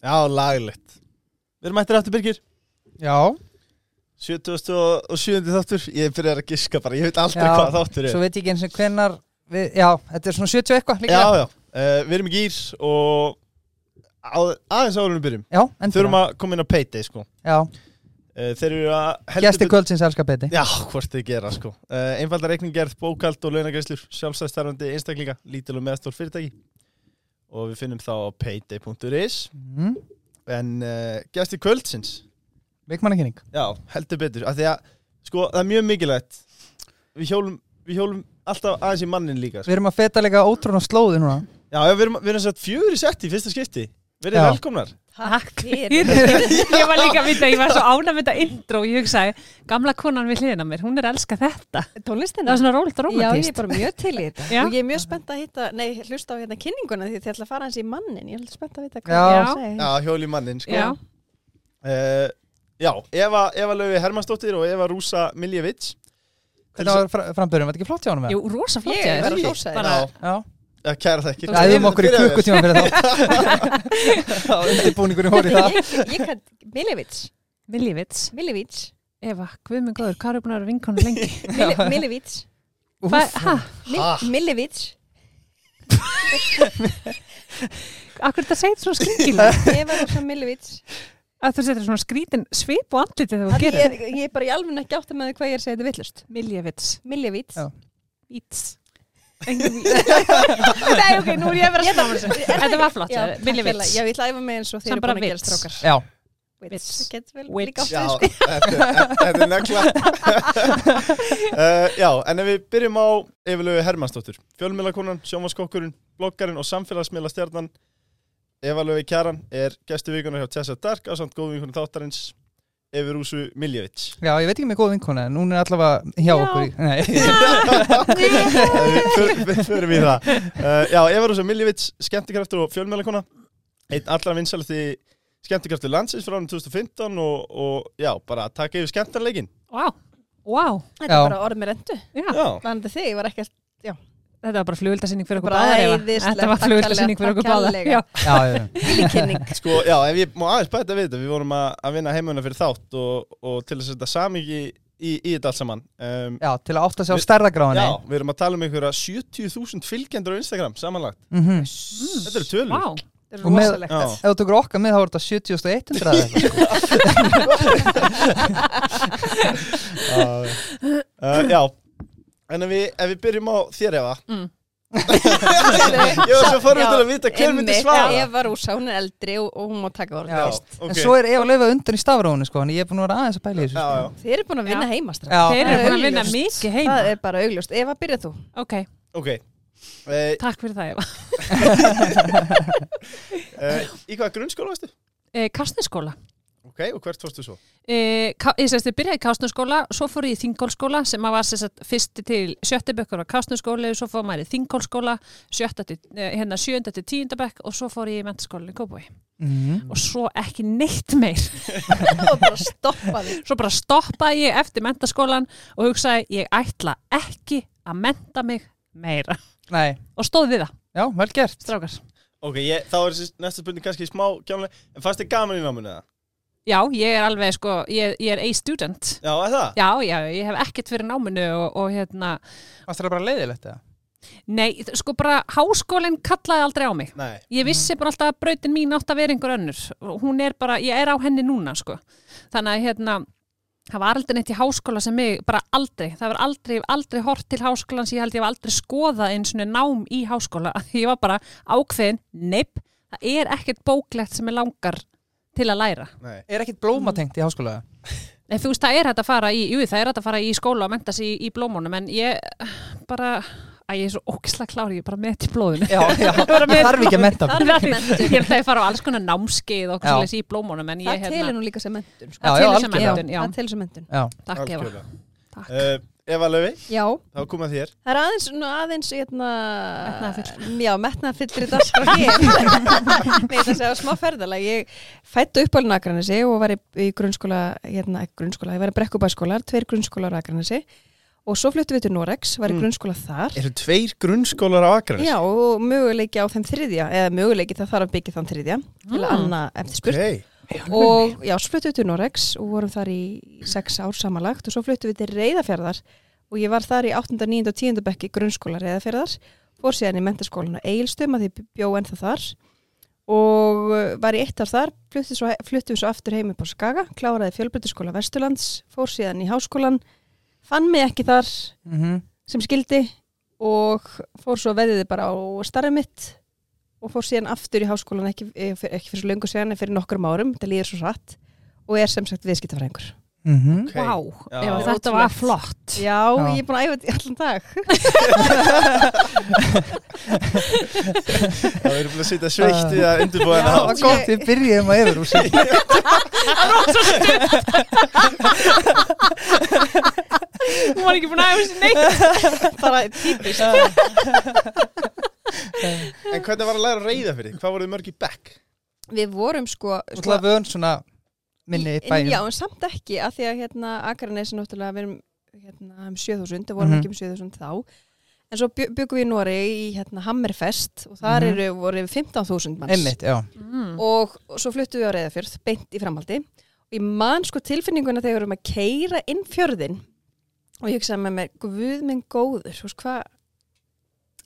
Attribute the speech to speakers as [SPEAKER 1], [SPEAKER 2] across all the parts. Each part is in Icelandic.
[SPEAKER 1] laglegt Við erum ættir aftur Birgir
[SPEAKER 2] Já,
[SPEAKER 1] 77. þáttur Ég byrjar að giska bara, ég veit aldrei
[SPEAKER 2] Já,
[SPEAKER 1] hvað þáttur er
[SPEAKER 2] svo veit ég ekki eins og hvenar við, Já, þetta er svona 70 eitthvað
[SPEAKER 1] Já,
[SPEAKER 2] líklega
[SPEAKER 1] já, uh, við erum í gýr og á, aðeins áður en við byrjum
[SPEAKER 2] Já, endur
[SPEAKER 1] Þurfum að koma inn á payday sko
[SPEAKER 2] Já,
[SPEAKER 1] uh, Þeir eru að heldur
[SPEAKER 2] gæsti
[SPEAKER 1] betur-
[SPEAKER 2] kvöldsins elskar beti
[SPEAKER 1] Já, hvort þið gera sko uh, Einfalda reikninggerð, bókald og launagreislur Sjálfstæðstarfandi einstaklinga, lítil og meðstól fyrirtæki Og við finnum þá á payday.is
[SPEAKER 2] mm,
[SPEAKER 1] En uh, gæsti kvöldsins
[SPEAKER 2] Vikmannakynning
[SPEAKER 1] Já, heldur betur af Því að, sko, það er mjög mikilvægt Við hjólum, við hjólum alltaf aðeins í mannin líka sko.
[SPEAKER 2] Við erum að feta líka ótrúna slóði núna
[SPEAKER 1] Já, já, við erum, við erum satt fjögur í sett í fyrsta skipti Verið
[SPEAKER 2] Já.
[SPEAKER 1] velkomnar
[SPEAKER 3] Takk fyrir Ég var líka að vita, ég var svo ána með þetta intro og ég hugsaði, gamla konan við hliðina á mér hún er að elska þetta, það
[SPEAKER 4] tónlistina
[SPEAKER 3] var svona róligt og
[SPEAKER 4] Já, ég er
[SPEAKER 3] romantist
[SPEAKER 4] bara mjög til í þetta
[SPEAKER 3] Já.
[SPEAKER 4] og ég er mjög spennt að hitta, nei, hlusta á hérna kynninguna því þið ætla að fara hans í mannin, ég er svolítið spennt að vita hvað
[SPEAKER 2] Já.
[SPEAKER 4] það er að segja.
[SPEAKER 1] Já, hjóli mannin, sko
[SPEAKER 3] Já,
[SPEAKER 1] Eh, já Eva, Eva Laufi Hermannsdóttir og Eva Rúsa Miljevic Til
[SPEAKER 2] Þetta var fr frambyrjum, var þetta ekki flott hjá honum með?
[SPEAKER 3] jú, rosa flott
[SPEAKER 4] Ég er
[SPEAKER 3] hjá
[SPEAKER 4] að
[SPEAKER 3] þér.
[SPEAKER 4] hrósa þér.
[SPEAKER 3] bara,
[SPEAKER 2] Já,
[SPEAKER 1] Já, kæra þekkir
[SPEAKER 2] æðum okkur í kukkutíma fyrir þá Það var undirbúningurinn hóri það
[SPEAKER 4] Ég, ég kann Milivits,
[SPEAKER 3] Miljevits,
[SPEAKER 4] Milivits,
[SPEAKER 3] Eva, guð minn góður, hvað er búin að vera vinkonu lengi?
[SPEAKER 4] Mili- Milivits,
[SPEAKER 2] Úff,
[SPEAKER 3] Hvað, hæ,
[SPEAKER 1] Ha?
[SPEAKER 4] Mi- Milivits,
[SPEAKER 3] akkur þetta segir svona skringilega,
[SPEAKER 4] ég var þess að Milivits.
[SPEAKER 3] að þú setur svona skrítin svip og andliti þegar þú
[SPEAKER 4] Ég
[SPEAKER 3] gerir
[SPEAKER 4] er, ég er bara í alveg ekki átt með hvað ég er að segja þetta villust.
[SPEAKER 3] Miljevits,
[SPEAKER 4] Milivits.
[SPEAKER 2] Já.
[SPEAKER 3] Vits Nei, ok, nú er ég að vera snáður Þetta var flott,
[SPEAKER 4] Já, takk hérlega.
[SPEAKER 3] Miljevits
[SPEAKER 4] Já, ég ætla að æfa mig eins og þeir
[SPEAKER 3] Samt
[SPEAKER 4] eru
[SPEAKER 3] bara
[SPEAKER 4] búin að gera
[SPEAKER 3] vits.
[SPEAKER 4] strákar.
[SPEAKER 2] Já,
[SPEAKER 4] Vits.
[SPEAKER 3] Vits.
[SPEAKER 4] Það getur vel
[SPEAKER 3] Vits.
[SPEAKER 4] líka átt
[SPEAKER 1] Já,
[SPEAKER 4] við sko.
[SPEAKER 1] þetta þetta er negla uh, Já, en ef við byrjum á Eva Laufi Hermannsdóttir Fjölmiðlakonan, sjónvaskokkurinn, bloggarinn og samfélagsmiðla Eva Laufi Kjaran er gæstu vikunar hjá Tessa Dark á samt góð vikunar þáttarins Eva Rúsu Miljevic
[SPEAKER 2] já, ég veit ekki með góð vinkona en hún er allavega hjá
[SPEAKER 3] Já.
[SPEAKER 2] okkur í- Nei,
[SPEAKER 1] Við förum í það uh, Já, Eva Rúsa Miljevits, skemmtikraftur og fjölmjölakona Einn allra vinsælusti skemmtikraftur landsins frá ánum 2015 og, og já, bara að taka yfir skemmtarleikin
[SPEAKER 3] Vá, vá,
[SPEAKER 4] Þetta er
[SPEAKER 2] Já.
[SPEAKER 4] bara orð með rendu.
[SPEAKER 3] já
[SPEAKER 1] Já,
[SPEAKER 4] Þannig að þig, ég var ekki að
[SPEAKER 3] Þetta var bara flugvildasynning fyrir okkur
[SPEAKER 4] Bara
[SPEAKER 3] báðar Eva.
[SPEAKER 4] æðislegt,
[SPEAKER 3] Þetta var
[SPEAKER 4] takk
[SPEAKER 3] flugvildasynning fyrir
[SPEAKER 4] kærlega,
[SPEAKER 3] okkur báðar
[SPEAKER 4] takk
[SPEAKER 3] Já.
[SPEAKER 2] já, já, já.
[SPEAKER 4] kynning.
[SPEAKER 1] sko, já, ef ég má aðeins bæta við þetta Við vorum að, að vinna heimuna fyrir þátt og, og til að setja samingi í, í, í þetta allt saman um,
[SPEAKER 2] já, til að átta sig á
[SPEAKER 1] Við-
[SPEAKER 2] stærðagráðinni
[SPEAKER 1] Já, við erum að tala um einhverja 70.000 fylgjendur á Instagram samanlagt
[SPEAKER 2] Mhm.
[SPEAKER 1] Þetta eru tölur
[SPEAKER 3] Vá,
[SPEAKER 4] Þetta
[SPEAKER 2] Og
[SPEAKER 4] er
[SPEAKER 2] með-
[SPEAKER 4] rosalegt.
[SPEAKER 1] Já.
[SPEAKER 2] Ef þú tökur okkar með þá er þetta 70.100 eða eitthvað.
[SPEAKER 1] uh, uh, Já En ef við, ef við byrjum á þér Eva
[SPEAKER 3] Mm.
[SPEAKER 1] Ég var svo forvitinn að vita hver myndi
[SPEAKER 4] Einmitt,
[SPEAKER 1] svara
[SPEAKER 4] Eva Rúsa, hún er eldri og, og hún má taka orðið
[SPEAKER 2] Já.
[SPEAKER 4] fyrst.
[SPEAKER 1] ok.
[SPEAKER 2] En svo er Eva Laufa undan í stafrónu sko, en ég er búin að vera aðeins að pæla í þessu
[SPEAKER 1] Já, já.
[SPEAKER 2] sko.
[SPEAKER 4] Þið eru búin að vinna
[SPEAKER 3] Já.
[SPEAKER 4] heima strax.
[SPEAKER 2] Já,
[SPEAKER 3] þeir
[SPEAKER 4] það
[SPEAKER 3] eru
[SPEAKER 4] er
[SPEAKER 3] búin að vinna
[SPEAKER 4] augljóst.
[SPEAKER 3] mikið heima
[SPEAKER 4] Það er bara augljóst. Eva, byrjað þú.
[SPEAKER 3] Ok,
[SPEAKER 1] Ok uh,
[SPEAKER 3] takk fyrir það Eva
[SPEAKER 1] uh, Í hvað grunnskóla varstu?
[SPEAKER 3] e, Kastniskóla
[SPEAKER 1] Ok, og hvert fórstu svo?
[SPEAKER 3] e, ka, Ég sérst, ég byrjaði í Kastniskóla Svo fór ég í Þingólskóla sem að var sérst fyrst til sjötti bekkur á Kastniskóla Svo fór maður í Þingólskóla sjötta til, eh, hérna, sjöunda til tíunda bekk Og svo fór ég í mentaskólinni Kópói
[SPEAKER 2] Mhm.
[SPEAKER 3] Og svo ekki neitt meir
[SPEAKER 4] Og bara stoppa þig.
[SPEAKER 3] Svo bara stoppaði ég eftir mentaskólan Og hugsaði, ég ætla ekki að menta mig meira
[SPEAKER 2] Nei,
[SPEAKER 3] Og stóð við það,
[SPEAKER 2] já, vel gert
[SPEAKER 3] strákar
[SPEAKER 1] Ok, ég, þá er þessi næsta spurning kannski smá kjánuleg En fannst þið gaman í náminu það?
[SPEAKER 3] Já, ég er alveg sko, ég, ég er A-student
[SPEAKER 1] Já, er það?
[SPEAKER 3] Já, já, ég hef ekkert fyrir náminu og, og hérna,
[SPEAKER 2] Varst það bara leiðilegt eða?
[SPEAKER 3] nei, þ- sko bara háskólinn kallaði aldrei á mig.
[SPEAKER 1] Nei
[SPEAKER 3] Ég vissi bara alltaf að brautin mín átt að vera einhver önnur. Og Hún er bara, ég er á henni núna, sko. Þannig að hérna, það var aldrei neitt í háskóla sem mig, bara aldrei. Það var aldrei, ég hef aldrei hort til háskólans, ég held ég hef aldrei skoðað eins og nám í háskóla. Ég var bara ákveðin, neip, það er ekkert bóklegt sem ég langar til að læra.
[SPEAKER 1] Nei
[SPEAKER 2] Er ekkit blómatengt í háskóla? eða?
[SPEAKER 3] En þú veist, það er hægt að fara í, jú, það er hægt að fara í skóla og menta sig í, í blómunum, en ég eh, bara, að ég er svo óksla klári, ég er bara með þetta í blóðinu.
[SPEAKER 2] Já, já,
[SPEAKER 3] Bara með-
[SPEAKER 2] þarf ekki að menta mig.
[SPEAKER 3] Ég er alltaf að fara á alls konar námskeið og
[SPEAKER 2] Já.
[SPEAKER 3] okkur svolítið í blómunum, en
[SPEAKER 4] Það
[SPEAKER 3] ég
[SPEAKER 4] telur nú líka sem mentun.
[SPEAKER 2] Já,
[SPEAKER 4] Sko.
[SPEAKER 3] það
[SPEAKER 2] já,
[SPEAKER 3] telur sem
[SPEAKER 2] algjörlega.
[SPEAKER 3] mentun, já,
[SPEAKER 4] hérna. Það telur sem mentun.
[SPEAKER 2] Já,
[SPEAKER 3] takk Eva.
[SPEAKER 1] Algjörlega.
[SPEAKER 3] Takk.
[SPEAKER 1] Eh, Eva Löfi,
[SPEAKER 4] Já,
[SPEAKER 1] þá kom að þér
[SPEAKER 4] það er aðeins, nú, aðeins, hérna,
[SPEAKER 3] Metnaðarfull.
[SPEAKER 4] já, metnaðfyllri dagskrá hér. Nei, það segja smá ferðalag. Ég fættu upp alveg Akranesi og var í, í grunnskóla, hérna, ekki grunnskóla, ég var í brekkubæskólar, tveir grunnskólar á Akranesi og svo fluttum við til Norex, var í
[SPEAKER 1] Mm.
[SPEAKER 4] grunnskóla þar
[SPEAKER 1] Eru tveir grunnskólar á Akranes?
[SPEAKER 4] Já, og möguleiki á þeim þriðja eða möguleiki það þarf að byggja þann þriðja til að
[SPEAKER 3] Mm.
[SPEAKER 4] anna eftir spurt
[SPEAKER 1] Ah. Ok.
[SPEAKER 4] og já, svo fluttum við til Noregs og vorum þar í sex ár samanlagt og svo fluttum við til Reyðafjörðar og ég var þar í 8., 9. og 10. bekk í grunnskóla Reyðafjörðar fór síðan í mentaskólan á Egilstum að því bjó ennþá þar og uh, var í eitt ár þar, fluttum svo, fluttum svo aftur heim upp á Skaga, kláraði fjölbyrðaskóla Vesturlands, fór síðan í háskólan fann mig ekki þar
[SPEAKER 2] Mhm.
[SPEAKER 4] sem skildi og fór svo veðiði bara á starfið mitt og fór síðan aftur í háskólan ekki, eh, fyr- ekki fyrir svo löngu síðan en fyrir nokkrum árum, þetta líður svo satt og er sem sagt viðskiptafræðingur.
[SPEAKER 2] Mhm.
[SPEAKER 3] Vá,
[SPEAKER 1] Já.
[SPEAKER 3] ef að þetta var flott.
[SPEAKER 4] Já, ég er búin að æfa þetta í allan dag.
[SPEAKER 1] Það eru búin að sitja sveitt í að undirbúa
[SPEAKER 4] Já,
[SPEAKER 1] hennar
[SPEAKER 2] Það var gott, við byrjum að yfir úr sér
[SPEAKER 3] Hún var ekki búin að æfa sér neitt.
[SPEAKER 4] bara típist.
[SPEAKER 1] En hvernig var að læra að reyða fyrir? Hvað voruð þið mörg í bekk?
[SPEAKER 4] Við vorum sko...
[SPEAKER 2] Þú ætlaði vön svona minni
[SPEAKER 4] Í-
[SPEAKER 2] bæjum
[SPEAKER 4] Já, en samt ekki, af því að hérna, Akarnes er náttúrulega, við erum hérna, um 7000, það vorum
[SPEAKER 2] Mhm.
[SPEAKER 4] ekki um 7000 þá. En svo bjö- byggum við í Nóri í hérna, Hammerfest og þar
[SPEAKER 2] Mhm.
[SPEAKER 4] eru, voru yfir 15.000 manns.
[SPEAKER 2] Einmitt, já
[SPEAKER 4] og, og svo fluttum við á Reyðafjörð beint í framhaldi og ég man sko tilfinninguna þegar við erum að keira inn fjörðin og ég hugsaði með mér, guð minn góður þú veist, hva,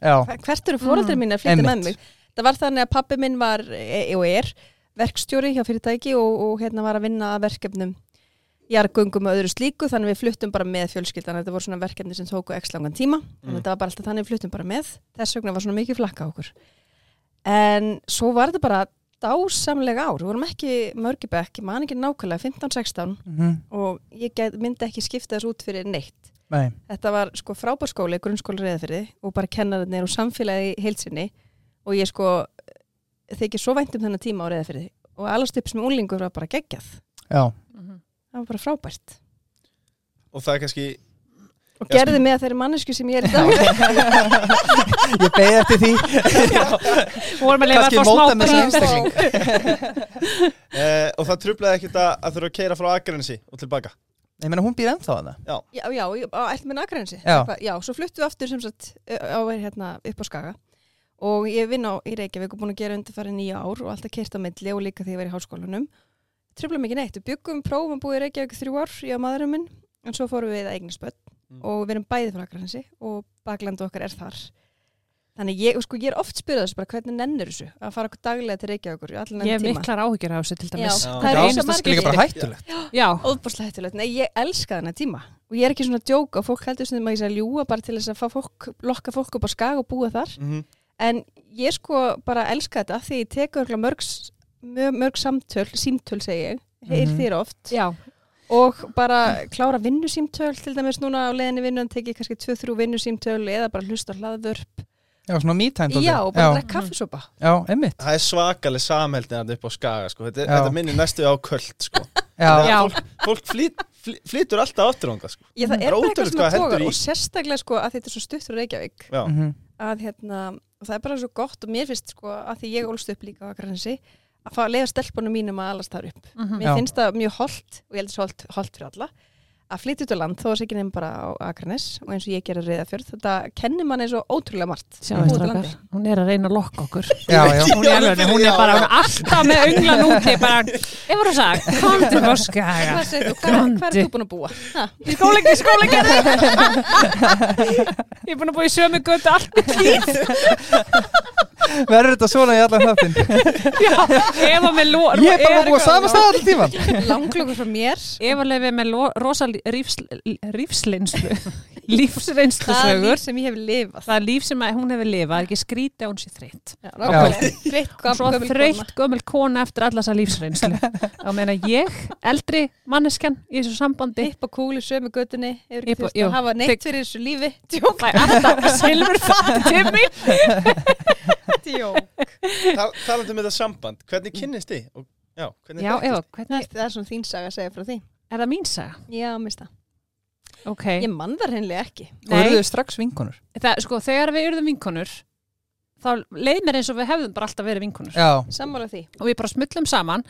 [SPEAKER 2] Já,
[SPEAKER 4] hva, hvert eru fóraldri
[SPEAKER 3] Mm,
[SPEAKER 4] mín að flytja
[SPEAKER 2] einmitt.
[SPEAKER 4] með mig það var þannig að pappi minn var e, og er verkstjóri hjá fyrirtæki og, og hérna var að vinna að verkefnum jargöngum og öðru slíku þannig við fluttum bara með fjölskyldan þetta voru svona verkefni sem tóku x langan tíma þannig
[SPEAKER 1] Mm.
[SPEAKER 4] að þetta var bara alltaf þannig við fluttum bara með þess vegna var svona mikið flakka á okkur en svo var þetta bara dásamlega ár, við vorum ekki mörgibekk, ég man ekki nákvæmlega 15-16
[SPEAKER 2] Mhm.
[SPEAKER 4] og ég get, myndi ekki skipta þess út fyrir neitt
[SPEAKER 2] nei
[SPEAKER 4] þetta var sko frábárskóli, grunnskóli reyðafyrði og bara kennarinnir og samfélagi heilsinni og ég sko þykir svo vænt um þennan tíma á reyðafyrði og allast upp sem úlingur var bara geggjað
[SPEAKER 2] Já,
[SPEAKER 4] það var bara frábært
[SPEAKER 1] Og það er kannski
[SPEAKER 4] og
[SPEAKER 1] Já,
[SPEAKER 4] gerði mig að þeirri mannesku sem ég er í dag
[SPEAKER 2] ég beði eftir því
[SPEAKER 3] Hún var með að leifa
[SPEAKER 2] Kanski
[SPEAKER 3] að fá smá
[SPEAKER 2] móta með sem
[SPEAKER 3] bröð.
[SPEAKER 2] einstakling
[SPEAKER 1] uh, Og það trublaði ekkert að, að þurfa að keira frá Akranesi og tilbaka
[SPEAKER 2] Ég meina, hún býr ennþá að það
[SPEAKER 4] já, já, ég- á allt með nakrensi
[SPEAKER 2] Já.
[SPEAKER 4] já, svo fluttum við aftur sem sagt ö- á, hérna, upp á Skaga og ég vinn á í Reykjavík og búin að gera undirfæri nýja ár og alltaf kert á milli og líka þegar ég var í háskólanum tröfla mikið neitt, við byggum prófum búið í Reykjavík í þrjú ár, ég og maðurinn minn en svo fórum við að eignast börn
[SPEAKER 1] Mm.
[SPEAKER 4] og við erum bæði frá Akranesi og baklandu okkar er þar þannig ég, sko, ég er oft spyrðað þessu bara hvernig nennir þessu að fara okkur daglega til Reykjavík í allan
[SPEAKER 3] Ég
[SPEAKER 4] þennan
[SPEAKER 3] hef
[SPEAKER 4] tíma
[SPEAKER 3] miklar áhyggjur af þessu til dæmis.
[SPEAKER 1] Já.
[SPEAKER 4] það
[SPEAKER 2] Já,
[SPEAKER 4] er eins
[SPEAKER 2] finnst
[SPEAKER 4] og
[SPEAKER 2] það
[SPEAKER 4] margir
[SPEAKER 2] skilja bara hættulegt
[SPEAKER 3] Já.
[SPEAKER 4] Óðbúrslega hættulegt, nei ég elska þennan tíma og ég er ekki svona að djóka og fólk heldur sem að ég sé að ljúa bara til þess að fá fólk, lokka fólk upp á skag og búa þar
[SPEAKER 1] mm -hmm.
[SPEAKER 4] en ég sko bara elska þetta af því ég tekur örgulega mörg, s- mjög mörg samtöl, símtöl segi ég, heyr
[SPEAKER 2] Mhm.
[SPEAKER 4] þér oft
[SPEAKER 3] Já.
[SPEAKER 4] og bara klára vinnusímtöl til dæmis núna á leiðinni vinnan tekið kannski 2-3 vinnusímtöl eða bara hlusta á hlaðvörp
[SPEAKER 2] Já, svona mítænd
[SPEAKER 4] Já, og bara
[SPEAKER 2] já,
[SPEAKER 4] drekka kaffisopa
[SPEAKER 2] já, einmitt
[SPEAKER 1] Það er svakaleg samheldin að upp á skaga sko. þetta,
[SPEAKER 2] Já.
[SPEAKER 1] þetta minnir næstu á köld sko.
[SPEAKER 2] Já,
[SPEAKER 3] Já.
[SPEAKER 1] Fólk, fólk flýt, flý- flýtur alltaf áttur honga sko.
[SPEAKER 4] Ég, það
[SPEAKER 1] Það
[SPEAKER 4] er
[SPEAKER 1] er
[SPEAKER 4] bara
[SPEAKER 1] ótrúlegt
[SPEAKER 4] eitthvað sem
[SPEAKER 1] hvað
[SPEAKER 4] að
[SPEAKER 1] heldur
[SPEAKER 4] toga
[SPEAKER 1] í.
[SPEAKER 4] og sérstaklega sko að þetta er svo stutt frá Reykjavík
[SPEAKER 1] Já.
[SPEAKER 2] Mhm.
[SPEAKER 4] að hérna, og það er bara svo gott og mér finnst sko að því ég ólst upp líka á Akranesi að fá að leiða stelpunum mínum að alast þar upp.
[SPEAKER 3] Mhm.
[SPEAKER 4] Mér
[SPEAKER 2] Já.
[SPEAKER 4] finnst það mjög holdt og ég heldur svo holdt, holdt fyrir alla að flytja út á land þó að ekki nefn bara á Akranes og eins og ég gera reyðafjörð þetta kennir manni svo ótrúlega margt
[SPEAKER 3] Sjáum
[SPEAKER 4] Búa til
[SPEAKER 3] strákar,
[SPEAKER 4] landi.
[SPEAKER 3] hún er að reyna að lokka okkur.
[SPEAKER 2] já, já
[SPEAKER 3] Hún er, alveg, hún er bara
[SPEAKER 1] Já,
[SPEAKER 3] hún er alltaf með unglan úti, bara, ég voru að sagða, komdu á skaga.
[SPEAKER 4] Hvað segir þú? Hvar, hvar er
[SPEAKER 3] Grandi.
[SPEAKER 4] þú búin að búa? sko. Ha,
[SPEAKER 3] Í skóleikni, í skóleikni. Ég er búin að búa í sömu götu allt mitt líf.
[SPEAKER 2] Verður þetta svona í allan þáttinn
[SPEAKER 3] Já, Eva með lo...
[SPEAKER 2] Ég er bara búið að sama
[SPEAKER 3] stað.
[SPEAKER 2] stað allir tíman
[SPEAKER 4] Langlöku frá mér
[SPEAKER 3] Eva lefið með lo, rosa lí- rífsl, rífslinslu, lífsreynslu
[SPEAKER 4] Það er líf
[SPEAKER 3] sögur.
[SPEAKER 4] sem ég hef lifað
[SPEAKER 3] Það er líf sem að hún hefur lifað, er ekki skrítið að hún sé þreytt.
[SPEAKER 4] Já, nákvæmlega. Þreytt
[SPEAKER 3] Og svo
[SPEAKER 4] gömul kona.
[SPEAKER 3] þreytt gömul kona eftir alla þessa lífsreynslu. Þá meina ég, eldri manneskjan í þessu sambandi,
[SPEAKER 4] Hipp og kúli sömu göttunni hefur
[SPEAKER 3] Hipp
[SPEAKER 4] ekki
[SPEAKER 3] og-
[SPEAKER 4] þurft
[SPEAKER 3] jú.
[SPEAKER 4] að hafa neitt fyrir þessu lífi Djók,
[SPEAKER 3] fæ alltaf silfur til mín.
[SPEAKER 4] djók
[SPEAKER 1] Tal, Talandi um þetta samband, hvernig kynnist þið? Og, já, hvernig
[SPEAKER 3] Já,
[SPEAKER 1] þekktist?
[SPEAKER 3] Eva, hvernig,
[SPEAKER 4] Það er svona þín saga að segja frá því
[SPEAKER 3] er það mín saga?
[SPEAKER 4] Já, minnst það.
[SPEAKER 3] Ok.
[SPEAKER 4] Ég mann það hreinlega ekki.
[SPEAKER 2] Og eru þau strax vinkonur
[SPEAKER 3] það, sko, þegar við urðum vinkonur þá leið mér eins og við hefðum bara alltaf verið vinkunur
[SPEAKER 2] Já,
[SPEAKER 4] Sammála því.
[SPEAKER 3] og við bara smullum saman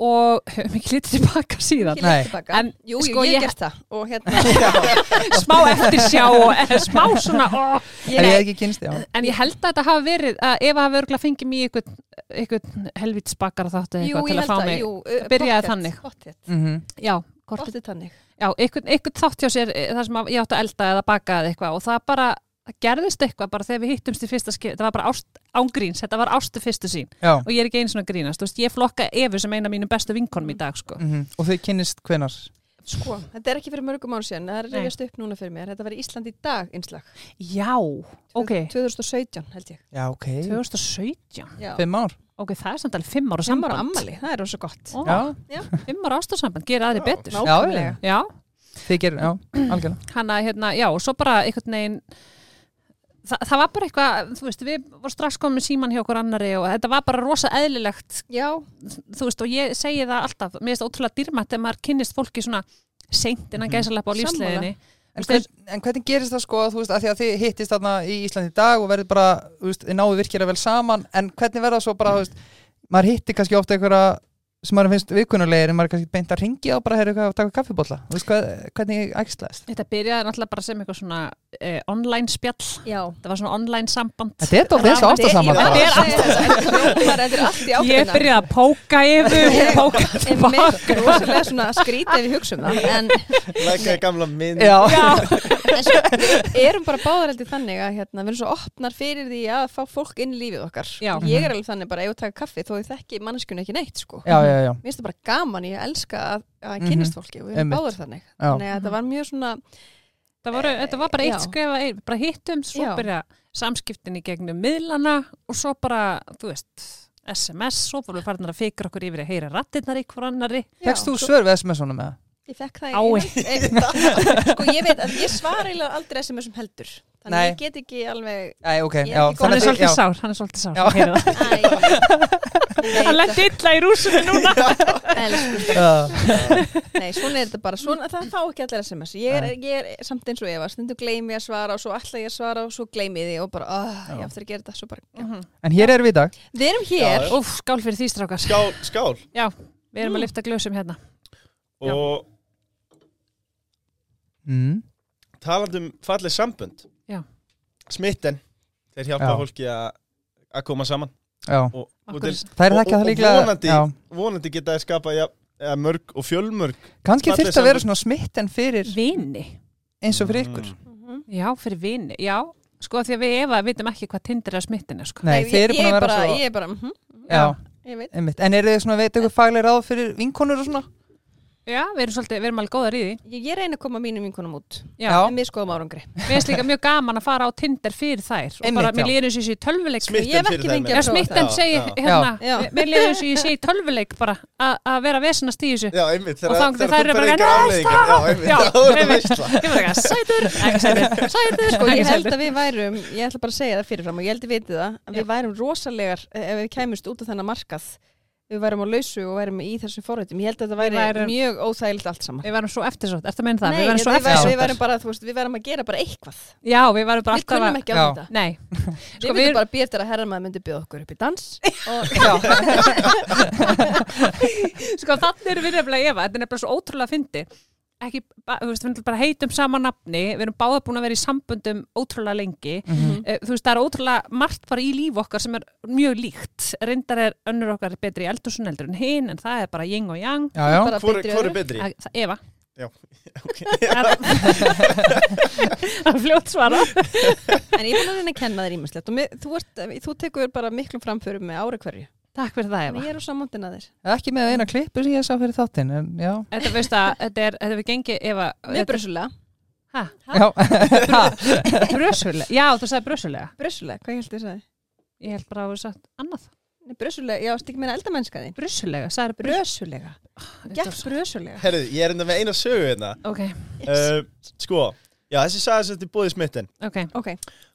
[SPEAKER 3] og höfum ekki litið tilbaka síðan
[SPEAKER 4] Ekki langt
[SPEAKER 2] Nei.
[SPEAKER 4] tilbaka.
[SPEAKER 3] En,
[SPEAKER 4] jú, jú,
[SPEAKER 3] sko,
[SPEAKER 4] ég
[SPEAKER 3] ég-
[SPEAKER 4] hef gert það. Og hérna,
[SPEAKER 3] smá eftir sjá og eh, smá svona ó,
[SPEAKER 2] er ég
[SPEAKER 3] ég,
[SPEAKER 2] ekki kynst, já
[SPEAKER 3] en ég held að þetta hafi verið að Eva hafi örgulega fengið mér einhvern, einhvern helvitsbakkar þátt eða
[SPEAKER 4] jú, ég
[SPEAKER 3] eitthvað til
[SPEAKER 4] held
[SPEAKER 3] að fá
[SPEAKER 4] það,
[SPEAKER 3] mig
[SPEAKER 4] jú. uh,
[SPEAKER 3] byrjaði
[SPEAKER 4] pottet,
[SPEAKER 3] þannig.
[SPEAKER 4] Pottet,
[SPEAKER 2] Mhm.
[SPEAKER 3] já, hvort
[SPEAKER 4] pottet þannig.
[SPEAKER 3] já, einhvern, einhvern þátt hjá sér eh, þar sem að ég átti að elda eða baka eða eitthvað og það bara það gerðist eitthvað bara þegar við hittumst í fyrsta skip þetta var bara ást, ángríns, þetta var ástu fyrstu sín
[SPEAKER 2] Já,
[SPEAKER 3] og ég er ekki einu svona að grínast, þú veist, ég flokka Evu sem eina af mínum bestu vinkonum í dag, sko
[SPEAKER 2] mhm. og þau kynnist hvenar
[SPEAKER 4] Sko, þetta er ekki fyrir mörgum án síðan, það er
[SPEAKER 3] Nei.
[SPEAKER 4] reyðast upp núna fyrir mér. Þetta var Ísland í dag einslag.
[SPEAKER 3] Já, ok,
[SPEAKER 4] 2017 held ég.
[SPEAKER 2] Já, ok,
[SPEAKER 3] 2017
[SPEAKER 4] Já.
[SPEAKER 2] fimm ár
[SPEAKER 3] ok, það er samt alveg fimm ára
[SPEAKER 4] Sammála
[SPEAKER 3] samband
[SPEAKER 4] ammali, það er rosa gott.
[SPEAKER 3] Ó,
[SPEAKER 2] Já,
[SPEAKER 3] Fimm ára ástarsamband, gera aðri
[SPEAKER 1] Já.
[SPEAKER 3] betur
[SPEAKER 4] Nákvæmlega.
[SPEAKER 3] Já,
[SPEAKER 2] þið gerir, já, algjörlega
[SPEAKER 3] hann að hérna, já, og svo bara einhvern veginn Þa, það var bara eitthvað, þú veist, við vorum strax komin síman hjá okkur annari og þetta var bara rosa eðlilegt
[SPEAKER 4] Já,
[SPEAKER 3] þú veist, og ég segi það alltaf, mér finnst það ótrúlega dýrmætt ef maður kynnist fólki svona seint innan
[SPEAKER 2] Mhm.
[SPEAKER 3] gæsalappa á
[SPEAKER 4] Sammála.
[SPEAKER 3] lífsleginni
[SPEAKER 2] En,
[SPEAKER 3] Þú veist,
[SPEAKER 2] hvern, en hvernig gerist það sko að þú veist að því að þið hittist þarna í Íslandi í dag og verður bara, þú veist, þið náðu virkilega vel saman en hvernig verða svo bara, þú veist maður hittir kannski ofta einhverja sem maður finnst viðkunnulegir en maður er kannski beint að ringi og bara heyrðu eitthvað og taka kaffibólla þú veist hvað, hvernig ægslaðist
[SPEAKER 3] þetta byrjaði náttúrulega bara sem eitthvað svona eh, online spjall,
[SPEAKER 4] já.
[SPEAKER 3] það var svona online samband
[SPEAKER 2] Þetta er dótt eins og ástasamar
[SPEAKER 3] Þetta
[SPEAKER 4] Þetta
[SPEAKER 3] er
[SPEAKER 4] er allt í áttina.
[SPEAKER 3] ég byrjaði að póka yfir póka tilbaka
[SPEAKER 4] Einmitt, rosalega svona skrítið við hugsa um það en,
[SPEAKER 1] Lækka gamla mynd
[SPEAKER 2] Já,
[SPEAKER 3] Já,
[SPEAKER 4] en svo, við erum bara báðar heldur þannig að hérna, við erum svo opnar fyrir því að fá fólk inn í lífið okkar
[SPEAKER 3] Já.
[SPEAKER 4] ég er alveg þannig bara að ég að taka kaffi þó ég þekki manneskjunu ekki neitt sko.
[SPEAKER 2] Mhm. já, já, já,
[SPEAKER 4] mér finnst það bara gaman, ég elska að, að kynast fólki og við erum
[SPEAKER 2] Einmitt.
[SPEAKER 4] báðar þannig
[SPEAKER 2] já.
[SPEAKER 4] þannig að þetta var mjög svona
[SPEAKER 3] það voru, þetta var bara eitt
[SPEAKER 4] Já.
[SPEAKER 3] skrifa ein, bara hittum, svo
[SPEAKER 4] Já.
[SPEAKER 3] byrja samskiptin í gegnum miðlana og svo bara, þú veist, SMS svo vorum við farinir að fikra okkur yfir að heyra rattinnar í hver annari
[SPEAKER 2] Fekst þú svör við SMS-unum með það?
[SPEAKER 4] ég fekk það
[SPEAKER 3] Ái.
[SPEAKER 4] í- Einmitt. sko ég veit að ég svara eiginlega aldrei SMS-um um heldur þannig að
[SPEAKER 2] Nei.
[SPEAKER 4] ég get ekki alveg
[SPEAKER 2] Æ, ok,
[SPEAKER 4] Ég er
[SPEAKER 2] já
[SPEAKER 4] ekki góð.
[SPEAKER 3] hann er
[SPEAKER 2] að þið-
[SPEAKER 3] svolítið
[SPEAKER 2] já.
[SPEAKER 3] sár, hann er svolítið sár
[SPEAKER 2] Já.
[SPEAKER 3] ég heyri það.
[SPEAKER 4] Æ, ég
[SPEAKER 3] hann
[SPEAKER 4] veit
[SPEAKER 3] lett illa í rúsinu núna
[SPEAKER 4] að- sko, elsku
[SPEAKER 2] Já,
[SPEAKER 4] Nei, svona er þetta bara, svona, það fá ekki allir SMS. Ég er, ég er samt eins og Eva, stundum gleymi ég að svara og svo ætla ég að svara og svo gleymi ég því og bara, oh,
[SPEAKER 2] Já.
[SPEAKER 4] ég aftur að gera þetta, svo bara.
[SPEAKER 2] En hér erum við í dag
[SPEAKER 4] Við erum hér,
[SPEAKER 1] Já,
[SPEAKER 3] Úf, skál fyrir því strákar
[SPEAKER 1] Skál, skál
[SPEAKER 3] Já, við erum að lyfta glösum hérna Já.
[SPEAKER 1] Og
[SPEAKER 2] mm.
[SPEAKER 1] talandi um fallið sambönd
[SPEAKER 3] Já.
[SPEAKER 1] Smitten Þeir hjálpa
[SPEAKER 2] Já.
[SPEAKER 1] fólki að að koma saman
[SPEAKER 2] Já,
[SPEAKER 1] og, og,
[SPEAKER 3] Okkur
[SPEAKER 1] til,
[SPEAKER 3] er-
[SPEAKER 2] það
[SPEAKER 1] Og- og-
[SPEAKER 2] er það ekki að
[SPEAKER 1] og vonandi-
[SPEAKER 2] líklega
[SPEAKER 1] vonandi geta þeir skapa ja, ja, mörg og fjölmörg
[SPEAKER 2] Kanski
[SPEAKER 1] Falleg
[SPEAKER 2] þyrfti að vera
[SPEAKER 1] sambönd.
[SPEAKER 2] svona smitt en fyrir
[SPEAKER 3] Vini,
[SPEAKER 2] eins og fyrir ykkur
[SPEAKER 3] já, fyrir vini, já sko því að við Eva vitum ekki hvað tindir er smittin sko.
[SPEAKER 2] Nei,
[SPEAKER 4] Mhm. ég,
[SPEAKER 2] þið eru
[SPEAKER 4] ég,
[SPEAKER 2] búin að
[SPEAKER 4] er
[SPEAKER 2] vera
[SPEAKER 4] bara,
[SPEAKER 2] svo
[SPEAKER 4] ég er bara, mm
[SPEAKER 2] Já,
[SPEAKER 4] ég veit.
[SPEAKER 2] Einmitt. En eru þið svona að veita eitthvað faglega ráð fyrir vinkonur og svona?
[SPEAKER 3] Já, við erum svolítið, við erum alveg góðar í því
[SPEAKER 4] Ég, ég reyna að koma mínum vinkunum út,
[SPEAKER 3] Já.
[SPEAKER 4] en mér skoðum árangri.
[SPEAKER 3] Mér finnst líka mjög gaman að fara á Tinder fyrir þær og
[SPEAKER 2] Einmitt,
[SPEAKER 3] bara, mér
[SPEAKER 2] já.
[SPEAKER 3] líður eins og ég sé í tölvuleik
[SPEAKER 1] Smitten
[SPEAKER 4] Ég hef
[SPEAKER 1] fyrir
[SPEAKER 4] ekki
[SPEAKER 1] þeim
[SPEAKER 4] fengið
[SPEAKER 3] Já,
[SPEAKER 1] er.
[SPEAKER 4] að prófa
[SPEAKER 3] smitten
[SPEAKER 1] það.
[SPEAKER 3] segir
[SPEAKER 1] Já,
[SPEAKER 3] hérna,
[SPEAKER 4] já.
[SPEAKER 3] mér- mér líður eins og ég sé í tölvuleik bara að að vera vesenast í þessu
[SPEAKER 1] Já, einmitt,
[SPEAKER 3] Og
[SPEAKER 1] þegar
[SPEAKER 3] þá-
[SPEAKER 1] þegar
[SPEAKER 3] þær eru
[SPEAKER 1] þú
[SPEAKER 3] bara
[SPEAKER 1] berð engar
[SPEAKER 3] eitthvað,
[SPEAKER 1] afleiðingar Já,
[SPEAKER 3] Já,
[SPEAKER 1] einmitt, þá er það
[SPEAKER 3] einmitt.
[SPEAKER 1] veistla
[SPEAKER 3] Ég var eitthvað, sætur, ekki sætur, sætur
[SPEAKER 4] Sko, ég
[SPEAKER 3] ekki
[SPEAKER 4] held
[SPEAKER 3] sætur.
[SPEAKER 4] að við værum, ég ætla bara að segja það fyrirfram og ég held að vitið það, að við værum rosalegar eh, ef við kæmust út af þennan markað. Við værum á lausu og værum í þessum forrættum. Ég held að þetta væri
[SPEAKER 3] værum-
[SPEAKER 4] mjög óþægilegt allt saman.
[SPEAKER 3] Við varum svo eftirsótt, eftir að meina það,
[SPEAKER 4] Nei,
[SPEAKER 3] við varum svo
[SPEAKER 4] við værum, við værum
[SPEAKER 3] eftirsótt
[SPEAKER 4] bara, þú veist, við værum að gera bara eitthvað.
[SPEAKER 3] Já, við varum bara
[SPEAKER 4] Við
[SPEAKER 3] alltaf
[SPEAKER 4] kunnum
[SPEAKER 3] að
[SPEAKER 4] ekki á
[SPEAKER 2] Já.
[SPEAKER 4] þetta.
[SPEAKER 3] Nei,
[SPEAKER 4] Sko, við
[SPEAKER 3] Sko, við-
[SPEAKER 4] myndum bara að býja eftir að herramaður myndi bjóða okkur upp í dans og
[SPEAKER 3] sko þannig erum við nefnilega Eva, þetta er nefnilega svo ótrúlega fyndi ekki, ba- þú veist, við erum bara heitum sama nafni við erum báða búin að vera í samböndum ótrúlega lengi
[SPEAKER 2] Mhm.
[SPEAKER 3] Eh, þú veist, það er ótrúlega margt bara í líf okkar sem er mjög líkt reyndar er önnur okkar betri í eldur eldur en hinn, en það er bara jing og yang
[SPEAKER 2] Já, já.
[SPEAKER 4] bara
[SPEAKER 1] Hvor
[SPEAKER 4] betri
[SPEAKER 1] hvor er
[SPEAKER 4] öðru.
[SPEAKER 1] betri?
[SPEAKER 3] Að- það- Eva
[SPEAKER 1] Já,
[SPEAKER 3] Það er fljótt svara
[SPEAKER 4] en ég er búin að reyna að kenna þér ímestlegt og mér, þú, ert, þú tekur bara miklum framförum með ári hverju
[SPEAKER 3] Takk fyrir það
[SPEAKER 4] en
[SPEAKER 3] Eva
[SPEAKER 4] ég er á samvandin að þér
[SPEAKER 2] Ekki með eina klippu sem ég sá fyrir þáttinn, en já.
[SPEAKER 3] Þetta veist að þetta er, þetta við gengið Eva
[SPEAKER 4] með brössulega,
[SPEAKER 2] Já,
[SPEAKER 3] Brösulega, já þú sagði brösulega
[SPEAKER 4] brössulega, hvað ég held ég sagði?
[SPEAKER 3] Ég held bara að við sagt annað
[SPEAKER 4] Nei, brössulega, já, stík meina eldamennska þín
[SPEAKER 3] Brösulega, sagði brösulega
[SPEAKER 4] brössulega, gert brössulega
[SPEAKER 1] herruðu, ég er enda með eina sögu hérna
[SPEAKER 3] Ok,
[SPEAKER 1] uh, Sko, já, þessi sagði sem þetta er búið smitten
[SPEAKER 3] ok
[SPEAKER 4] ok,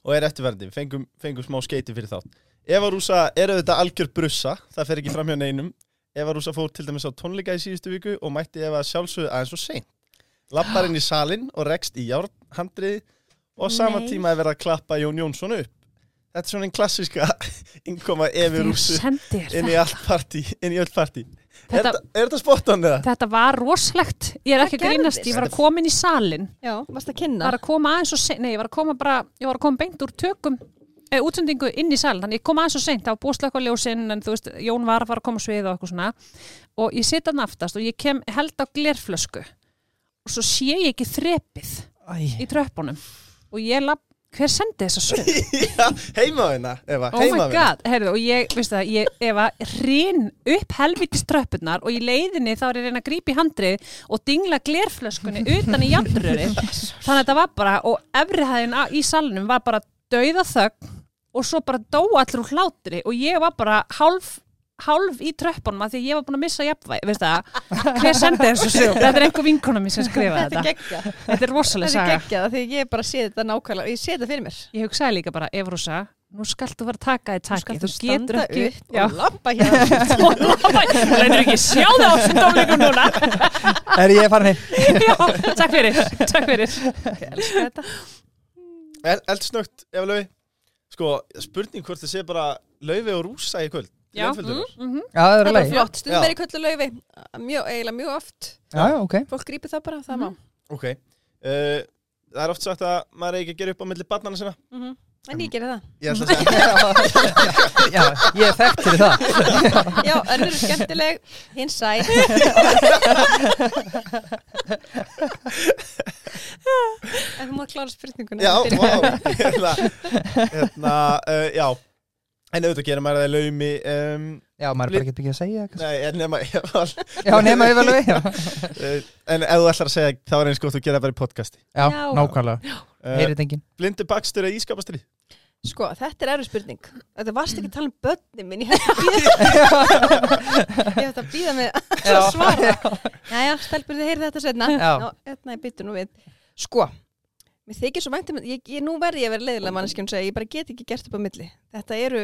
[SPEAKER 1] og er eftirverðandi, fengum, fengum smá skeiti fyrir þátt. Eva Rúsa er auðvitað algjör brussa, það fer ekki fram hjá neinum. Eva Rúsa fór til dæmis á tónleika í síðustu viku og mætti Eva sjálfsögðu aðeins og seint. Lappar inn í salin og rekst í járhandrið og á sama
[SPEAKER 3] Nei.
[SPEAKER 1] tíma er verið að klappa Jón Jónsson upp. þetta er svona einn klassiska innkoma
[SPEAKER 3] Hver
[SPEAKER 1] efi rússu
[SPEAKER 3] sendir
[SPEAKER 1] inn í
[SPEAKER 3] þetta?
[SPEAKER 1] allt partí, inn í öll partí Er
[SPEAKER 3] Þetta-
[SPEAKER 1] þetta- er þetta spottan eða?
[SPEAKER 3] Þetta var rosalegt, ég
[SPEAKER 4] Hvað
[SPEAKER 3] er ekki að grínast, ég var að
[SPEAKER 1] gerðist?
[SPEAKER 3] koma inn í salin,
[SPEAKER 4] Já, varst að kynna
[SPEAKER 3] var að koma aðeins og seint, nei, ég var að koma bara, ég var að koma beint úr tökum, eh, útsendingu inn í salin, þannig ég kom aðeins og seint, þá var búið slökk á ljósin, en þú veist, Jón var að fara að koma á svið og eitthvað svona, og ég sita naftast og ég kem held á glerflösku, og svo sé ég ekki þrepið
[SPEAKER 2] Æ,
[SPEAKER 3] í tröppunum, og ég lapp, hver sendi þessa sög?
[SPEAKER 1] Já, heimaðina, Eva, hérna.
[SPEAKER 3] Oh my
[SPEAKER 1] heimaðina
[SPEAKER 3] god, heyrðu, og ég, veistu það, ég, ef að rin upp helvitis tröppurnar og í leiðinni þá er ég að reyna að grípa í handrið og dingla glerflöskunni utan í jandröri. Þannig að þetta var bara, og efrihæðin í salnum var bara dauða þögn og svo bara dó allur úr hlátri og ég var bara hálf hálf í tröppunum að því að ég var búin að missa jafnvæg, veist það, hver sendi þessu sög þetta er einhver vinkonum mín sem skrifaði
[SPEAKER 4] Þetta er
[SPEAKER 3] þetta
[SPEAKER 4] geggja
[SPEAKER 3] þetta er rosalega
[SPEAKER 4] Þetta er
[SPEAKER 3] saga
[SPEAKER 4] geggja því ég bara sé þetta nákvæmlega Ég sé þetta fyrir mér
[SPEAKER 3] ég hugsaði líka bara, Evrosa, nú skaltu vera að taka í taki, þú getur
[SPEAKER 4] standa
[SPEAKER 3] ekki
[SPEAKER 4] upp
[SPEAKER 3] Já.
[SPEAKER 4] og lappa hérna
[SPEAKER 3] Lætur ekki sjá það á þessum tónleikum núna
[SPEAKER 2] er ég farin heim?
[SPEAKER 3] Já, takk fyrir, takk fyrir
[SPEAKER 1] El- Eldsnögt, Eva Laufi Sko, spurning hvort þið sé bara Laufi og Rúsa í kvöld
[SPEAKER 3] Já,
[SPEAKER 1] Laufhildur.
[SPEAKER 3] mhm.
[SPEAKER 2] Já, það er
[SPEAKER 4] Þetta er
[SPEAKER 2] leið.
[SPEAKER 4] flott, stundum
[SPEAKER 1] Já.
[SPEAKER 4] er í köllu laufi Mjög, eiginlega mjög oft
[SPEAKER 2] Já, já, ok.
[SPEAKER 4] Fólk grípir það bara, það má
[SPEAKER 1] Ok uh, Það er oft sagt að maður eigi ekki að gera upp á milli barnana sinna
[SPEAKER 3] mhm.
[SPEAKER 4] En ég gerir það
[SPEAKER 1] Ég ætla að segja
[SPEAKER 2] Já, ég er þekkt fyrir það.
[SPEAKER 4] Já, önnur er skemmtileg, hinn sæ En þú má klára spurninguna
[SPEAKER 1] Já,
[SPEAKER 4] Fyrir-
[SPEAKER 1] vá Hérna, hérna uh, já En auðvitað gerir maður það í laumi um,
[SPEAKER 2] Já, maður er bara ekkert byggja að segja. kannski.
[SPEAKER 1] Nei, en nema Eva,
[SPEAKER 2] Já, nema yfir alveg. Já,
[SPEAKER 1] uh, En ef þú ætlar að segja þá er eins gott að gera það bara í podcasti
[SPEAKER 2] já,
[SPEAKER 4] Já.
[SPEAKER 2] nákvæmlega.
[SPEAKER 1] uh,
[SPEAKER 2] Heyrið enginn.
[SPEAKER 1] Blindu bakstur eða ískapastri
[SPEAKER 4] Sko, þetta er erfið spurning Þetta varst ekki að tala um börnin minn Ég hef þetta að býða með að svara Jæja, stelpur þið heyrið þetta setna
[SPEAKER 2] Já.
[SPEAKER 4] Ná, Þetta er byttu nú við Sko, mér þykir svo væntum ég, ég, Nú verði ég að vera leiðilega manneskjum segja, Ég bara get ekki gert upp á milli Þetta eru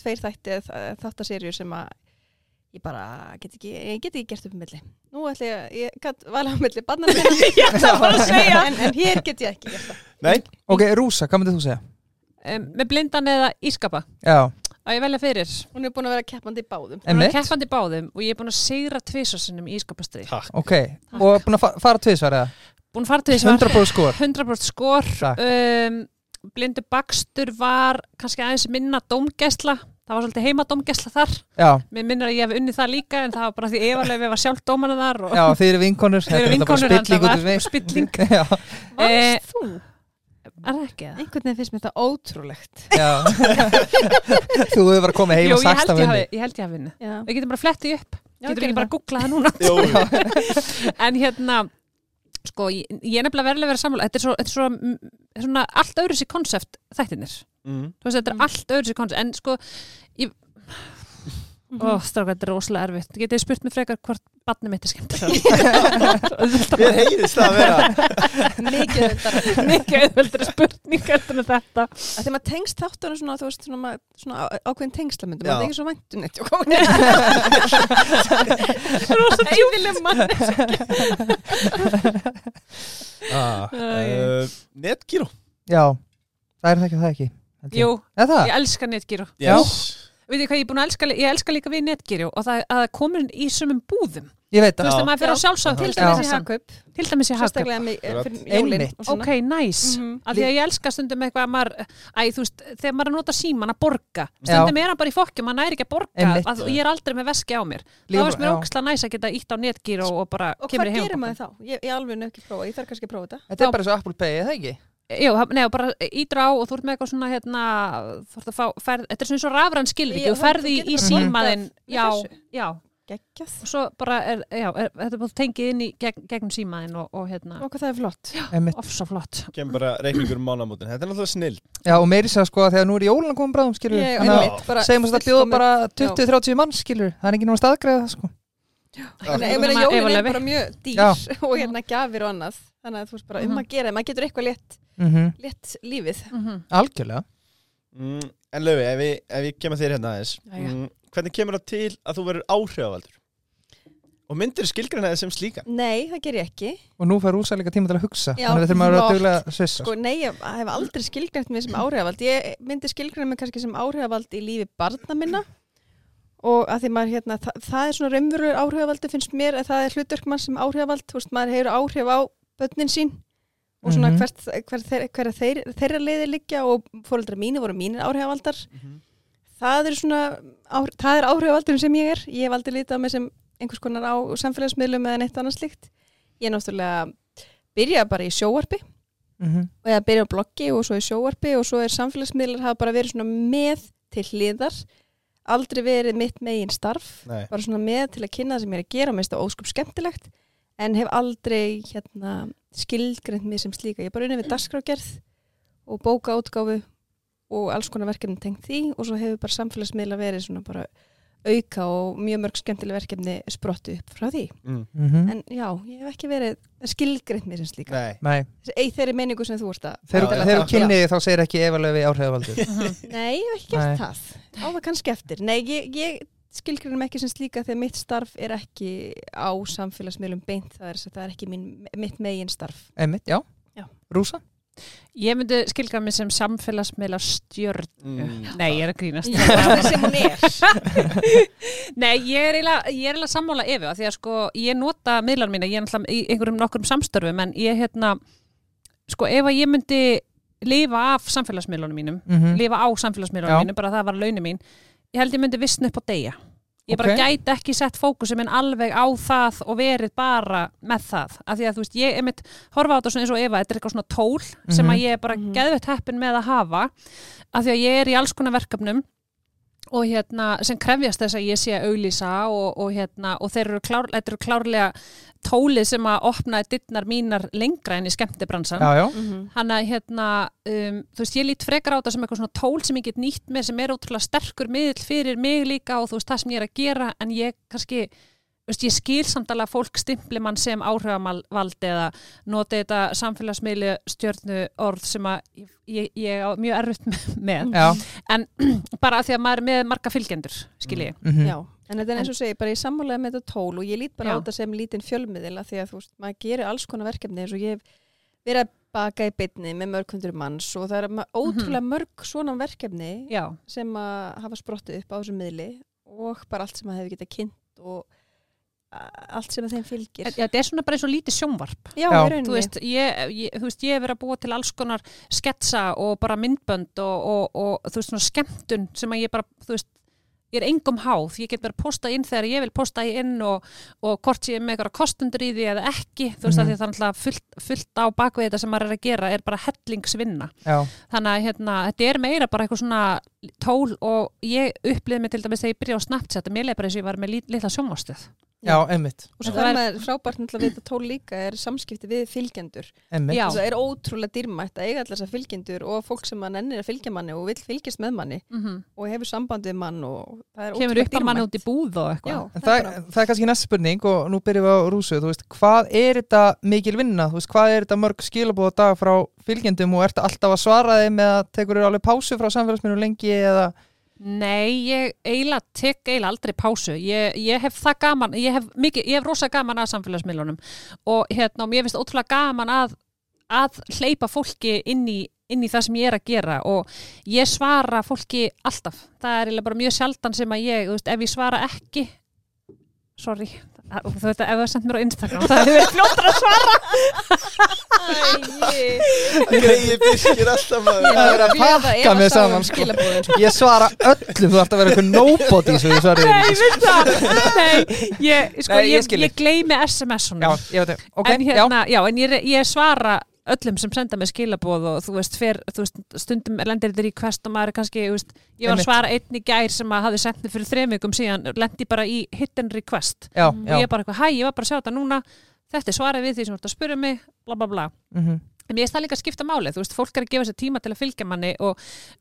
[SPEAKER 4] tveir þætti þáttaserjur sem að ég bara get ekki, ég get ekki gert upp á milli Nú ætla ég, að- ég gat vala á milli bannan
[SPEAKER 3] Ég ætla bara að segja
[SPEAKER 4] en, en hér get ég ekki gert það
[SPEAKER 1] Nei,
[SPEAKER 2] Ok, Rúsa, hvað myndir þú segja?
[SPEAKER 3] um, Með blindan eða ískapa
[SPEAKER 2] Já,
[SPEAKER 3] að ég velja fyrir
[SPEAKER 4] Hún er búin að vera keppandi í báðum
[SPEAKER 3] Hún er
[SPEAKER 2] emmitt.
[SPEAKER 3] keppandi í báðum og ég er búin að sigra tvisasunum í ískapastrið
[SPEAKER 1] takk
[SPEAKER 2] Ok, og búin að fa- fara tvisvar eða?
[SPEAKER 3] Búin að fara til þessu
[SPEAKER 2] 100% skor.
[SPEAKER 3] 100% skor
[SPEAKER 2] Takk.
[SPEAKER 3] um, Blindu bakstur var kannski aðeins minna dómgæsla Það var svolítið heimadómgæsla þar
[SPEAKER 2] Já,
[SPEAKER 3] Mér minnir að ég hef unnið það líka en það var bara því efalega við var sjálf dómana þar og
[SPEAKER 2] já, þið eru vinkonur.
[SPEAKER 3] Þið eru
[SPEAKER 2] Þetta er bara
[SPEAKER 3] vinkonur,
[SPEAKER 2] spilling
[SPEAKER 3] þetta
[SPEAKER 2] út í mig.
[SPEAKER 3] var spilling.
[SPEAKER 2] Já,
[SPEAKER 3] Eh,
[SPEAKER 4] Varst þú?
[SPEAKER 3] er það ekki það?
[SPEAKER 4] Einhvern veginn finnst mér þetta ótrúlegt
[SPEAKER 2] já. Þú hefur bara komið heim
[SPEAKER 3] Jú,
[SPEAKER 2] og
[SPEAKER 3] ég held
[SPEAKER 2] sagt að
[SPEAKER 3] ég hafi,
[SPEAKER 2] vinni.
[SPEAKER 3] ég held ég hafi vinnu.
[SPEAKER 4] Já.
[SPEAKER 3] Við getum bara flettið upp.
[SPEAKER 4] Já,
[SPEAKER 3] getum við
[SPEAKER 4] gerum
[SPEAKER 3] ekki bara að googla það núna.
[SPEAKER 1] Jú, jú.
[SPEAKER 3] en hérna, sko, ég, ég er nefnilega verið að vera sammála. Þetta er, svo, þetta er svo, mm, svona allt öðru sér konsept þættinir.
[SPEAKER 1] Mm.
[SPEAKER 3] Þú veist, þetta er
[SPEAKER 4] Mm.
[SPEAKER 3] allt öðru sér konsept. En sko, ég... Ó, stráka, þetta er rosalega erfitt. Getið þið spurt mér frekar hvort barnið mitt er skemmt það?
[SPEAKER 1] Mér heyrist það að vera
[SPEAKER 4] Mikið þetta
[SPEAKER 3] Mikið auðveldri spurningar heldur en þetta.
[SPEAKER 4] Þegar maður tengst þáttunum svona, þú veist, svona, maður- svona á- ákveðin tengslamöndu,
[SPEAKER 1] Já.
[SPEAKER 4] maður þykir svo væntum neitt sko. og komið. Rósa djúfileg mann.
[SPEAKER 1] ah,
[SPEAKER 3] Æ.
[SPEAKER 1] uh, Netgyro
[SPEAKER 2] Já, það er það ekki og það ekki. held ég.
[SPEAKER 3] Jú,
[SPEAKER 2] Er það?
[SPEAKER 3] ég elska netgíru.
[SPEAKER 1] yes.
[SPEAKER 3] Veit þið hvað ég er búin að elska? Ég elska líka við netgíru og það að það komin í sumum búðum.
[SPEAKER 2] Ég veit
[SPEAKER 3] Þú
[SPEAKER 2] það.
[SPEAKER 3] veist
[SPEAKER 1] Já.
[SPEAKER 3] að maður fyrir
[SPEAKER 4] Já.
[SPEAKER 3] að sjálfsög
[SPEAKER 4] Til
[SPEAKER 3] til
[SPEAKER 2] Já.
[SPEAKER 4] dæmis
[SPEAKER 3] dæmis
[SPEAKER 4] í
[SPEAKER 3] í hagkaup.
[SPEAKER 4] Hagkaup,
[SPEAKER 3] Til dæmis í hagkaup.
[SPEAKER 4] sérstaklega mig, eh, fyrir jólin.
[SPEAKER 2] Einmitt.
[SPEAKER 4] og svona.
[SPEAKER 3] Ok, næs.
[SPEAKER 4] Mhm.
[SPEAKER 3] Af því að ég elska stundum eitthvað að maður, æ, þú veist, þegar maður er að nota síman að borga. Stundum er hann bara í fokkjum, maður næri ekki að borga
[SPEAKER 2] Einmitt.
[SPEAKER 3] að, og ég er aldrei með veski á mér. Þá
[SPEAKER 2] Líka
[SPEAKER 3] veist
[SPEAKER 2] bara-
[SPEAKER 3] mér
[SPEAKER 2] já.
[SPEAKER 3] óksla næs að geta ítt á netgíru og, og bara
[SPEAKER 4] Og
[SPEAKER 3] kemur
[SPEAKER 4] hvað
[SPEAKER 3] í
[SPEAKER 4] gerir
[SPEAKER 3] heimabókum.
[SPEAKER 4] maður þá? Ég, ég alveg nefnir ekki að prófa, ég þarf kannski að prófa þetta.
[SPEAKER 2] Þetta er bara svo Apple Pay, eða ekki?
[SPEAKER 3] Jú, það- nei, og bara ítra á og þú ert með eitthvað svona, hérna, þú ert að fá, ferð, þetta er svona svo rafræn skilriki,
[SPEAKER 4] Já,
[SPEAKER 3] þú ferði
[SPEAKER 4] þú getur
[SPEAKER 3] í
[SPEAKER 4] bara
[SPEAKER 3] símaðinn,
[SPEAKER 4] borgað með
[SPEAKER 3] já,
[SPEAKER 4] þessu.
[SPEAKER 3] já,
[SPEAKER 4] Geggjað.
[SPEAKER 3] og svo bara er, já, er, þetta er bara tengið inn í gegn, gegnum símaðinn og, og hérna,
[SPEAKER 4] Og hvað það er flott.
[SPEAKER 2] Einmitt.
[SPEAKER 3] ofsa flott.
[SPEAKER 1] Kemur bara reikningur um mánamótin Þetta er náttúrulega snill
[SPEAKER 2] Já, og meiri sér sko að þegar nú er jólun að koma bráðum, skilur.
[SPEAKER 4] Ég-
[SPEAKER 2] Þannig að-
[SPEAKER 4] einmitt, bara
[SPEAKER 2] segjum þess að bjóða
[SPEAKER 4] fullkomið-
[SPEAKER 2] bara 20-30 mann skilur það er ekki náma staðgreða sko.
[SPEAKER 4] Þannig að ég meina,
[SPEAKER 3] Þannig að
[SPEAKER 4] jólin er
[SPEAKER 3] Eva
[SPEAKER 4] bara mjög
[SPEAKER 2] Já.
[SPEAKER 4] dýr og hérna gjafir og annað. Þannig að þú veist bara um
[SPEAKER 3] Mhm.
[SPEAKER 4] að gera, maður getur eitthvað létt,
[SPEAKER 2] mm -hmm.
[SPEAKER 4] létt lífið.
[SPEAKER 3] Mhm.
[SPEAKER 2] algjörlega
[SPEAKER 1] mm, En Laufi, ef ég, ef ég kemur þér hérna aðeins
[SPEAKER 4] Jæja.
[SPEAKER 1] mm, Hvernig kemur það til að þú verður áhrifavaldur? Og Og myndir skilgreina þið sem slíka?
[SPEAKER 4] Nei, það ger ég ekki.
[SPEAKER 2] og nú fær Úsa líka tíma til að hugsa
[SPEAKER 4] Já,
[SPEAKER 2] þannig að við þurfum að vera
[SPEAKER 4] flott.
[SPEAKER 2] að duglega svissa
[SPEAKER 4] Sko, nei, ég hef aldrei skilgrænt mig sem áhrifavald. Ég myndi skilgrænt mig kannski sem áhrifavald í lífi barna minna og að því maður hérna, það, það er svona raunverur áhrifavaldi finnst mér að það er hlutverk mann sem áhrifavald, þú veist, maður hefur áhrif á börnin sín og svona
[SPEAKER 2] Mhm.
[SPEAKER 4] mm hvert, hver, þeir, hver þeir, þeirra leiðir liggja og fóreldra mínu voru mínir áhrifavaldar. Það er svona, á, það er áhrifavaldurinn sem ég er. Ég hef aldrei lítið á mig sem einhvers konar á samfélagsmiðlum eða neitt annars slíkt. Ég náttúrulega byrja bara í sjóarpi
[SPEAKER 2] Mhm.
[SPEAKER 4] og eða byrja á bloggi og svo í sjóvarpi og svo er samfélagsmiðlar hafa bara verið svona með til hliðar aldrei verið mitt megin starf
[SPEAKER 1] Nei.
[SPEAKER 4] bara svona með til að kynna það sem ég er að gera og minnst það óskup skemmtilegt en hef aldrei hérna, skilgrind mig sem slíka, ég er bara unni við dagskrágerð og bókaútgáfu og alls konar verkefni tengt því og svo hefur bara samfélagsmiðla verið svona bara auka og mjög mörg skemmtileg verkefni sprottu upp frá því
[SPEAKER 1] Mm.
[SPEAKER 2] Mhm.
[SPEAKER 4] en já, ég hef ekki verið skilgrind mig sem slíka,
[SPEAKER 1] Nei.
[SPEAKER 2] Nei,
[SPEAKER 4] Þessi- ei þeirri meiningu sem þú ert að
[SPEAKER 1] Já,
[SPEAKER 2] þegar
[SPEAKER 1] já,
[SPEAKER 2] þegar þú
[SPEAKER 1] já.
[SPEAKER 2] kynnið þá segir ekki efalegu við áhrifavaldur
[SPEAKER 4] Nei, ég hef ekki gert
[SPEAKER 2] Nei.
[SPEAKER 4] það. Á það kannski eftir. Nei, ég, ég skilgrunum ekki sem slíka þegar mitt starf er ekki á samfélagsmiðlum beint. Það er, það er ekki mín, mitt megin starf.
[SPEAKER 2] Einmitt, já.
[SPEAKER 4] Já.
[SPEAKER 2] Rúsa?
[SPEAKER 3] Ég myndi skilga mig sem samfélagsmiðla stjörn.
[SPEAKER 1] Mm.
[SPEAKER 3] Nei, ég er að grínast.
[SPEAKER 4] sem hún er.
[SPEAKER 3] Nei, ég er eiginlega ég er eiginlega sammála efu af því að sko, ég nota miðlar mína, ég er náttúrulega í einhverjum nokkrum samstörfum, en ég hérna, sko, ef að ég myndi lifa af samfélagsmiðlunum mínum,
[SPEAKER 2] Mhm.
[SPEAKER 3] lifa á
[SPEAKER 2] Já.
[SPEAKER 3] samfélagsmiðlunum mínum, bara það var launin mín, ég held ég myndi vissna upp á deyja. Ég bara
[SPEAKER 2] Ok.
[SPEAKER 3] gæti ekki sett fókusum en alveg á það og verið bara með það. Af því að þú veist, ég er mitt horfa á þetta svona eins og Eva, þetta er eitthvað svona tól sem
[SPEAKER 2] Mhm.
[SPEAKER 3] að ég er bara
[SPEAKER 4] Mhm.
[SPEAKER 3] geðvett heppin með að hafa af því að ég er í alls konar verkefnum og hérna sem krefjast þess að ég sé að auglýsa og, og hérna og þeir eru, klár, þetta eru klárlega tólið sem að opnaði dittnar mínar lengra enn í skemmtibransan
[SPEAKER 2] Já, já.
[SPEAKER 3] Þannig að hérna, um, þú veist, ég lít frekar á þetta sem eitthvað svona tól sem ég get nýtt með sem er ótrúlega sterkur miðl fyrir mig líka og þú veist, það sem ég er að gera en ég kannski, þú veist, ég skil samt alveg að fólk stimpli mann sem áhrifamald eða noti þetta samfélagsmiðli stjörnu orð sem að ég, ég, ég á mjög erfitt með
[SPEAKER 2] Já.
[SPEAKER 3] bara af því að maður er með marga fylgjendur, skil ég.
[SPEAKER 2] mhm.
[SPEAKER 4] Já. En þetta er eins og segja, bara ég sammálaði með þetta tól og ég lít bara á
[SPEAKER 3] Já.
[SPEAKER 4] þetta sem lítinn fjölmiðila því að þú veist, maður gerir alls konar verkefni eins og ég hef verið að baka í bytni með mörg hundur manns og það er ma- ótrúlega mörg svona verkefni
[SPEAKER 3] Mhm. Já,
[SPEAKER 4] sem að hafa sprottið upp á þessum miðli og bara allt sem að hefur getað kynnt og a- allt sem að þeim fylgir.
[SPEAKER 3] En- ja, þetta er svona bara eins og lítið sjónvarp.
[SPEAKER 4] já,
[SPEAKER 2] Já.
[SPEAKER 4] í rauninni.
[SPEAKER 3] þú veist, ég, ég, þú veist, ég hef verið að búa til alls konar sketsa og bara myndbönd og, og, og þú veist, svona skemmtun sem að ég bara, þú veist, ég er engum háð, ég get verið að posta inn þegar ég vil posta inn og, og hvort ég er með eitthvað kostundur í því eða ekki, þú veist,
[SPEAKER 2] Mhm.
[SPEAKER 3] mm -hmm. það er alltaf fullt, fullt á bakvið þetta sem maður er að gera er bara hellingsvinna
[SPEAKER 2] Já.
[SPEAKER 3] þannig að hérna, þetta er meira bara eitthvað svona tól og ég upplýði mig til dæmis þegar ég byrja á Snapchat að mér leið bara eins og ég var með lit, litla sjónvastöð
[SPEAKER 2] Já, einmitt.
[SPEAKER 4] og svo
[SPEAKER 3] það er-
[SPEAKER 4] það með frábært náttúrulega við þetta tól líka er samskipti við fylgjendur.
[SPEAKER 2] Einmitt.
[SPEAKER 3] Já.
[SPEAKER 4] Það er ótrúlega dýrmætt að eiga allar þessar fylgjendur og fólk sem að nennir að fylgja manni og vil fylgjast með manni
[SPEAKER 3] mm -hmm.
[SPEAKER 4] og hefur samband við mann og það er
[SPEAKER 3] kemur
[SPEAKER 4] Mhm. ótrúlega
[SPEAKER 3] upp að mann
[SPEAKER 4] dýrmætt.
[SPEAKER 3] út í búð sko. og eitthvað
[SPEAKER 4] Já,
[SPEAKER 2] En
[SPEAKER 4] það
[SPEAKER 2] það,
[SPEAKER 4] er bara-
[SPEAKER 2] það er kannski næst spurning og nú byrjum við á rúsu, þú veist, hvað er þetta mikil vinna, þú veist, hvað er þetta mörg skilabóða dag frá fylgjendum og ertu alltaf að svara þeim eða tekur þér alveg pásu frá samfélagsminu lengi eða,
[SPEAKER 3] Nei, ég eiginlega tek eiginlega aldrei pásu. Ég, ég hef það gaman, ég hef, mikið, ég hef rosa gaman að samfélagsmiðlunum og hérna, og mér finnst ótrúlega gaman að, að hleypa fólki inn í, inn í það sem ég er að gera og ég svara fólki alltaf. Það er eiginlega bara mjög sjaldan sem að ég, þú veist, ef ég svara ekki, sorry, það- þú veit að ef það sendt mér á Instagram, það hefur verið fljóttur að svara.
[SPEAKER 1] Greiði byrkir alltaf maður.
[SPEAKER 2] Það er að pakka mér
[SPEAKER 4] um
[SPEAKER 2] saman, sko.
[SPEAKER 4] skilabóðin.
[SPEAKER 2] ég svara öllum, þú ert að vera eitthvað nobody svo ég svari
[SPEAKER 3] Nei,
[SPEAKER 2] þeim.
[SPEAKER 3] ég veit það. Nei, ég, sko,
[SPEAKER 2] Nei, ég
[SPEAKER 3] ég,
[SPEAKER 2] skil
[SPEAKER 3] ég,
[SPEAKER 2] þig.
[SPEAKER 3] ég gleymi SMS-unum.
[SPEAKER 2] Já, ég veit það, ok,
[SPEAKER 3] en
[SPEAKER 2] já,
[SPEAKER 3] hérna, já, en ég, re- ég svara öllum sem senda mig skilaboð og þú veist, fer, þú veist stundum lendir þetta í quest og maður er kannski, þú veist, ég var að
[SPEAKER 2] Einmitt.
[SPEAKER 3] svara einn í gær sem að hafði sendið fyrir þrejum vikum síðan lendi bara í hidden request
[SPEAKER 2] já,
[SPEAKER 4] Mhm.
[SPEAKER 3] og
[SPEAKER 2] já,
[SPEAKER 3] ég bara eitthvað, hæ, ég var bara að sjá þetta núna þetta er svarað við því sem þú ert að spyrja mig bla bla bla,
[SPEAKER 2] mhm,
[SPEAKER 3] en ég er það líka að skipta máli þú veist, fólk er að gefa sér tíma til að fylgja manni og,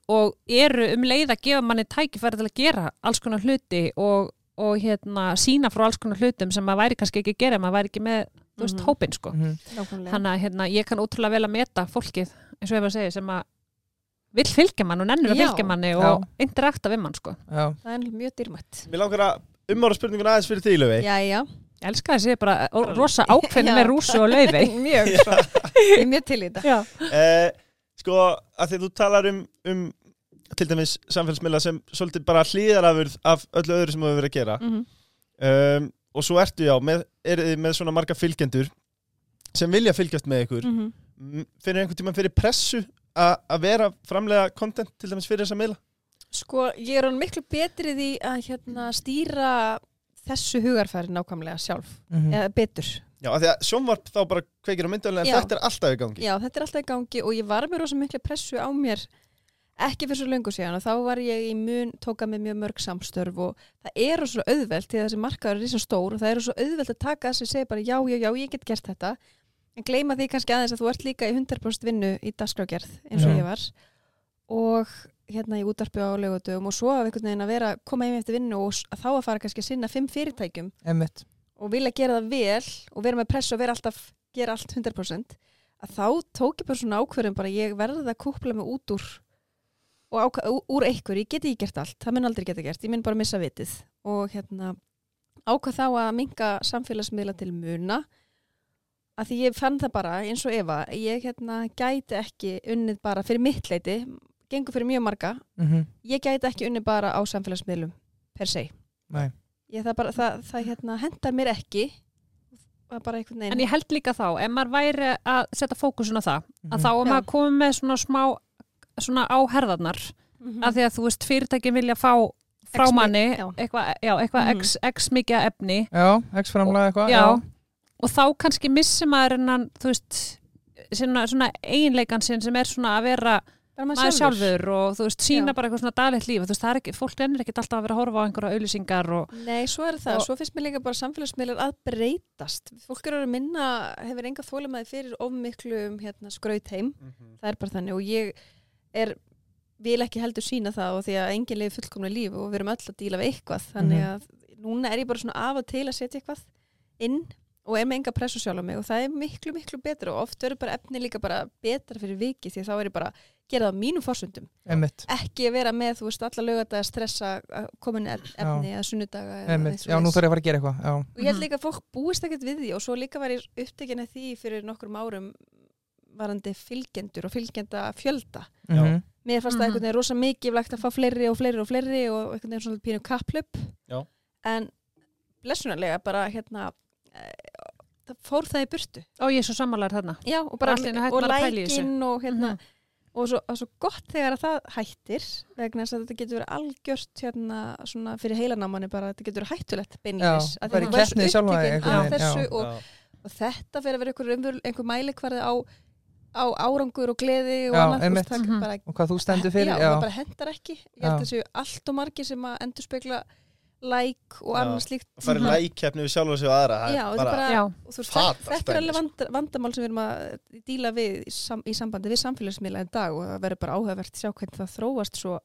[SPEAKER 3] og eru um leið að gefa manni tækifæri til að gera alls konar hluti og, og hérna, sína frá alls konar hlutum sem maður væri kannski ekki að gera ef maður væri ekki með, þú veist,
[SPEAKER 4] Mhm.
[SPEAKER 3] hópin sko
[SPEAKER 2] mhm.
[SPEAKER 4] Nákvæmlega.
[SPEAKER 3] þannig að hérna, ég kann ótrúlega vel að meta fólkið eins og ef að segja sem að vill fylgja mann og nennir að
[SPEAKER 4] Já.
[SPEAKER 3] fylgja manni
[SPEAKER 2] Já.
[SPEAKER 3] og interakta við mann sko
[SPEAKER 2] já,
[SPEAKER 4] Það er mjög dýrmætt.
[SPEAKER 1] Mér langar að umára spurninguna aðeins fyrir því, Löfi.
[SPEAKER 4] Jæja.
[SPEAKER 3] Ég elska þessi bara eh, rosa
[SPEAKER 4] Já.
[SPEAKER 3] ákveðin með rúsu og laufey.
[SPEAKER 4] mjög svo, ég er mjög til í þetta
[SPEAKER 3] Já.
[SPEAKER 1] Eh, sko, að því þú talar um, um til dæmis samfélagsmiðla sem svolítið bara hlýðarafurð af öllu öðru sem þú hefur verið að gera
[SPEAKER 4] mm -hmm.
[SPEAKER 1] um, og svo ertu já, með, er, með svona marga fylgjendur sem vilja fylgjast með ykkur
[SPEAKER 4] Mm
[SPEAKER 3] Mhm.
[SPEAKER 4] -hmm.
[SPEAKER 1] mm. fyrir einhvern tíma fyrir pressu a- að vera framlega content til dæmis fyrir þessa miðla
[SPEAKER 4] Sko, ég er hann miklu betrið í að hérna, stýra þessu hugarfæri nákvæmlega sjálf,
[SPEAKER 2] Mhm.
[SPEAKER 4] eða betur.
[SPEAKER 1] Já, af því að sjónvarp þá bara kveikir á myndavölinni en
[SPEAKER 4] Já.
[SPEAKER 1] þetta er alltaf í gangi
[SPEAKER 4] Já, þetta er alltaf í gangi og ég var með rosa miklu pressu á mér ekki fyrir svo löngu síðan og þá var ég í mun, tóka með mjög mörg samstörf og það er svo auðvelt því að þessi markaður er risa stór og það er svo auðvelt að taka þessi segja bara já, já, já, ég get gert þetta en gleyma því kannski aðeins að þú ert líka í 100% vinnu í dagskrágerð eins og
[SPEAKER 2] Já.
[SPEAKER 4] ég var og hérna ég útarpi á lögutum og svo af einhvern veginn að vera koma heim eftir vinnu og s- að þá að fara kannski að sinna fimm fyrirtækjum
[SPEAKER 2] Einmitt.
[SPEAKER 4] og vilja gera það vel og vera með press og vera alltaf, gera allt 100% að þá tók ég bara svona ákverðum bara ég verði að kúpla mig út úr og áka, ú- úr einhver, ég geti ekki gert allt það mun aldrei geta gert, ég mun bara missa vitið og hérna ákvað þá að minga samfélagsmiðla til muna að því ég fann það bara eins og Eva, ég hérna gæti ekki unnið bara fyrir mitt leiti gengur fyrir mjög marga
[SPEAKER 2] Mhm.
[SPEAKER 4] ég gæti ekki unni bara á samfélagsmiðlum per se
[SPEAKER 2] Nei.
[SPEAKER 4] ég, það, bara, það, það hérna, hendar mér ekki það er bara einhvern
[SPEAKER 3] En
[SPEAKER 4] veginn
[SPEAKER 3] ég held líka þá, ef maður væri að setja fókusun á það, að þá er
[SPEAKER 4] Mhm. Já.
[SPEAKER 3] maður komið með svona smá svona áherðarnar
[SPEAKER 4] Mhm.
[SPEAKER 3] af því að þú veist fyrirtækin vilja fá frá
[SPEAKER 4] X mi-
[SPEAKER 3] manni
[SPEAKER 4] já.
[SPEAKER 3] eitthvað já, eitthvað
[SPEAKER 4] Mhm.
[SPEAKER 3] x, x mikið af efni
[SPEAKER 2] Já, x-framlega eitthvað
[SPEAKER 3] já. og þá kannski missi maður hennan þú veist svona, svona eiginleikan sinn sem er svona að vera
[SPEAKER 4] bara
[SPEAKER 3] maður sjálfur og þú veist sína
[SPEAKER 4] Já.
[SPEAKER 3] bara eitthvað svona daglegt líf þú veist það er ekki, fólk ennir ekkit alltaf að vera að horfa á einhverja auðlýsingar og
[SPEAKER 4] Nei, svo er það,
[SPEAKER 3] Og-
[SPEAKER 4] svo finnst mér líka bara samfélagsmiðlar að breytast. Fólk eru að minna, hefur enga þólimaði fyrir ofmiklum hérna, skraut heim. það er bara þannig og ég er vil ekki heldur sína það og því að enginn lifi fullkomna líf og við erum öll að díla við eitthvað þannig
[SPEAKER 2] Mhm.
[SPEAKER 4] að núna er ég bara svona af og til að setja eitthvað inn og er með enga pressu sjálf á mig og það er miklu, miklu betra og oft verður bara efni líka bara betra fyrir vikið því að þá er ég bara að gera það á mínum forsöndum
[SPEAKER 2] Einmitt.
[SPEAKER 4] ekki að vera með, þú veist, alla lögata að stressa að koma inn ef- efni eða sunnudaga eða neitt
[SPEAKER 2] Einmitt. Já, nú
[SPEAKER 4] svoleiðis.
[SPEAKER 2] þarf ég að fara að gera eitthvað Já,
[SPEAKER 4] Og ég held
[SPEAKER 3] Mhm.
[SPEAKER 4] líka að fólk búist ekkert við því og svo líka var ég upptekin að því fyrir nokkrum árum varandi fylgjendur og fylgjenda fjölda.
[SPEAKER 1] Já.
[SPEAKER 2] Mhm.
[SPEAKER 4] Mér fannst það
[SPEAKER 3] Mhm.
[SPEAKER 4] einhvern veginn rosa mikilvægt að fá fleiri og fleiri og fleiri og einhvern veginn svona pínu kapplöp.
[SPEAKER 1] Já.
[SPEAKER 4] En blessunarlega bara hérna, eh, það fór það í burtu.
[SPEAKER 3] ó ég er svo sammálar þarna
[SPEAKER 4] Já, og bara
[SPEAKER 3] Allt í einu hætti
[SPEAKER 4] og
[SPEAKER 3] maður að pæla í þessu.
[SPEAKER 4] lækin og hérna,
[SPEAKER 3] Mhm.
[SPEAKER 4] og svo, og svo gott þegar að það hættir vegna þess að þetta getur verið algjört hérna svona fyrir heilanámanni bara þetta getur verið hættulegt
[SPEAKER 2] Já,
[SPEAKER 4] beinlífis Af því
[SPEAKER 2] bara í
[SPEAKER 4] þú verður svo
[SPEAKER 2] keppni sjálfa
[SPEAKER 4] upptekin
[SPEAKER 2] einhvern
[SPEAKER 4] af
[SPEAKER 2] veginn,
[SPEAKER 4] þessu
[SPEAKER 2] já.
[SPEAKER 4] og, og þetta fyrir að vera einhver, umvöl, einhver mælikvarði á, á árangur og gleði og
[SPEAKER 2] Já,
[SPEAKER 4] annað þú
[SPEAKER 2] einmitt.
[SPEAKER 4] veist, það
[SPEAKER 3] Mhm.
[SPEAKER 4] bara,
[SPEAKER 2] Og hvað þú stendur fyrir
[SPEAKER 4] já,
[SPEAKER 2] já.
[SPEAKER 4] það bara hendar ekki ég held
[SPEAKER 2] Já.
[SPEAKER 4] að þessu allt og margir sem að endur spekla læk og
[SPEAKER 1] Já.
[SPEAKER 4] annað slíkt
[SPEAKER 1] og farið
[SPEAKER 3] Mhm.
[SPEAKER 1] lægkeppni við sjálfa sig og aðra það er
[SPEAKER 4] Já, þetta er bara-
[SPEAKER 3] já,
[SPEAKER 4] og þú veist,
[SPEAKER 1] Fatal
[SPEAKER 4] þetta þetta
[SPEAKER 1] dæmi,
[SPEAKER 4] er alveg vand, vandamál sem við erum að díla við í, sam, í sambandi við samfélagsmiðla en dag og það verður bara áhugavert að sjá hvernig það þróast svo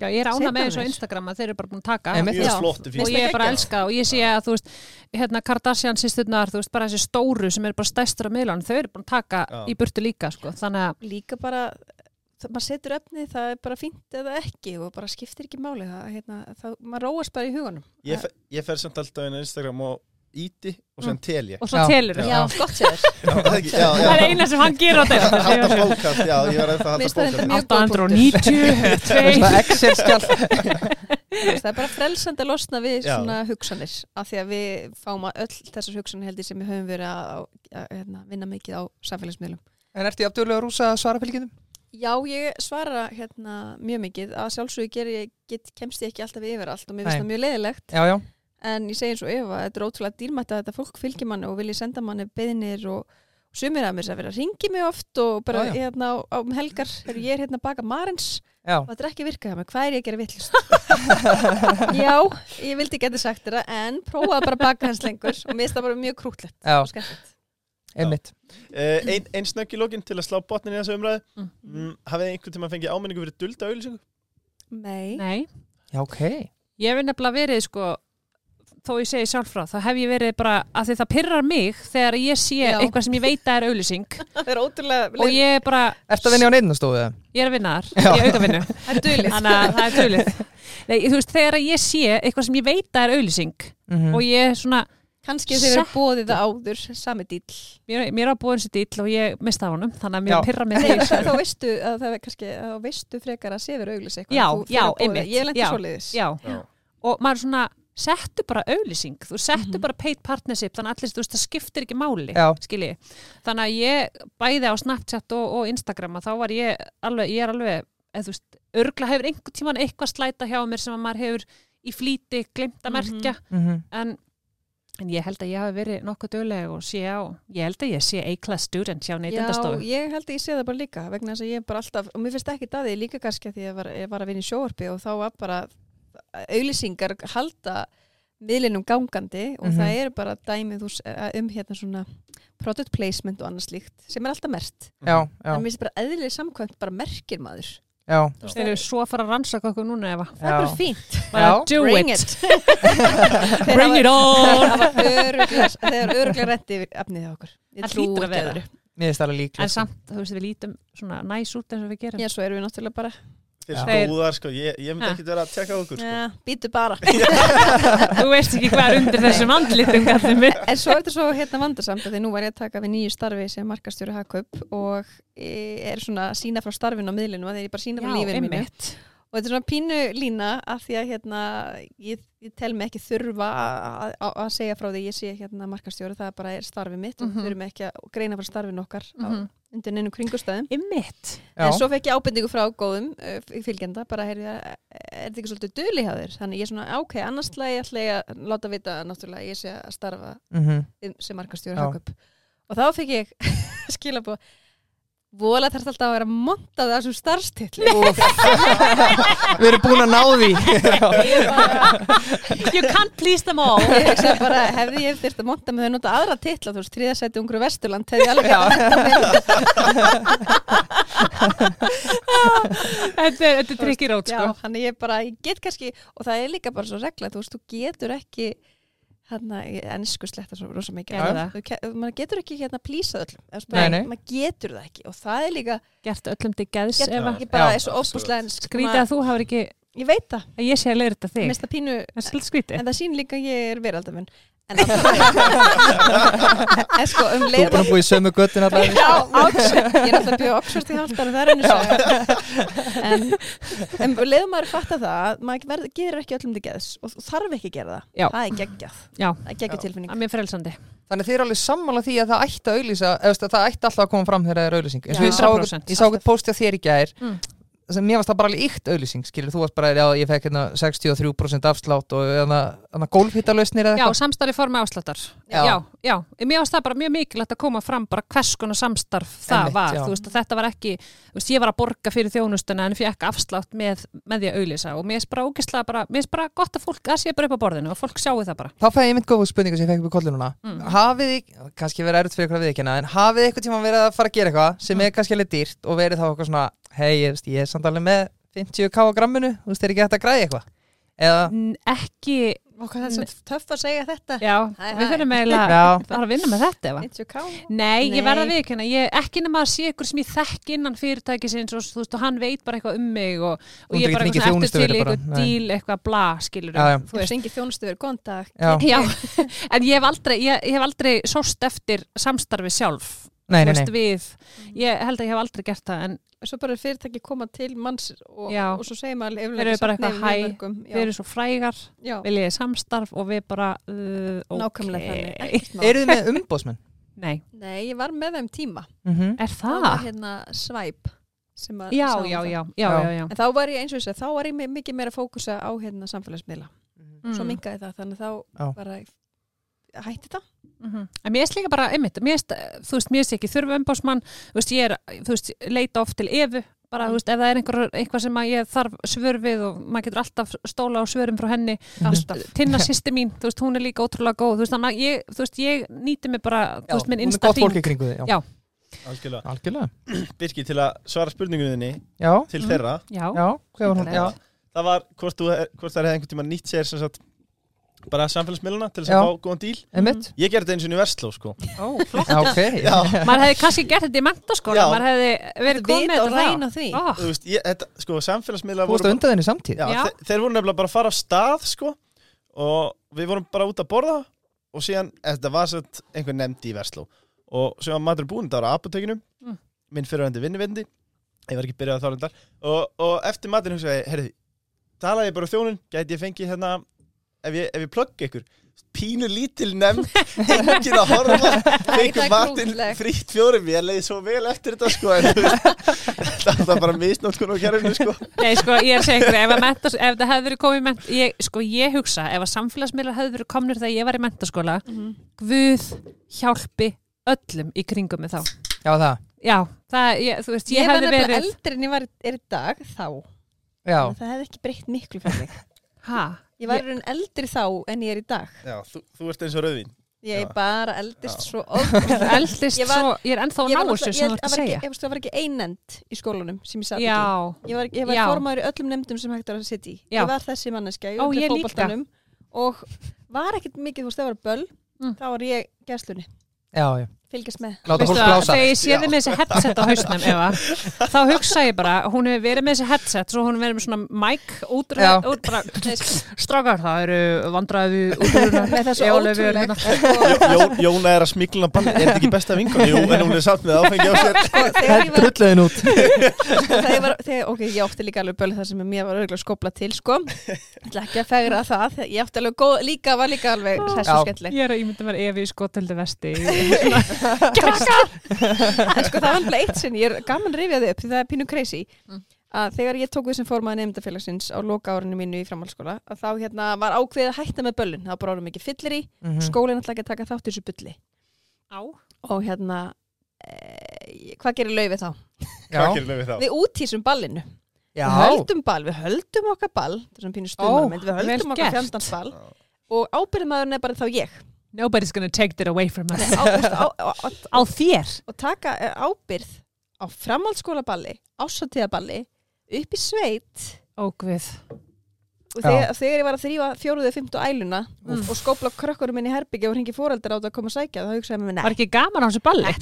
[SPEAKER 3] já ég er ána
[SPEAKER 4] Seinna
[SPEAKER 3] með eins og
[SPEAKER 4] meir.
[SPEAKER 3] Instagram að þeir eru bara búin að taka
[SPEAKER 2] Einmitt.
[SPEAKER 1] mjög
[SPEAKER 4] Já.
[SPEAKER 1] flott
[SPEAKER 3] og ég er bara að
[SPEAKER 1] geggjað.
[SPEAKER 3] elska það og ég sé að þú veist hérna Kardashian sýsturnar, þú veist bara þessi stóru sem eru bara stæstur á miðlunum, þau eru búin að taka
[SPEAKER 1] Já.
[SPEAKER 3] í burtu líka sko, þannig að
[SPEAKER 4] líka bara það- maður setur efni, það er bara fínt eða ekki og bara skiptir ekki máli það, hérna, það, maður róast bara í hugunum
[SPEAKER 1] ég, fer- ég fer samt alltaf inn á Instagram og íti og sem tel ég
[SPEAKER 3] og svo
[SPEAKER 2] Já.
[SPEAKER 3] telur
[SPEAKER 1] Já.
[SPEAKER 3] þau,
[SPEAKER 4] gott sér þér
[SPEAKER 1] Já, það er ekki- já, já.
[SPEAKER 3] það er eina sem hann gerur á
[SPEAKER 1] halda
[SPEAKER 3] þetta
[SPEAKER 1] fókast, já, ég var eftir að halda
[SPEAKER 4] Mér staðar þetta
[SPEAKER 1] fókast
[SPEAKER 4] mjög-
[SPEAKER 3] 890
[SPEAKER 2] Svona
[SPEAKER 3] 2
[SPEAKER 2] Excel-skjal
[SPEAKER 4] það er bara frelsandi að losna við
[SPEAKER 1] Já.
[SPEAKER 4] svona hugsanir af því að við fáum að öll þessar hugsanir held ég sem við höfum verið að, að, að hérna, vinna mikið á samfélagsmiðlum
[SPEAKER 2] En ertu í afturlega rúsa að svara fylgjum?
[SPEAKER 4] Já, ég svara hérna mjög mikið að sjálfsögur ger ég get, kemst ég ekki alltaf yfir allt og mér finnst
[SPEAKER 2] Nei.
[SPEAKER 4] það mjög leiðilegt
[SPEAKER 2] Já, já,
[SPEAKER 4] en ég segi eins og Eva, þetta er ótrúlega dýrmætt að þetta fólk fylgir manni og vilji senda manni beðinir og og sumir að mér sem vera að ringi mig oft og bara
[SPEAKER 2] Já, já.
[SPEAKER 4] hérna á, á um helgar er ég er hérna að baka marins
[SPEAKER 2] já.
[SPEAKER 4] og þetta er ekki að virka hjá mig, hvað er ég að gera vittlust? Já, ég vildi geta sagt þetta en prófaði bara að baka hans lengur og mér finnst það bara mjög krútlegt
[SPEAKER 2] Já.
[SPEAKER 4] og skemmtilegt.
[SPEAKER 2] Einmitt.
[SPEAKER 1] Eh, ein, ein snögg í lokinn til að slá botnin í þessu umræðu
[SPEAKER 3] Mm.
[SPEAKER 1] mm, hafið þið einhvern tíma fengið áminningu fyrir dulda auðlýsingu?
[SPEAKER 4] Nei,
[SPEAKER 3] nei,
[SPEAKER 2] Já, ok.
[SPEAKER 3] ég hef nefnilega verið sko þó ég segi sjálf frá, þá hef ég verið bara að því það pyrrar mig þegar ég sé
[SPEAKER 4] Já.
[SPEAKER 3] eitthvað sem ég veit að er auðlýsing
[SPEAKER 4] það er ótrúlega
[SPEAKER 3] og ég er bara,
[SPEAKER 2] Ertu að vinna á neyðnastofu eða?
[SPEAKER 3] ég er að vinna þar ég auðvitað vinnu
[SPEAKER 4] það er dulið
[SPEAKER 3] Þannig að það er tölið. Nei, þú veist, þegar ég sé eitthvað sem ég veit að er auðlýsing
[SPEAKER 2] Mm
[SPEAKER 3] og ég er svona,
[SPEAKER 4] Kanski þeir eru bóðið það áður, sami dýll.
[SPEAKER 3] Mér, mér á búin sér dýll og ég mista af honum, þannig að
[SPEAKER 2] Já.
[SPEAKER 3] mér pyrra mig
[SPEAKER 4] Nei,
[SPEAKER 3] þegar.
[SPEAKER 4] þá veistu, að það er kannski, þá veistu frekar að sefur auglis eitthvað.
[SPEAKER 3] Já,
[SPEAKER 4] þú fer
[SPEAKER 3] já,
[SPEAKER 4] að boða.
[SPEAKER 3] einmitt,
[SPEAKER 4] Ég lendi
[SPEAKER 3] já,
[SPEAKER 4] svoleiðis.
[SPEAKER 3] Já,
[SPEAKER 1] Já.
[SPEAKER 3] og maður svona settu bara auðlýsing, þú settu
[SPEAKER 4] Mhm.
[SPEAKER 3] bara paid partnership, þannig að allir, þú veist, það skiptir ekki máli,
[SPEAKER 2] Já.
[SPEAKER 3] skilji. Þannig að ég bæði á Snapchat og, og Instagram að þá var ég alveg, ég er alveg, eða þú veist, örgla hefur einhvern tíman eitthvað slæta hjá mér sem að maður hefur í flýti glemt að
[SPEAKER 4] Mhm.
[SPEAKER 3] merkja,
[SPEAKER 2] Mhm.
[SPEAKER 3] en, en ég held að ég hafi verið nokkuð dögleg og sé á, ég held að ég sé A-class student hjá neytendastofu.
[SPEAKER 4] Já, ég held að ég sé það bara líka vegna þess að ég er bara alltaf, og mér finnst ekki daði líka kannski að því að ég var, ég var að vinna í sjóarpi og þá var bara auðlýsingar halda miðlinum gangandi og
[SPEAKER 2] Mhm.
[SPEAKER 4] það eru bara dæmið úr, um hérna svona product placement og annars líkt sem er alltaf mert.
[SPEAKER 2] já, já,
[SPEAKER 4] En mér finnst bara eðlileg samkvæmt bara merkir maður.
[SPEAKER 2] já
[SPEAKER 3] Þeir eru svo að fara að rannsaka okkur núna efa.
[SPEAKER 4] Það er bara fínt.
[SPEAKER 3] Bara
[SPEAKER 2] Já.
[SPEAKER 3] do
[SPEAKER 4] Bring
[SPEAKER 3] it.
[SPEAKER 4] it. Þeir
[SPEAKER 3] Bring
[SPEAKER 4] hafa-
[SPEAKER 3] it on.
[SPEAKER 4] Það var öruglega, þeir eru öruglega rétti yfir efnið á okkur. Ég
[SPEAKER 3] Það
[SPEAKER 4] trúi
[SPEAKER 3] hlýtur að
[SPEAKER 4] ekki
[SPEAKER 3] vera.
[SPEAKER 4] öðru.
[SPEAKER 2] Mér finnst alveg líklegt
[SPEAKER 3] En samt, þú veist, við lítum svona næs út eins og við gerum.
[SPEAKER 4] Já, svo erum við náttúrulega bara,
[SPEAKER 1] Þeir
[SPEAKER 3] Þeir-
[SPEAKER 1] stóðar, sko, ég, ég myndi
[SPEAKER 3] Ha.
[SPEAKER 1] ekkert vera að tekka á okkur, sko.
[SPEAKER 4] ja, býtu bara.
[SPEAKER 3] Þú veist ekki hvað er undir þessum andlitum kallum minn.
[SPEAKER 4] En svo er þetta svo hérna vandarsamt að því nú var ég að taka við nýju starfi sem markastjóri Hakaup og e, er svona að sína frá starfinu á miðlinu að þegar ég bara sína frá lífinu mínu. Og þetta er svona pínu lína að því að hérna ég, ég tel mig ekki þurfa að- að að segja frá því að ég sé hérna markastjóri, það bara er starfið mitt og
[SPEAKER 3] Mhm.
[SPEAKER 4] þurfum ekki að greina frá starfinu okkar mm
[SPEAKER 3] Mhm.
[SPEAKER 4] undir neinu kringustæðum.
[SPEAKER 3] Ymmit.
[SPEAKER 2] Já.
[SPEAKER 4] En svo fekk ég ábendingu frá góðum uh, fylgjenda, bara heyrði að er þetta ekki svolítið döli hjá þér? Þannig ég er svona ok, annars ætla ég ætla ég að láta vita að náttúrulega ég sé að starfa
[SPEAKER 2] Mhm.
[SPEAKER 4] um- sem markastjóri
[SPEAKER 2] Já.
[SPEAKER 4] Hagkaup og þá fekk ég skilabóð vola þarf alltaf að vera montað af þessum starfstilli
[SPEAKER 2] Úff. Við erum búin að ná því
[SPEAKER 4] ég bara-
[SPEAKER 3] You can't please them all.
[SPEAKER 4] ég hugsaði bara hefði ég þurft að monta með þau nota aðra titla þú veist, þriðasæti ungur vesturland hefði ég alveg
[SPEAKER 2] Já.
[SPEAKER 4] að monta með
[SPEAKER 3] Þetta er, þetta er tricky road,
[SPEAKER 4] já,
[SPEAKER 3] sko.
[SPEAKER 4] þannig ég bara, ég get kannski og það er líka bara svo regla, þú veist, þú getur ekki hérna, ennsku sletta svo rosa mikið,
[SPEAKER 3] Gerðu það.
[SPEAKER 4] þú, ke- maður getur ekki hérna plísað öllum, Þú veist,
[SPEAKER 2] Nei, nei.
[SPEAKER 4] maður maður getur það ekki og það er líka,
[SPEAKER 3] Gert öllum til geðs
[SPEAKER 4] getur
[SPEAKER 3] ef
[SPEAKER 1] Eva.
[SPEAKER 4] það
[SPEAKER 3] að
[SPEAKER 4] ekki bara
[SPEAKER 2] Já.
[SPEAKER 4] er svo óbúslega ennsk
[SPEAKER 3] skrítið að þú hafur ekki,
[SPEAKER 4] ég veit það,
[SPEAKER 3] að ég sé að leira þetta
[SPEAKER 4] mér
[SPEAKER 3] þig.
[SPEAKER 4] finnst það pínu
[SPEAKER 3] Það er svolítið skrítið.
[SPEAKER 4] En það sýn líka að ég er veraldamenn. En, alltaf- en sko
[SPEAKER 2] Þú
[SPEAKER 4] um
[SPEAKER 2] er
[SPEAKER 4] leið
[SPEAKER 2] búin að búa í sömu göttin allar
[SPEAKER 4] Já, Oxford, ég er alltaf bjóð Oxford í haldan og það er henni svo en, en um leið og maður fatta það maður verð, gerir ekki öllum til geðs og þarf ekki að gera það,
[SPEAKER 3] Já.
[SPEAKER 4] það er geggjað
[SPEAKER 3] Já.
[SPEAKER 4] það er geggjað tilfinning
[SPEAKER 3] Það er mér frelsandi.
[SPEAKER 2] Þannig þið eru alveg sammála því að það ætti að auðlýsa eða það ætti alltaf að koma fram þegar það er auðlýsing eins og
[SPEAKER 4] Já.
[SPEAKER 2] ég sá, einhvern-
[SPEAKER 3] 100%.
[SPEAKER 2] ég sá eitthvað postið þér í gær
[SPEAKER 3] Mm.
[SPEAKER 2] sem mér varst það bara alveg ykt auðlýsing skilur þú varst bara, já ég fekk hérna 63% afslátt og þannig gólfhittalausnir eða
[SPEAKER 3] Já,
[SPEAKER 2] eitthvað
[SPEAKER 3] samstarfi formi ásláttar.
[SPEAKER 2] Já.
[SPEAKER 3] já, já. Mér varst það bara mjög mikilvægt að koma fram bara hvers konar samstarf það
[SPEAKER 2] Einmitt,
[SPEAKER 3] var.
[SPEAKER 2] já.
[SPEAKER 3] Þú veist, að þetta var ekki, þú veist, ég var að borga fyrir þjónustuna en fekk afslátt með, með því að auðlýsa og mér er bara ógislega bara, mér er bara gott að fólk, það sé bara upp á borðinu og fólk sjáu það bara.
[SPEAKER 2] Þá fæði ég mynd góð spurningu sem ég fekk upp í kollu núna Hafið þið, kannski verið erut fyrir ykkur að viðkjanna en hafið þið eitthvað tíma verið að fara að gera eitthvað sem er kannski alveg dýrt og verið þá eitthvað svona hei, ég, veist, ég er samt alveg með 50k á gramminu, þú veist, er ekki hægt að græði eitthvað eða,
[SPEAKER 3] N- Ekki,
[SPEAKER 4] og hvað það er svo töff að segja þetta
[SPEAKER 3] Já,
[SPEAKER 4] Hæ, hæ.
[SPEAKER 3] við þurfum eiginlega
[SPEAKER 2] já,
[SPEAKER 3] að fara að vinna með þetta eða?
[SPEAKER 4] 90k
[SPEAKER 3] Nei, ég
[SPEAKER 4] Nei.
[SPEAKER 3] verða við ekki hérna, ekki nema að sé ykkur sem ég þekk innan fyrirtækisins og þú veist og hann veit bara eitthvað um mig og, og
[SPEAKER 2] Þú
[SPEAKER 3] ég
[SPEAKER 2] getur
[SPEAKER 3] bara
[SPEAKER 2] ekki
[SPEAKER 3] eitthvað
[SPEAKER 2] fengið þjónustu
[SPEAKER 3] eftir til í
[SPEAKER 2] verið
[SPEAKER 3] eitthvað
[SPEAKER 2] bara, nei.
[SPEAKER 3] díl, eitthvað bla, skilur
[SPEAKER 2] já, já,
[SPEAKER 4] þú veist engin þjónustu verið góðan dag
[SPEAKER 2] já.
[SPEAKER 3] Já, en ég hef aldrei, ég, ég hef aldrei sóst eftir samstarfi sjálf,
[SPEAKER 2] Nei, nei,
[SPEAKER 3] þú
[SPEAKER 2] Mm.
[SPEAKER 3] veist
[SPEAKER 2] nei.
[SPEAKER 3] við, ég held að ég hef aldrei gert það en
[SPEAKER 4] svo bara er fyrirtæki koma til manns og,
[SPEAKER 3] Já.
[SPEAKER 4] og svo segir maður
[SPEAKER 3] Þeir eru bara eitthvað, hæ, við
[SPEAKER 4] hæ
[SPEAKER 3] erum svo frægar, við leiðið samstarf og við bara, uh, ok.
[SPEAKER 4] nákvæmlega þannig ekkert mál.
[SPEAKER 2] Eruð þið með umbóðsmenn?
[SPEAKER 3] Nei,
[SPEAKER 4] Nei, ég var með þeim tíma.
[SPEAKER 2] Mm -hmm.
[SPEAKER 3] er
[SPEAKER 4] Það var
[SPEAKER 3] það?
[SPEAKER 4] hérna svæp. sem að-
[SPEAKER 3] Ah. Já,
[SPEAKER 4] sáum
[SPEAKER 3] já,
[SPEAKER 4] það.
[SPEAKER 3] já, já, já, já.
[SPEAKER 4] En þá var ég eins og þess að þá var ég mi- mikið meira að fókusa á hérna samfélagsmiðla.
[SPEAKER 3] Mm.
[SPEAKER 4] Svo mingaði það, þannig að þá
[SPEAKER 2] Já.
[SPEAKER 4] bara hætti það.
[SPEAKER 3] -hmm. En mér erst líka bara, einmitt, mér erst, þú veist, mér erst ekki þurfa umbásmann, þú veist, ég er, þú veist, leita oft til efu, bara, þú veist, ef það er einhver, einhvað sem að ég þarf svör við og maður getur alltaf stóla á svörum frá henni,
[SPEAKER 4] Alltaf.
[SPEAKER 3] tinna sýsti mín, þú veist, hún er líka ótrúlega góð, þú veist, þannig að ég, þú veist, ég nýti mig bara, þú veist, minn
[SPEAKER 2] hún er gott fólk
[SPEAKER 3] insta-fín.
[SPEAKER 2] í kringu þig, já.
[SPEAKER 3] Já.
[SPEAKER 1] Algjörlega.
[SPEAKER 2] Algjörlega.
[SPEAKER 1] Birki, til að svara spurningunni
[SPEAKER 2] Já,
[SPEAKER 1] til
[SPEAKER 3] Mhm.
[SPEAKER 1] þeirra,
[SPEAKER 3] Já,
[SPEAKER 2] já, hvað var hún?
[SPEAKER 3] Ítarlegt.
[SPEAKER 2] Já,
[SPEAKER 1] það var hvort, þú, hvort það er einhvern tíma nýtt sér sem sagt bara samfélagsmiðluna til þess
[SPEAKER 2] Já.
[SPEAKER 1] að fá góðan díl.
[SPEAKER 2] einmitt.
[SPEAKER 1] Ég gerði þetta eins og í Vestló, sko.
[SPEAKER 3] ó, flott.
[SPEAKER 2] Já, ok.
[SPEAKER 1] Já.
[SPEAKER 3] Maður hefði kannski gert þetta í mentaskóla,
[SPEAKER 1] Já.
[SPEAKER 3] maður hefði verið komið
[SPEAKER 4] Vita
[SPEAKER 3] með
[SPEAKER 4] og
[SPEAKER 3] þetta þá.
[SPEAKER 4] ræna því.
[SPEAKER 3] Ó,
[SPEAKER 1] Þú veist, ég, þetta, sko, samfélagsmiðla
[SPEAKER 2] Þú veist að undan þenni samtíð.
[SPEAKER 1] Já,
[SPEAKER 3] Já.
[SPEAKER 1] þe- þeir voru nefnilega bara að fara af stað sko og við vorum bara út að borða og síðan, þetta var sett einhver nefndi í Vestló og síðan var matur búinn, það var á apotekinu
[SPEAKER 3] Mm.
[SPEAKER 1] minn fyrirhandi vinnuvindi ég var ekki byrjað að þá reyndar og, og eftir maturinn hugsaði, ég, heyrðu talaði ég bara þjónin, gæti ég fengið hérna ef ég, ef ég plugga ykkur pínu lítil nefnd, enginn að horfa fengið
[SPEAKER 4] er
[SPEAKER 1] matinn
[SPEAKER 4] grútlegt.
[SPEAKER 1] frýtt fjórum ég leiði svo vel eftir þetta sko en þú veist, þetta var bara misnótkun á kerfinu sko
[SPEAKER 3] Nei, sko, ég er að segja ykkur, ef, að menta, ef það hefði verið komið í menta, ég, sko, ég hugsa, ef að samfélagsmiðlar hefði verið komnir þegar ég var í mentaskóla,
[SPEAKER 4] Mhm.
[SPEAKER 3] Guð hjálpi öllum í kringum með þá.
[SPEAKER 2] Já, það.
[SPEAKER 3] Já, það, ég, þú veist, ég,
[SPEAKER 4] Ég var
[SPEAKER 3] hefði
[SPEAKER 4] nefnilega
[SPEAKER 3] verið,
[SPEAKER 4] eldri en ég var, er í dag þá.
[SPEAKER 2] Já,
[SPEAKER 4] Þannig að Það hefði ekki breytt miklu fyrir mig.
[SPEAKER 3] hæ,
[SPEAKER 4] Ég var ég... eldri þá en ég er í dag.
[SPEAKER 1] Já, þú, þú ert eins og rauðvín
[SPEAKER 4] Ég er
[SPEAKER 1] Já.
[SPEAKER 4] bara eldist
[SPEAKER 1] Já.
[SPEAKER 4] svo ofn.
[SPEAKER 3] eldist
[SPEAKER 4] Ég var-
[SPEAKER 3] svo, ég er ennþá að ná þessu sem þú ert að segja.
[SPEAKER 4] Ég veist, það var ekki einend í skólunum sem ég satt
[SPEAKER 3] Já,
[SPEAKER 4] ekki. Ég var, ég var
[SPEAKER 3] Já.
[SPEAKER 4] formaður í öllum nefndum sem hægt var að sitja í.
[SPEAKER 3] Já.
[SPEAKER 4] Ég var þessi manneskja í
[SPEAKER 3] Ó, ég
[SPEAKER 4] öllum
[SPEAKER 3] líka.
[SPEAKER 4] fótboltanum og var ekkert mikið, þú veist, það var böll,
[SPEAKER 3] Mm.
[SPEAKER 4] þá var ég gæslunni,
[SPEAKER 2] já, já.
[SPEAKER 4] fylgjast með.
[SPEAKER 2] Láta
[SPEAKER 3] veistu
[SPEAKER 2] fólk
[SPEAKER 3] það,
[SPEAKER 2] blása.
[SPEAKER 3] þegar ég séði með þessi headset á hausnum, Eva, þá hugsa ég bara, hún hefur verið með þessi headset, svo hún hefur verið með svona mic út,
[SPEAKER 2] Já.
[SPEAKER 3] út bara, strákar, það eru vandræðu út úr
[SPEAKER 4] Með þessu
[SPEAKER 3] hérna.
[SPEAKER 4] ótrúlegt.
[SPEAKER 1] Jó- Jón, Jóna er að smikluna bann er þetta ekki besta vinkon? Jú, en hún er satt með áfengi á sér
[SPEAKER 4] Sko, þegar ég var
[SPEAKER 2] Trulluðin út.
[SPEAKER 4] þegar ég var, þegar, ok, ég átti líka alveg bölu það sem mér var örgulega skopla til, sko ég ætla ekki að fegra það, ég átti alveg góð, líka, var líka alveg hess
[SPEAKER 2] Já.
[SPEAKER 4] og skemmtileg
[SPEAKER 3] Ég er að ímynda mér Evi í skotöldu vesti
[SPEAKER 4] en sko það var alveg eitt sinn, ég er gaman rifið þið upp því það er pínu crazy
[SPEAKER 3] Mm.
[SPEAKER 4] að þegar ég tók við sem formaði nefndafélagsins á loka árinu mínu í framhaldsskóla að þá hérna var ákveðið að hætta með böllun það var bara orðum ekki fyllir í,
[SPEAKER 2] Mm
[SPEAKER 4] skólinn ætla ekki að taka þátt í þessu bulli
[SPEAKER 3] Á
[SPEAKER 4] og hérna e, hvað gerir laufið þá?
[SPEAKER 1] Hvað
[SPEAKER 2] Já,
[SPEAKER 1] gerum við þá?
[SPEAKER 4] Við útísum ballinu
[SPEAKER 2] já.
[SPEAKER 4] Við höldum ball, við höldum okkar ball þetta er svona pínu stuðmannamynd, við
[SPEAKER 3] vel
[SPEAKER 4] höldum okkar
[SPEAKER 3] gert.
[SPEAKER 4] fjandans ball og ábyrðmaðurinn er bara þá ég
[SPEAKER 3] Nobody's gonna take that away from us
[SPEAKER 4] Á, á, á, á,
[SPEAKER 3] Á þér
[SPEAKER 4] og taka eh, ábyrð á framhaldsskólaballi ásatíðaballi, upp í sveit
[SPEAKER 3] Ógvið
[SPEAKER 4] og
[SPEAKER 2] Já.
[SPEAKER 4] þegar, þegar ég var að þrýfa fjóruðu og fymtu æluna
[SPEAKER 3] Mm.
[SPEAKER 4] og skópla krökkurum inn í herbyggi og ringi fóreldar á þetta að koma að sækja þá hugsaði ég með mér,
[SPEAKER 3] Var ekki gaman á þessu balli?
[SPEAKER 4] nei,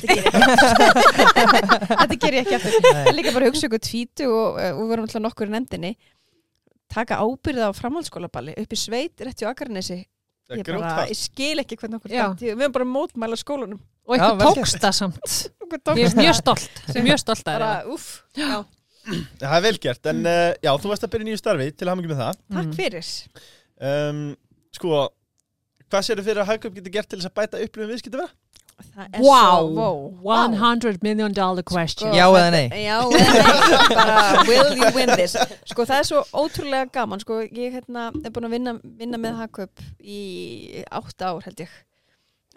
[SPEAKER 4] þetta ger ég ekki aftur. þetta ger ég ekki aftur en líka bara hugsa ykkur tvítu og, eh, og við vorum alltaf nokkur í nefndinni taka ábyrða á framhaldsskólaballi upp í sveit, rétt í Akarnesi
[SPEAKER 1] Það
[SPEAKER 4] ég,
[SPEAKER 1] er
[SPEAKER 4] bara,
[SPEAKER 1] grjótfast.
[SPEAKER 4] ég skil ekki hvernig okkur
[SPEAKER 3] Já.
[SPEAKER 4] datt í hug. við erum bara að mótmæla skólanum
[SPEAKER 3] Og
[SPEAKER 2] Já,
[SPEAKER 3] ykkur
[SPEAKER 2] vel
[SPEAKER 3] tókst það samt
[SPEAKER 4] okkur
[SPEAKER 3] Ég er
[SPEAKER 4] tókst
[SPEAKER 3] mjög stolt Ég er mjög stolt að
[SPEAKER 4] bara,
[SPEAKER 3] það
[SPEAKER 4] uff, já,
[SPEAKER 1] Það er vel gert, en uh, já, þú varst að byrja í nýju starfi til hamingi með það
[SPEAKER 3] Mm.
[SPEAKER 4] takk fyrir
[SPEAKER 1] um, Sko, hvað sérðu fyrir að Hagkaup getur gert til þess að bæta um upplifum viðskipta vera?
[SPEAKER 4] það er
[SPEAKER 3] Wow,
[SPEAKER 4] svo, wow.
[SPEAKER 3] 100 million dollar question
[SPEAKER 2] Já eða nei?
[SPEAKER 4] Já, eða nei, bara will you win this Sko það er svo ótrúlega gaman Sko ég hérna, er búin að vinna, vinna með Hakup í átta ár held ég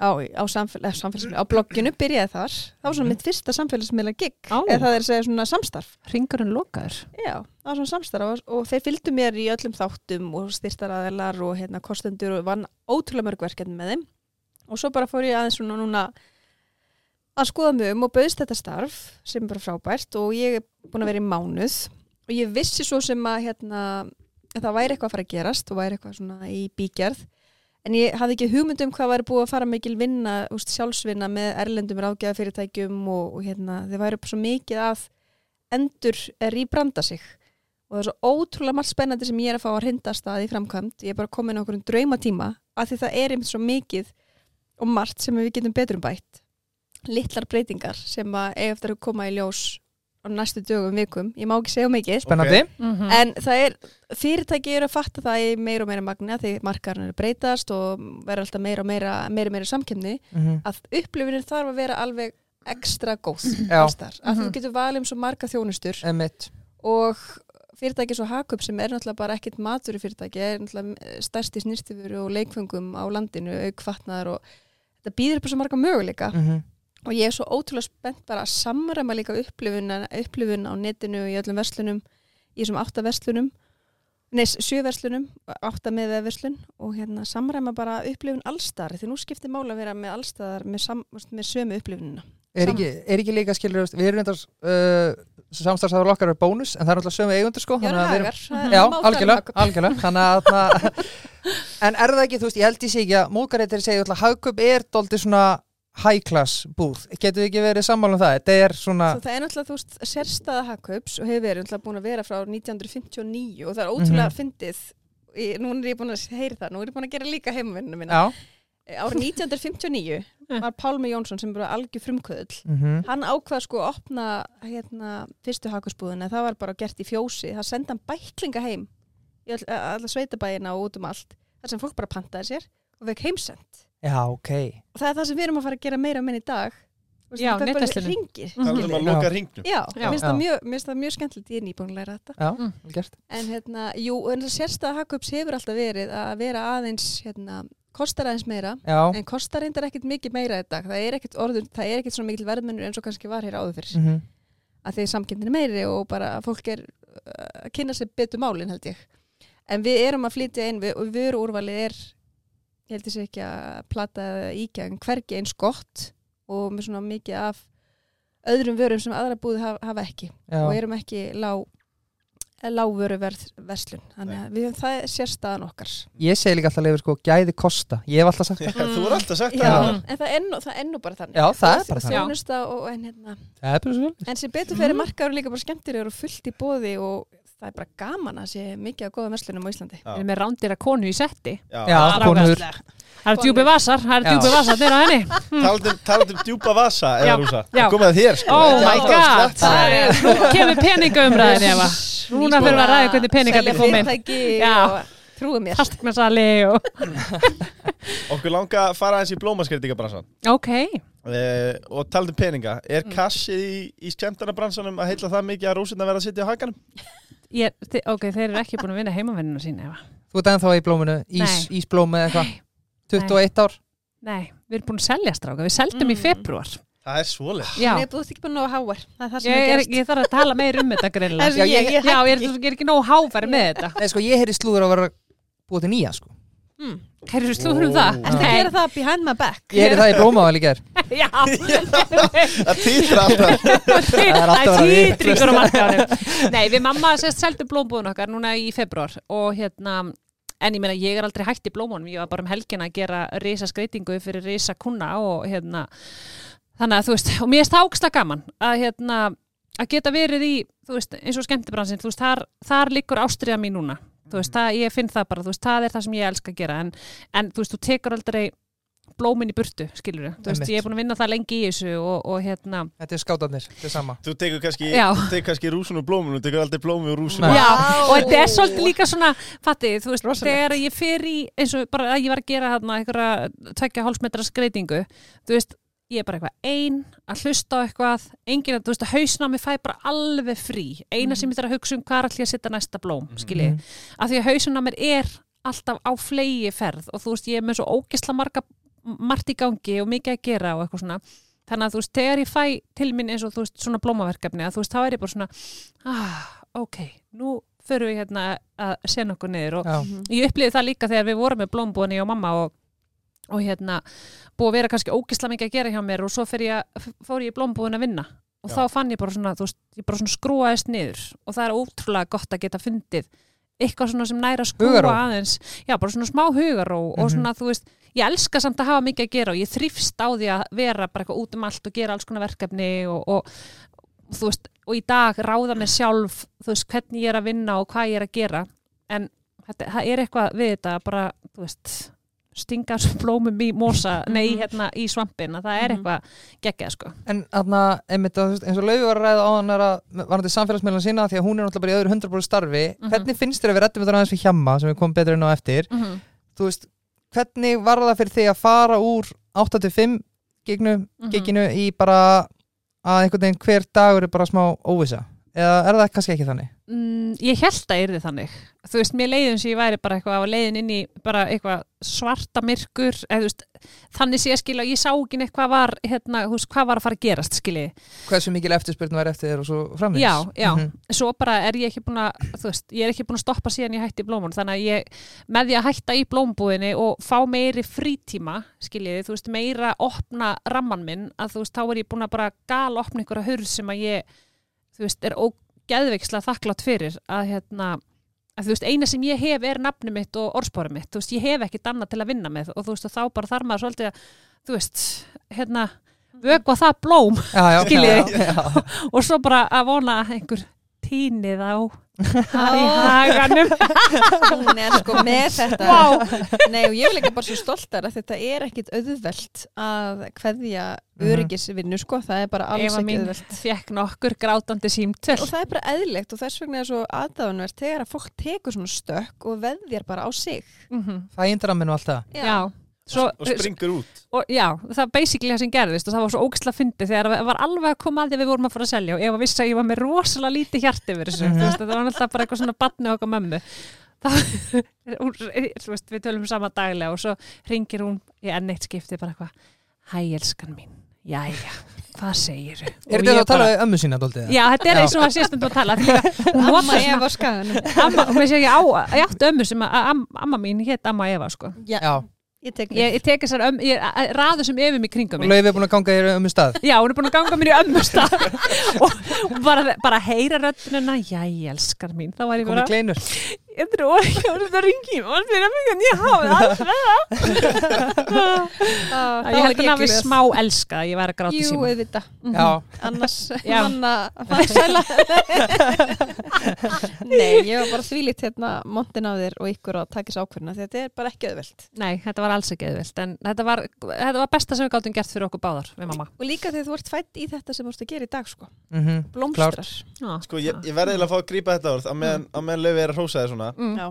[SPEAKER 4] á, á samfél, samfélagsmiðla á blogginu byrjaði þar það var svona mitt fyrsta samfélagsmiðla gig
[SPEAKER 3] Á.
[SPEAKER 4] eða það er að segja svona samstarf
[SPEAKER 3] Ringurinn lokaður
[SPEAKER 4] Já, það var svona samstarf og- og þeir fylgdu mér í öllum þáttum og styrstaraðelar og hérna kostendur og vann ótrúlega mörg verkefni með þeim og svo bara fór ég aðeins svona núna að skoða mig um og bauðst þetta starf sem er bara frábært og ég er búin að vera í mánuð og ég vissi svo sem að hérna að það væri eitthvað að fara að gerast og væri eitthvað svona í bígerð en ég hafði ekki hugmynd um hvað væri búið að fara mikil vinna, úst, sjálfsvinna með erlendum ráðgjafafyrirtækjum og, og hérna þeir væri svo mikið að endur rýbranda sig og það er svo ótrúlega margt spennandi sem ég er að fá að hrinda af stað í framkvæmt ég er bara komin á okkur um draumatíma af því það er einmitt svo mikið og margt sem við getum betur um bætt litlar breytingar sem að eiga eftir að koma í ljós á næstu dögum vikum, ég má ekki segja of mikið
[SPEAKER 2] Spennandi.
[SPEAKER 3] Mhm. Mm.
[SPEAKER 4] en það er, fyrirtæki eru að fatta það í meira og meira magna því markarinn eru að breytast og verður alltaf meira og meira meira og meira samkemni
[SPEAKER 2] Mhm.
[SPEAKER 4] að upplifunin þarf að vera alveg ekstra góð
[SPEAKER 2] Já.
[SPEAKER 4] alls staðar. að þú getur valið um svo marga þjónustur
[SPEAKER 2] Emmitt.
[SPEAKER 4] og fyrirtæki svo Hakup sem er náttúrulega bara ekkit matur í fyrirtæki, er náttúrulega stærsti snýrstifur og leikfengum á landinu auk fatnaðar og þetta býðir upp á svo marga möguleika
[SPEAKER 2] Mhm.
[SPEAKER 4] og ég er svo ótrúlega spennt bara að samræma líka upplifun, upplifun á netinu í öllum verslunum, í þessum átta verslunum nei, sjö verslunum átta með verslun og hérna samræma bara upplifun allstar því nú skiptir mála að vera með allstar með, sam, með sömu upplifunina
[SPEAKER 2] Er ekki, er ekki líka skilur, við erum þetta uh, samstarfsæður okkar er bónus en það er alltaf sömu eigundur sko
[SPEAKER 4] Jörn
[SPEAKER 2] þannig að við erum-
[SPEAKER 4] Hagar, það er
[SPEAKER 2] Já,
[SPEAKER 4] mátar
[SPEAKER 2] algjörlega,
[SPEAKER 4] Hakup.
[SPEAKER 2] algjörlega þannig að þarna- en er það ekki, þú veist, ég held ég sé ekki að mókareitir segja, ætla, hagkaup er doldið svona high class búð, getur við ekki verið sammála um það, þetta er svona
[SPEAKER 4] Svo það er náttúrulega, þú veist, sérstæða Hakkaups og hefur verið náttúrulega búin að vera frá 1959 og það er ótrúlega
[SPEAKER 2] Mhm.
[SPEAKER 4] fyndið. Ég, núna er ég búin að heyra það, nú er ég búin að gera líka heimavinnuna mína.
[SPEAKER 2] já,
[SPEAKER 4] árið 1959 var Pálmi Jónsson sem bara algjör frumkvöðl
[SPEAKER 2] Mhm.
[SPEAKER 4] hann ákvað sko að opna hérna, fyrstu hakusbúðina, það var bara gert í fjósi það sendi hann bæklinga heim í all, alla sveitabæina og út um allt þar sem fólk bara pantaði sér og vekk heimsend
[SPEAKER 2] Já, ok
[SPEAKER 4] og það er það sem við erum að fara að gera meira menn í dag Þú veist,
[SPEAKER 3] Já,
[SPEAKER 4] þetta er bara
[SPEAKER 3] netverslunin.
[SPEAKER 4] hringir,
[SPEAKER 3] Mhm.
[SPEAKER 1] Það er um
[SPEAKER 4] skilurðu.
[SPEAKER 1] að loka ringnum.
[SPEAKER 4] Já,
[SPEAKER 3] Já.
[SPEAKER 4] mér finnst það
[SPEAKER 2] Já.
[SPEAKER 4] mjög- mér finnst það mjög skemmtilegt ég er nýbúin að læra þetta
[SPEAKER 2] Já,
[SPEAKER 3] Mm.
[SPEAKER 2] vel gert
[SPEAKER 4] en hérna, jú, en það sérstæða hakups hefur alltaf verið að vera aðeins hérna, kostar aðeins meira
[SPEAKER 2] Já,
[SPEAKER 4] en kostar reyndar ekkit mikið meira í dag það er ekkit orður, það er ekkit svona mikil verðmennur eins og kannski var hér áður fyrir
[SPEAKER 2] mm
[SPEAKER 4] að því samkendin er meiri og bara fólk er uh, að kynna sér betur málin held ég en við erum að flytja inn við, og vöruúrvalið er ég held ég sé ekki að plata eða íkja en hvergi eins gott og með svona mikið af öðrum vörum sem aðra búið hafa, hafa ekki og
[SPEAKER 2] já,
[SPEAKER 4] erum ekki lág lágvöruverð verslun þannig að við, það er sérstaðan okkar
[SPEAKER 2] ég segi líka alltaf leifur sko gæði kosta, ég hef alltaf sagt það
[SPEAKER 1] Þú er alltaf sagt
[SPEAKER 4] Já,
[SPEAKER 1] það.
[SPEAKER 4] en það er nú- það er nú bara þannig
[SPEAKER 2] Já, það er bara
[SPEAKER 4] Og
[SPEAKER 2] þannig. Mm.
[SPEAKER 4] þjónusta og, en, hérna,
[SPEAKER 2] Það er bara svo vel
[SPEAKER 4] En sem betur fyrir markaður líka bara skemmtilegur og fullt í bóði og það er bara gaman að sé mikið af góða verslunum á Íslandi.
[SPEAKER 1] Já.
[SPEAKER 3] Við erum með rándýra konu í setti.
[SPEAKER 2] Já,
[SPEAKER 1] Já.
[SPEAKER 2] konur,
[SPEAKER 3] Það eru djúpi vasar, það eru
[SPEAKER 2] Já.
[SPEAKER 3] djúpi vasar, þeirra henni.
[SPEAKER 1] Talandi talandi um djúpa vasa, eða
[SPEAKER 3] Já.
[SPEAKER 1] rúsa.
[SPEAKER 3] Já.
[SPEAKER 1] Komið að þér, sko.
[SPEAKER 3] Oh
[SPEAKER 1] Þetta
[SPEAKER 3] my
[SPEAKER 1] er alltaf að
[SPEAKER 3] god,
[SPEAKER 1] sleppa.
[SPEAKER 3] það er, nú kemur peningaumræðin Eva. Núna þurfum við að ræða hvernig peningarnir koma inn.
[SPEAKER 4] Selja
[SPEAKER 3] Já.
[SPEAKER 4] fyrirtæki og trúið mér.
[SPEAKER 3] Fastegnasali og...
[SPEAKER 1] Okkur langa að fara aðeins í blómaskriðtingabransan.
[SPEAKER 3] Ok,
[SPEAKER 1] Eh, og talandi um peninga, er kassið í, í skemmtarabransanum að heilla það mikið að rúsina verða að sitja á hakanum?
[SPEAKER 3] ég, þi- ok, þeir eru ekki búin að vinna heimavennina sína Eva.
[SPEAKER 2] þú ert ennþá í blóminu ís, Ísblómi eða eitthvað 21 ár
[SPEAKER 3] Nei, við erum búin að selja stráka, við seldum í februar.
[SPEAKER 1] Það er svoleið.
[SPEAKER 3] Já,
[SPEAKER 4] Nei, þú ert ekki bara nógu háar. Það er það sem
[SPEAKER 3] ég,
[SPEAKER 4] er
[SPEAKER 3] er,
[SPEAKER 4] gerst.
[SPEAKER 3] ég þarf að tala meir um þetta
[SPEAKER 4] Það
[SPEAKER 3] greinlega.
[SPEAKER 4] er svo
[SPEAKER 2] Já, ég-
[SPEAKER 4] ég, ég,
[SPEAKER 3] Já, ég er, ég er ekki nógu háfæri með þetta.
[SPEAKER 2] Nei, sko, ég heyri slúður að vera búið til nýja, sko
[SPEAKER 3] Herru, slúður um það?
[SPEAKER 1] Ó.
[SPEAKER 4] Ertu að
[SPEAKER 3] Nei.
[SPEAKER 4] gera það behind my back?
[SPEAKER 2] Ég heyri það í blómavali gær
[SPEAKER 3] Já,
[SPEAKER 1] Það týttir alltaf.
[SPEAKER 3] það
[SPEAKER 2] er alltaf að vera vitlaust.
[SPEAKER 3] títringur á markaðanum. Nei, við mamma sérst seldu blómbúðun okkar núna í februar og hérna, en ég meina ég er aldrei hætt í blómunum, ég var bara um helgina að gera risa skreitingu fyrir risa kuna og hérna, þannig að þú veist, og mér er það áksla gaman að hérna, að geta verið í, þú veist, eins og skemmtibransin, þú veist, þar, þar liggur ástriða mín núna. Þú veist, það, ég finn það bara, þú veist, það er það sem ég elska að gera, en, en þú veist, þú tekur aldrei blómin í burtu, skilur þú veist,
[SPEAKER 2] Einmitt.
[SPEAKER 3] ég er búin að vinna það lengi í þessu og, og hérna,
[SPEAKER 2] Þetta er skátarnir, þetta er sama
[SPEAKER 1] Þú tekur kannski,
[SPEAKER 3] Já.
[SPEAKER 1] tekur kannski rúsun og blómun, þú tekur aldrei blómi og rúsun.
[SPEAKER 2] Nei.
[SPEAKER 3] Já,
[SPEAKER 4] Vá.
[SPEAKER 3] og þetta er svolítið líka svona fattið, þú veist,
[SPEAKER 4] Rosalegt.
[SPEAKER 3] þegar ég fer í eins og bara að ég var að gera þarna einhverja tvekja hálfsmetra skreitingu þú veist, ég er bara eitthvað ein að hlusta á eitthvað, enginn að, þú veist, að hausnámi fæ bara alveg frí eina sem ég þarf að hugsa um hvað er allir að setja næsta blóm skilji,
[SPEAKER 2] Mhm.
[SPEAKER 3] af því að hausnámir er alltaf á flegi ferð og þú veist, ég er með svo ógisla marga margt í gangi og mikið að gera og eitthvað svona þannig að þú veist, þegar ég fæ til minn eins og þú veist, svona blómaverkefni að þú veist, þá er ég bara svona ah, ok, nú förum við hérna að sena okkur niður og
[SPEAKER 2] Já,
[SPEAKER 3] ég upplýði það líka þegar við vorum með blómbúðinni og mamma og, og hérna búið að vera kannski ógisla mikið að gera hjá mér og svo fer ég, að- fór ég í blómbúðin að vinna og
[SPEAKER 1] Já.
[SPEAKER 3] þá fann ég bara svona, þú veist, ég bara svona skrúaðist niður og það er ótrúlega gott að geta fundið eitthvað svona sem næra skrúa
[SPEAKER 2] Hugarró.
[SPEAKER 3] aðeins já, bara svona smá hugaró og
[SPEAKER 2] Mhm.
[SPEAKER 3] svona, þú veist, ég elska samt að hafa mikið að gera og ég þrýfst á því að vera bara eitthvað út um allt og gera alls konar verkefni og, og þú veist, og í dag ráða mér sjálf, þú veist, hvernig ég er að vinna og hvað ég er að gera, en þetta, það er eitthvað við þetta að bara, þú veist stinga svo blómum í mosa nei, hérna, í svampin, að það er eitthvað geggjað, sko.
[SPEAKER 2] en þarna, einmitt, að, þú veist, eins og Laufi var að ræða á hann varandi samfélagsmiðlan sína, því að hún er náttúrulega bara í öðru 100% starfi,
[SPEAKER 3] Mhm.
[SPEAKER 2] hvernig finnst þér að við rættum þetta aðeins við hjamma, sem við komum betur inn á eftir þú veist, hvernig var það fyrir þig að fara úr 85 gegnu,
[SPEAKER 3] Mhm.
[SPEAKER 2] geginu í bara að einhvern veginn hver dagur er bara smá óvisa, eða er það kannski ekki þannig?
[SPEAKER 3] Mm, ég held að yrði þannig þú veist, mér leiðum sem ég væri bara eitthvað á leiðin inn í bara eitthvað svarta myrkur eða þú veist, þannig sé ég skilja og ég sá ekki neitt hvað var, hérna, þú veist, hvað var að fara að gerast skiljiði.
[SPEAKER 2] Hversu mikil eftirspurn var eftir þér og svo framvegis?
[SPEAKER 3] Já, já.
[SPEAKER 2] Mhm.
[SPEAKER 3] svo bara er ég ekki búin að þú veist, ég er ekki búin að stoppa síðan ég hætti í blómun þannig að ég, með því að hætta í blómbúðinni og fá meiri frítíma skiljiði, þú veist, meira opna ramman minn, að þú veist, þá er ég búin að bara gal opna einhverja hurð sem að ég þú veist, er ógeðveikslega þakklátt fyrir að hérna að þú veist, eina sem ég hef er nafni mitt og orðspóri mitt, þú veist, ég hef ekkit annað til að vinna með og þú veist, og þá bara þarf maður svolítið að þú veist, hérna vögva það blóm
[SPEAKER 2] já, já,
[SPEAKER 3] Skiljiði.
[SPEAKER 2] já, já.
[SPEAKER 3] og svo bara að vona að einhver trínið á í haganum
[SPEAKER 4] hún er sko með þetta
[SPEAKER 3] Vá.
[SPEAKER 4] Nei og ég vil ekki bara svo stoltar að þetta er ekkit auðvelt að hverja
[SPEAKER 2] Mhm.
[SPEAKER 4] öryggisvinnu sko, það er bara alls
[SPEAKER 3] Eva
[SPEAKER 4] ekki
[SPEAKER 3] mín
[SPEAKER 4] auðvelt
[SPEAKER 3] fekk nokkur grátandi símtöl
[SPEAKER 4] og það er bara eðlikt og þess vegna er svo aðdáðanvert þegar að fólk tekur svona stökk og veðjar bara á sig
[SPEAKER 3] Mhm.
[SPEAKER 2] Þægindramminu alltaf
[SPEAKER 3] Já, svo,
[SPEAKER 1] og springur út
[SPEAKER 3] og, já, það er basically það sem gerðist og það var svo ógisla fyndið þegar það var alveg að koma að því að við vorum að fara að selja og Eva vissi að ég var með rosalega lítið hjart yfir þessu,
[SPEAKER 2] Mhm.
[SPEAKER 3] þú veist, þetta var náttúrulega bara eitthvað svona batni okkar mömmu það, hún, þú veist, við tölum saman daglega og svo ringir hún í enn eitt skipti bara eitthvað, hæ elskan mín jæja, hvað segir
[SPEAKER 2] Er þetta að tala um ömmu sína dóldið?
[SPEAKER 3] Já, þetta er eins og að sérstundum að tala því að hún notar
[SPEAKER 4] Amma
[SPEAKER 3] svona-
[SPEAKER 4] Eva skagan
[SPEAKER 3] amma- hún veist ekki á, ég átti ömmu sem að, am, amma mín hétt amma Eva sko.
[SPEAKER 2] Já,
[SPEAKER 4] ég tek
[SPEAKER 3] ég, ég tek þessar ömmu, ég raðu sem Evum í kringum
[SPEAKER 2] og
[SPEAKER 3] mig
[SPEAKER 2] Laufey er búin að ganga þér ömmu stað
[SPEAKER 3] Já, hún er búin að ganga mér í ömmustaf og og bara, bara heyra röddununa Jæja, elskar mín Þá var ég
[SPEAKER 2] Komið
[SPEAKER 3] bara
[SPEAKER 2] kleinur
[SPEAKER 3] Ég trú, ég var þetta að ringi og hann fyrir að mig en ég hafa það alveg.
[SPEAKER 4] það
[SPEAKER 3] Ég held að hann við smá elska að ég væri að gráta í
[SPEAKER 4] Jú,
[SPEAKER 3] síma
[SPEAKER 4] auðvita,
[SPEAKER 2] Já,
[SPEAKER 4] annars
[SPEAKER 3] Já.
[SPEAKER 4] manna að fara sæla Nei, ég var bara þvílít hérna montin á þér og ykkur að taka þessu ákvörna þetta er bara ekki auðvelt
[SPEAKER 3] Nei, þetta var alls ekki auðvilt en þetta var, þetta var besta sem við gáttum gert fyrir okkur báðar við mamma
[SPEAKER 4] og líka þegar þú ert fætt í þetta sem þú ert að gera í dag sko,
[SPEAKER 2] mhm
[SPEAKER 4] blómstrar
[SPEAKER 3] Já.
[SPEAKER 1] Sko, ég, ég verði eiginlega að fá að grípa þetta orð á meðan, á meðan löfi er að hrósa þér svona
[SPEAKER 3] Mm.
[SPEAKER 4] Já,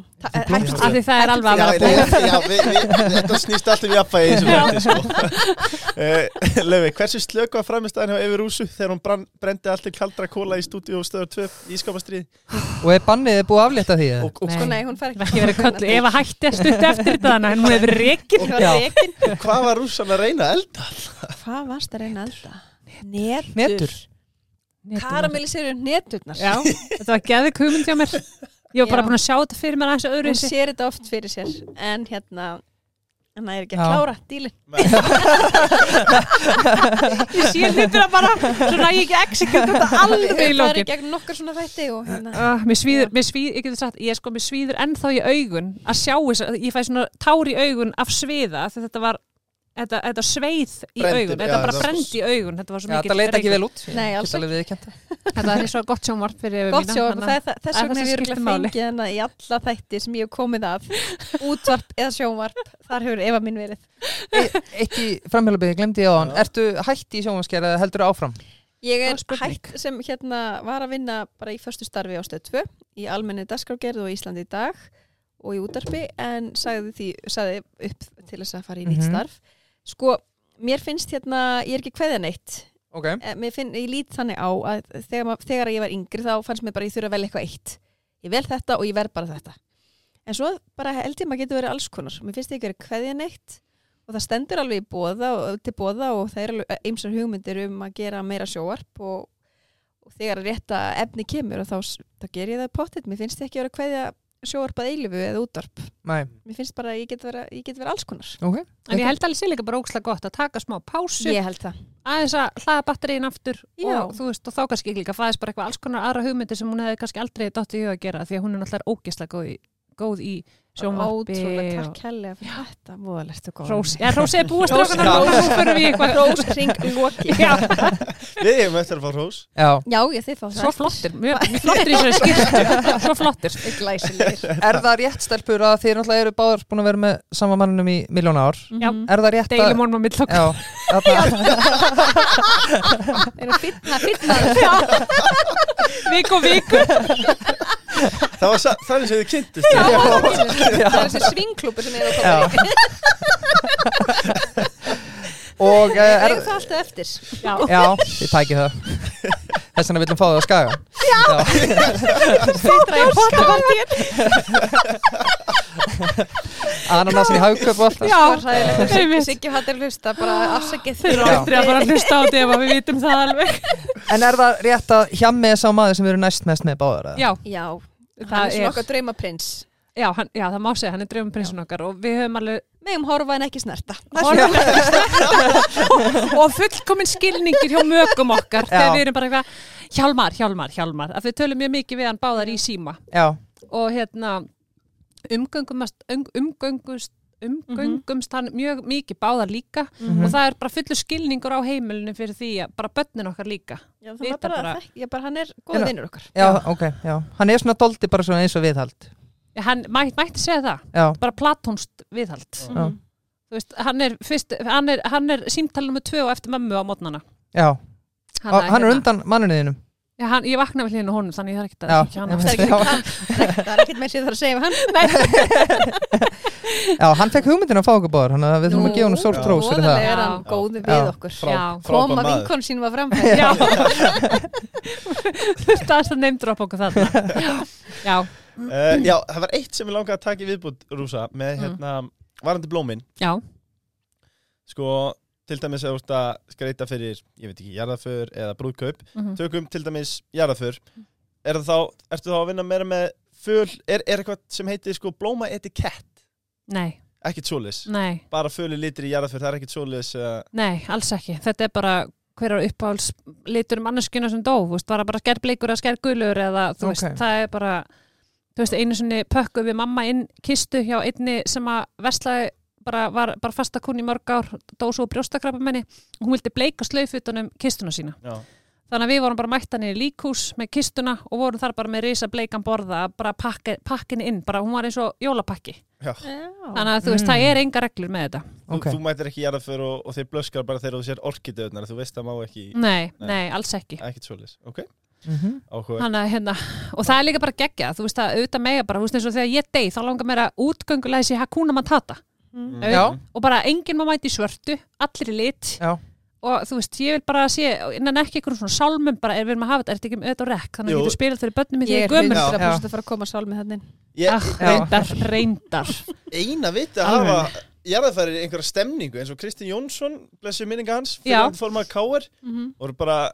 [SPEAKER 1] blómstrar.
[SPEAKER 3] Af því það er alveg
[SPEAKER 1] Já,
[SPEAKER 3] að vera
[SPEAKER 1] nei,
[SPEAKER 3] búið
[SPEAKER 1] já við, við, þetta snýst alltaf í appæði í þessu landi, sko uh, Löfi, hversu slök var framistæðan hjá Efi Rúsu þegar hún brann, brendi allt í kaldra kóla í stúdíu og stöður 2 í skapastrið
[SPEAKER 2] Og er bannið búið að aflétta því? eða?
[SPEAKER 1] og, og,
[SPEAKER 4] sko nei, hún fer
[SPEAKER 3] ekki verið köllu, Eva hætti að stutta eftir þetta þannig að hún hefur reygin
[SPEAKER 4] Ég var
[SPEAKER 2] Já.
[SPEAKER 4] rekin.
[SPEAKER 1] og hvað var Rúsan að reyna að elda?
[SPEAKER 4] Hvað varst að reyna að elda? Netur.
[SPEAKER 2] Netur.
[SPEAKER 4] Karamellisirur neturnar.
[SPEAKER 3] Já, þetta var geðið kumund hjá mér Ég var bara
[SPEAKER 4] Já.
[SPEAKER 3] búin að sjá þetta fyrir mér aðeins öðru
[SPEAKER 4] Hún sér þetta oft fyrir sér, en hérna, en það er ekki að
[SPEAKER 2] Já.
[SPEAKER 4] klára dílinn.
[SPEAKER 3] Ég sé hlutina bara svona að ég ekki exekut þetta alveg í
[SPEAKER 4] Það er
[SPEAKER 3] lókin
[SPEAKER 4] gegn nokkur svona þætti og hérna.
[SPEAKER 3] Uh, mér svíður, mér svíður, ég getur sagt, ég sko, mér svíður ennþá í augun að sjá þess að ég fæ svona tár í augun af sviða þegar þetta var, þetta, þetta sveið í
[SPEAKER 1] Brendi,
[SPEAKER 3] augun,
[SPEAKER 1] já,
[SPEAKER 3] þetta bara
[SPEAKER 1] það-
[SPEAKER 3] brendi í augun, þetta var svo
[SPEAKER 2] Já,
[SPEAKER 3] mikið
[SPEAKER 2] þetta leit ekki vel út
[SPEAKER 4] Nei, alls
[SPEAKER 2] Geta alveg viðurkennt það.
[SPEAKER 3] Þetta er svo gott sjónvarp fyrir
[SPEAKER 4] Gott sjá,
[SPEAKER 3] þannig
[SPEAKER 4] það er það- þess
[SPEAKER 3] að
[SPEAKER 4] vegna hef
[SPEAKER 3] það
[SPEAKER 4] ég
[SPEAKER 3] skiptir
[SPEAKER 4] örugglega
[SPEAKER 3] máli.
[SPEAKER 4] fengið hana í alla þætti sem ég hef komið af, útvarp eða sjónvarp, þar hefur Eva mín verið.
[SPEAKER 2] Eitt í framhjálpið, E, ég glemdi ég á hann Ertu hætti í sjónvaskjæra eða heldur áfram?
[SPEAKER 4] Ég er
[SPEAKER 3] Góð spurning.
[SPEAKER 4] hætt sem hérna var að vinna bara í förstu starfi á stöð 2 í almenni dagskrárgerð og Íslandi í dag og í útarpi en sagði, því, sagði upp til þess að fara í nýtt
[SPEAKER 2] Mhm.
[SPEAKER 4] starf. Sko, mér finnst hérna, ég er ekki kveðan eitt.
[SPEAKER 2] Ok
[SPEAKER 4] Eh, Mér finn, ég lít þannig á að þegar, ma- þegar ég var yngri þá fannst mér bara að ég þurfa að velja eitthvað eitt. Ég vel þetta og ég verð bara þetta. En svo bara held ég maður getur verið alls konar. Mér finnst ég ekki verið kveðjan eitt og það stendur alveg í bóða og, til bóða og það er alveg eimsar hugmyndir um að gera meira sjóarp og, og þegar að rétta efni kemur og þá, s- þá ger ég það pottitt. Mér finnst ég ekki verið að kveðja sjóarp að eilifu eða útvarp.
[SPEAKER 2] Nei,
[SPEAKER 4] Mér finnst bara að ég get verið, ég get verið alls konar.
[SPEAKER 2] ok
[SPEAKER 3] En ég held alveg sér líka bara ógslag gott að taka smá pásu,
[SPEAKER 4] Ég held það.
[SPEAKER 3] aðeins að hlaða batterín aftur
[SPEAKER 4] Já.
[SPEAKER 3] og þú veist, og þá kannski líka fæðist bara eitthvað alls konar aðra hugmyndi sem hún hefði kannski aldrei dótt í huga að gera því að hún er náttúrulega ógislega góð í, góð í sjónvarpi
[SPEAKER 4] Ótrúlega
[SPEAKER 3] og-
[SPEAKER 4] takk helga fyrir þetta. Móðalegt og góð.
[SPEAKER 3] Rós, já, Rós er búið
[SPEAKER 4] Hrós-
[SPEAKER 3] strákanar og nú fyrir við í eitthvað
[SPEAKER 4] Rós kring loki.
[SPEAKER 3] Já,
[SPEAKER 1] Við hefum eftir að fá hrós
[SPEAKER 2] Já,
[SPEAKER 4] Já, ég þið fá það.
[SPEAKER 3] svo flottir, mjög mjög flottir í þessari skýrstu, svo flottir.
[SPEAKER 4] Glæsilegir.
[SPEAKER 2] er það rétt stelpur að þið náttúrulega eru báðar búin að vera með sama manninum í miljón ár
[SPEAKER 3] Já.
[SPEAKER 4] Mhm.
[SPEAKER 2] Er það rétt að
[SPEAKER 3] Deilum honum á mill okkar.
[SPEAKER 2] Já, þarna,
[SPEAKER 4] Þeir eru fyrna, fyrna.
[SPEAKER 3] Viku og viku.
[SPEAKER 1] Það var sa- þannig sem þið kynntist Já,
[SPEAKER 4] Það er þessi svingklúpu sem er að koma.
[SPEAKER 2] já. Og eh,
[SPEAKER 4] Við
[SPEAKER 2] er,
[SPEAKER 4] eigum það alltaf eftir.
[SPEAKER 3] Já,
[SPEAKER 2] Já, ég tæki það Þess vegna viljum fá það á skaga Já,
[SPEAKER 4] Sýtra í hóttapartíð.
[SPEAKER 2] ananasin í hagköp og allt það
[SPEAKER 3] já,
[SPEAKER 4] Ræðilegt.
[SPEAKER 3] einmitt.
[SPEAKER 4] Siggi hattir hlusta, bara afsakið
[SPEAKER 3] Þeir eru
[SPEAKER 2] Já.
[SPEAKER 3] aldrei að bara hlusta á þetta ef að við vitum það alveg.
[SPEAKER 2] En er það rétt að hjammi er sá maður sem eru næst mest með báðar? eða?
[SPEAKER 3] Já,
[SPEAKER 4] Já, það
[SPEAKER 3] Það
[SPEAKER 4] er svona
[SPEAKER 3] er-
[SPEAKER 4] okkar draumaprins.
[SPEAKER 3] já, hann, já það má segja, hann er dröfum prinsun okkar og við höfum alveg,
[SPEAKER 4] Megum horfa en ekki snerta.
[SPEAKER 3] og fullkominn skilningir hjá mögum okkar
[SPEAKER 2] Já.
[SPEAKER 3] þegar við erum bara eitthvað, hjálmar, hjálmar, hjálmar, af því við tölum mjög mikið við hann báðar í síma.
[SPEAKER 2] Já,
[SPEAKER 3] og hérna umgöngumast, um, umgöngust umgöngumst hann mjög mikið báðar líka
[SPEAKER 2] Mhm.
[SPEAKER 3] og það er bara fullur skilningur á heimilinu fyrir því að bara börnin okkar líka
[SPEAKER 4] Já, það
[SPEAKER 3] Vita
[SPEAKER 4] var bara,
[SPEAKER 3] bara-
[SPEAKER 4] bara. Já, bara hann er góð
[SPEAKER 2] Já.
[SPEAKER 4] vinnur okkar.
[SPEAKER 2] já, ok, já Hann er svona doldi bara svona eins og viðhald
[SPEAKER 3] hann mætt, mætti segja það,
[SPEAKER 2] Já,
[SPEAKER 3] bara platónst viðhald
[SPEAKER 2] Já.
[SPEAKER 3] þú veist, hann er, fyrst, hann er, hann er símtalið með tvö og eftir mömmu á mótnana
[SPEAKER 2] já,
[SPEAKER 3] hann, hérna.
[SPEAKER 2] hann, hann er undan mannuninum
[SPEAKER 3] já, hann, ég vakna við hlýðinu honum þannig ég þarf ekki
[SPEAKER 2] Já,
[SPEAKER 3] að ekki
[SPEAKER 2] já.
[SPEAKER 3] hann
[SPEAKER 4] Það er
[SPEAKER 2] Já.
[SPEAKER 4] ekki- hann- nei, það er ekkert meir sem ég þarf að segja um hann.
[SPEAKER 2] Já, hann fekk hugmyndin að fá okkur báður Þannig að við þurfum
[SPEAKER 4] Nú,
[SPEAKER 2] að gefa hann stór
[SPEAKER 1] já.
[SPEAKER 2] trós fyrir það
[SPEAKER 4] Voðalega er
[SPEAKER 3] Já.
[SPEAKER 4] hann góð
[SPEAKER 2] Já.
[SPEAKER 4] við okkur.
[SPEAKER 1] Frá-
[SPEAKER 3] Já.
[SPEAKER 1] frábær
[SPEAKER 4] Koma
[SPEAKER 1] maður.
[SPEAKER 4] vinkon sínum að framfæri.
[SPEAKER 3] já þurfti aðeins að neymdra upp okkur þarna já,
[SPEAKER 1] Uh, já, það var eitt sem ég langaði að taka í viðbútt Rúsa með hérna varandi blómin
[SPEAKER 3] já,
[SPEAKER 1] sko, til dæmis ef þú ert að skreita fyrir, ég veit ekki, jarðaför eða brúðkaup,
[SPEAKER 3] mhm.
[SPEAKER 1] tökum til dæmis jarðaför, er það þá ertu þá að vinna meira með föl er, er eitthvað sem heitir sko blóma etikett
[SPEAKER 3] nei,
[SPEAKER 1] ekkit svolis,
[SPEAKER 3] nei
[SPEAKER 1] bara föli litur í jarðaför það er ekkit svolis, uh,
[SPEAKER 3] Nei, alls ekki. Þetta er bara hver er uppáhalds litur manneskina sem dó, þú veist, var það bara skerðbleikur eða skerðgulur eða þú veist,
[SPEAKER 2] Ókei.
[SPEAKER 3] það er bara þú veist, einu sinni pökkuð við mamma inn kistu hjá einni sem að verslaði bara, var bara fasta kunni í mörg ár dó svo brjóstakrabba menni og hún vildi bleika slaufutunum kistuna sína
[SPEAKER 1] já,
[SPEAKER 3] þannig að við vorum bara mættan í líkhús með kistuna og vorum þar bara með risa bleikan borða að bara pakka, pakkin inn, bara hún var eins og jólapakki,
[SPEAKER 1] já.
[SPEAKER 4] Já.
[SPEAKER 3] þannig að þú veist,
[SPEAKER 2] Mm.
[SPEAKER 3] það er enga reglur með þetta
[SPEAKER 2] Ok.
[SPEAKER 1] Þú, þú mætir ekki jarðaför og, og þeir blöskar bara þegar þú sér orkidöðnar þú veist það má ekki,
[SPEAKER 3] Nei,
[SPEAKER 1] Nei.
[SPEAKER 3] nei, alls ekki
[SPEAKER 1] ekkit svolis ok,
[SPEAKER 2] Mhm.
[SPEAKER 1] áhuga
[SPEAKER 3] Hanna, hérna, og það er líka bara geggja þú veist að auðvitað mega bara, þú veist eins og þegar ég dey þá langar mér að útgöngulæsi Hakuna Matata
[SPEAKER 4] Mm.
[SPEAKER 3] Ef-
[SPEAKER 2] Já.
[SPEAKER 3] og bara enginn má mæti svörtu, allir í lit
[SPEAKER 2] Já.
[SPEAKER 3] og þú veist, ég vil bara sé innan ekki einhverjum svona sálmum bara er við erum að hafa þetta, er þetta ekki um auðvitað og rekk þannig
[SPEAKER 1] Jú.
[SPEAKER 3] að getur spilað fyrir börnum í því
[SPEAKER 4] Ég er
[SPEAKER 3] ég er gömur
[SPEAKER 1] Já.
[SPEAKER 4] 100% að fara að koma hérna sálmið þannig.
[SPEAKER 1] ég,
[SPEAKER 3] ah, reyndar, reyndar
[SPEAKER 1] eina viti að
[SPEAKER 3] Alveg.
[SPEAKER 1] hafa jarðafæri einhverja stemningu eins og Kristinn Jónsson blessu minninga hans,
[SPEAKER 3] Já. Mhm.
[SPEAKER 1] fyrir fór maður káir voru bara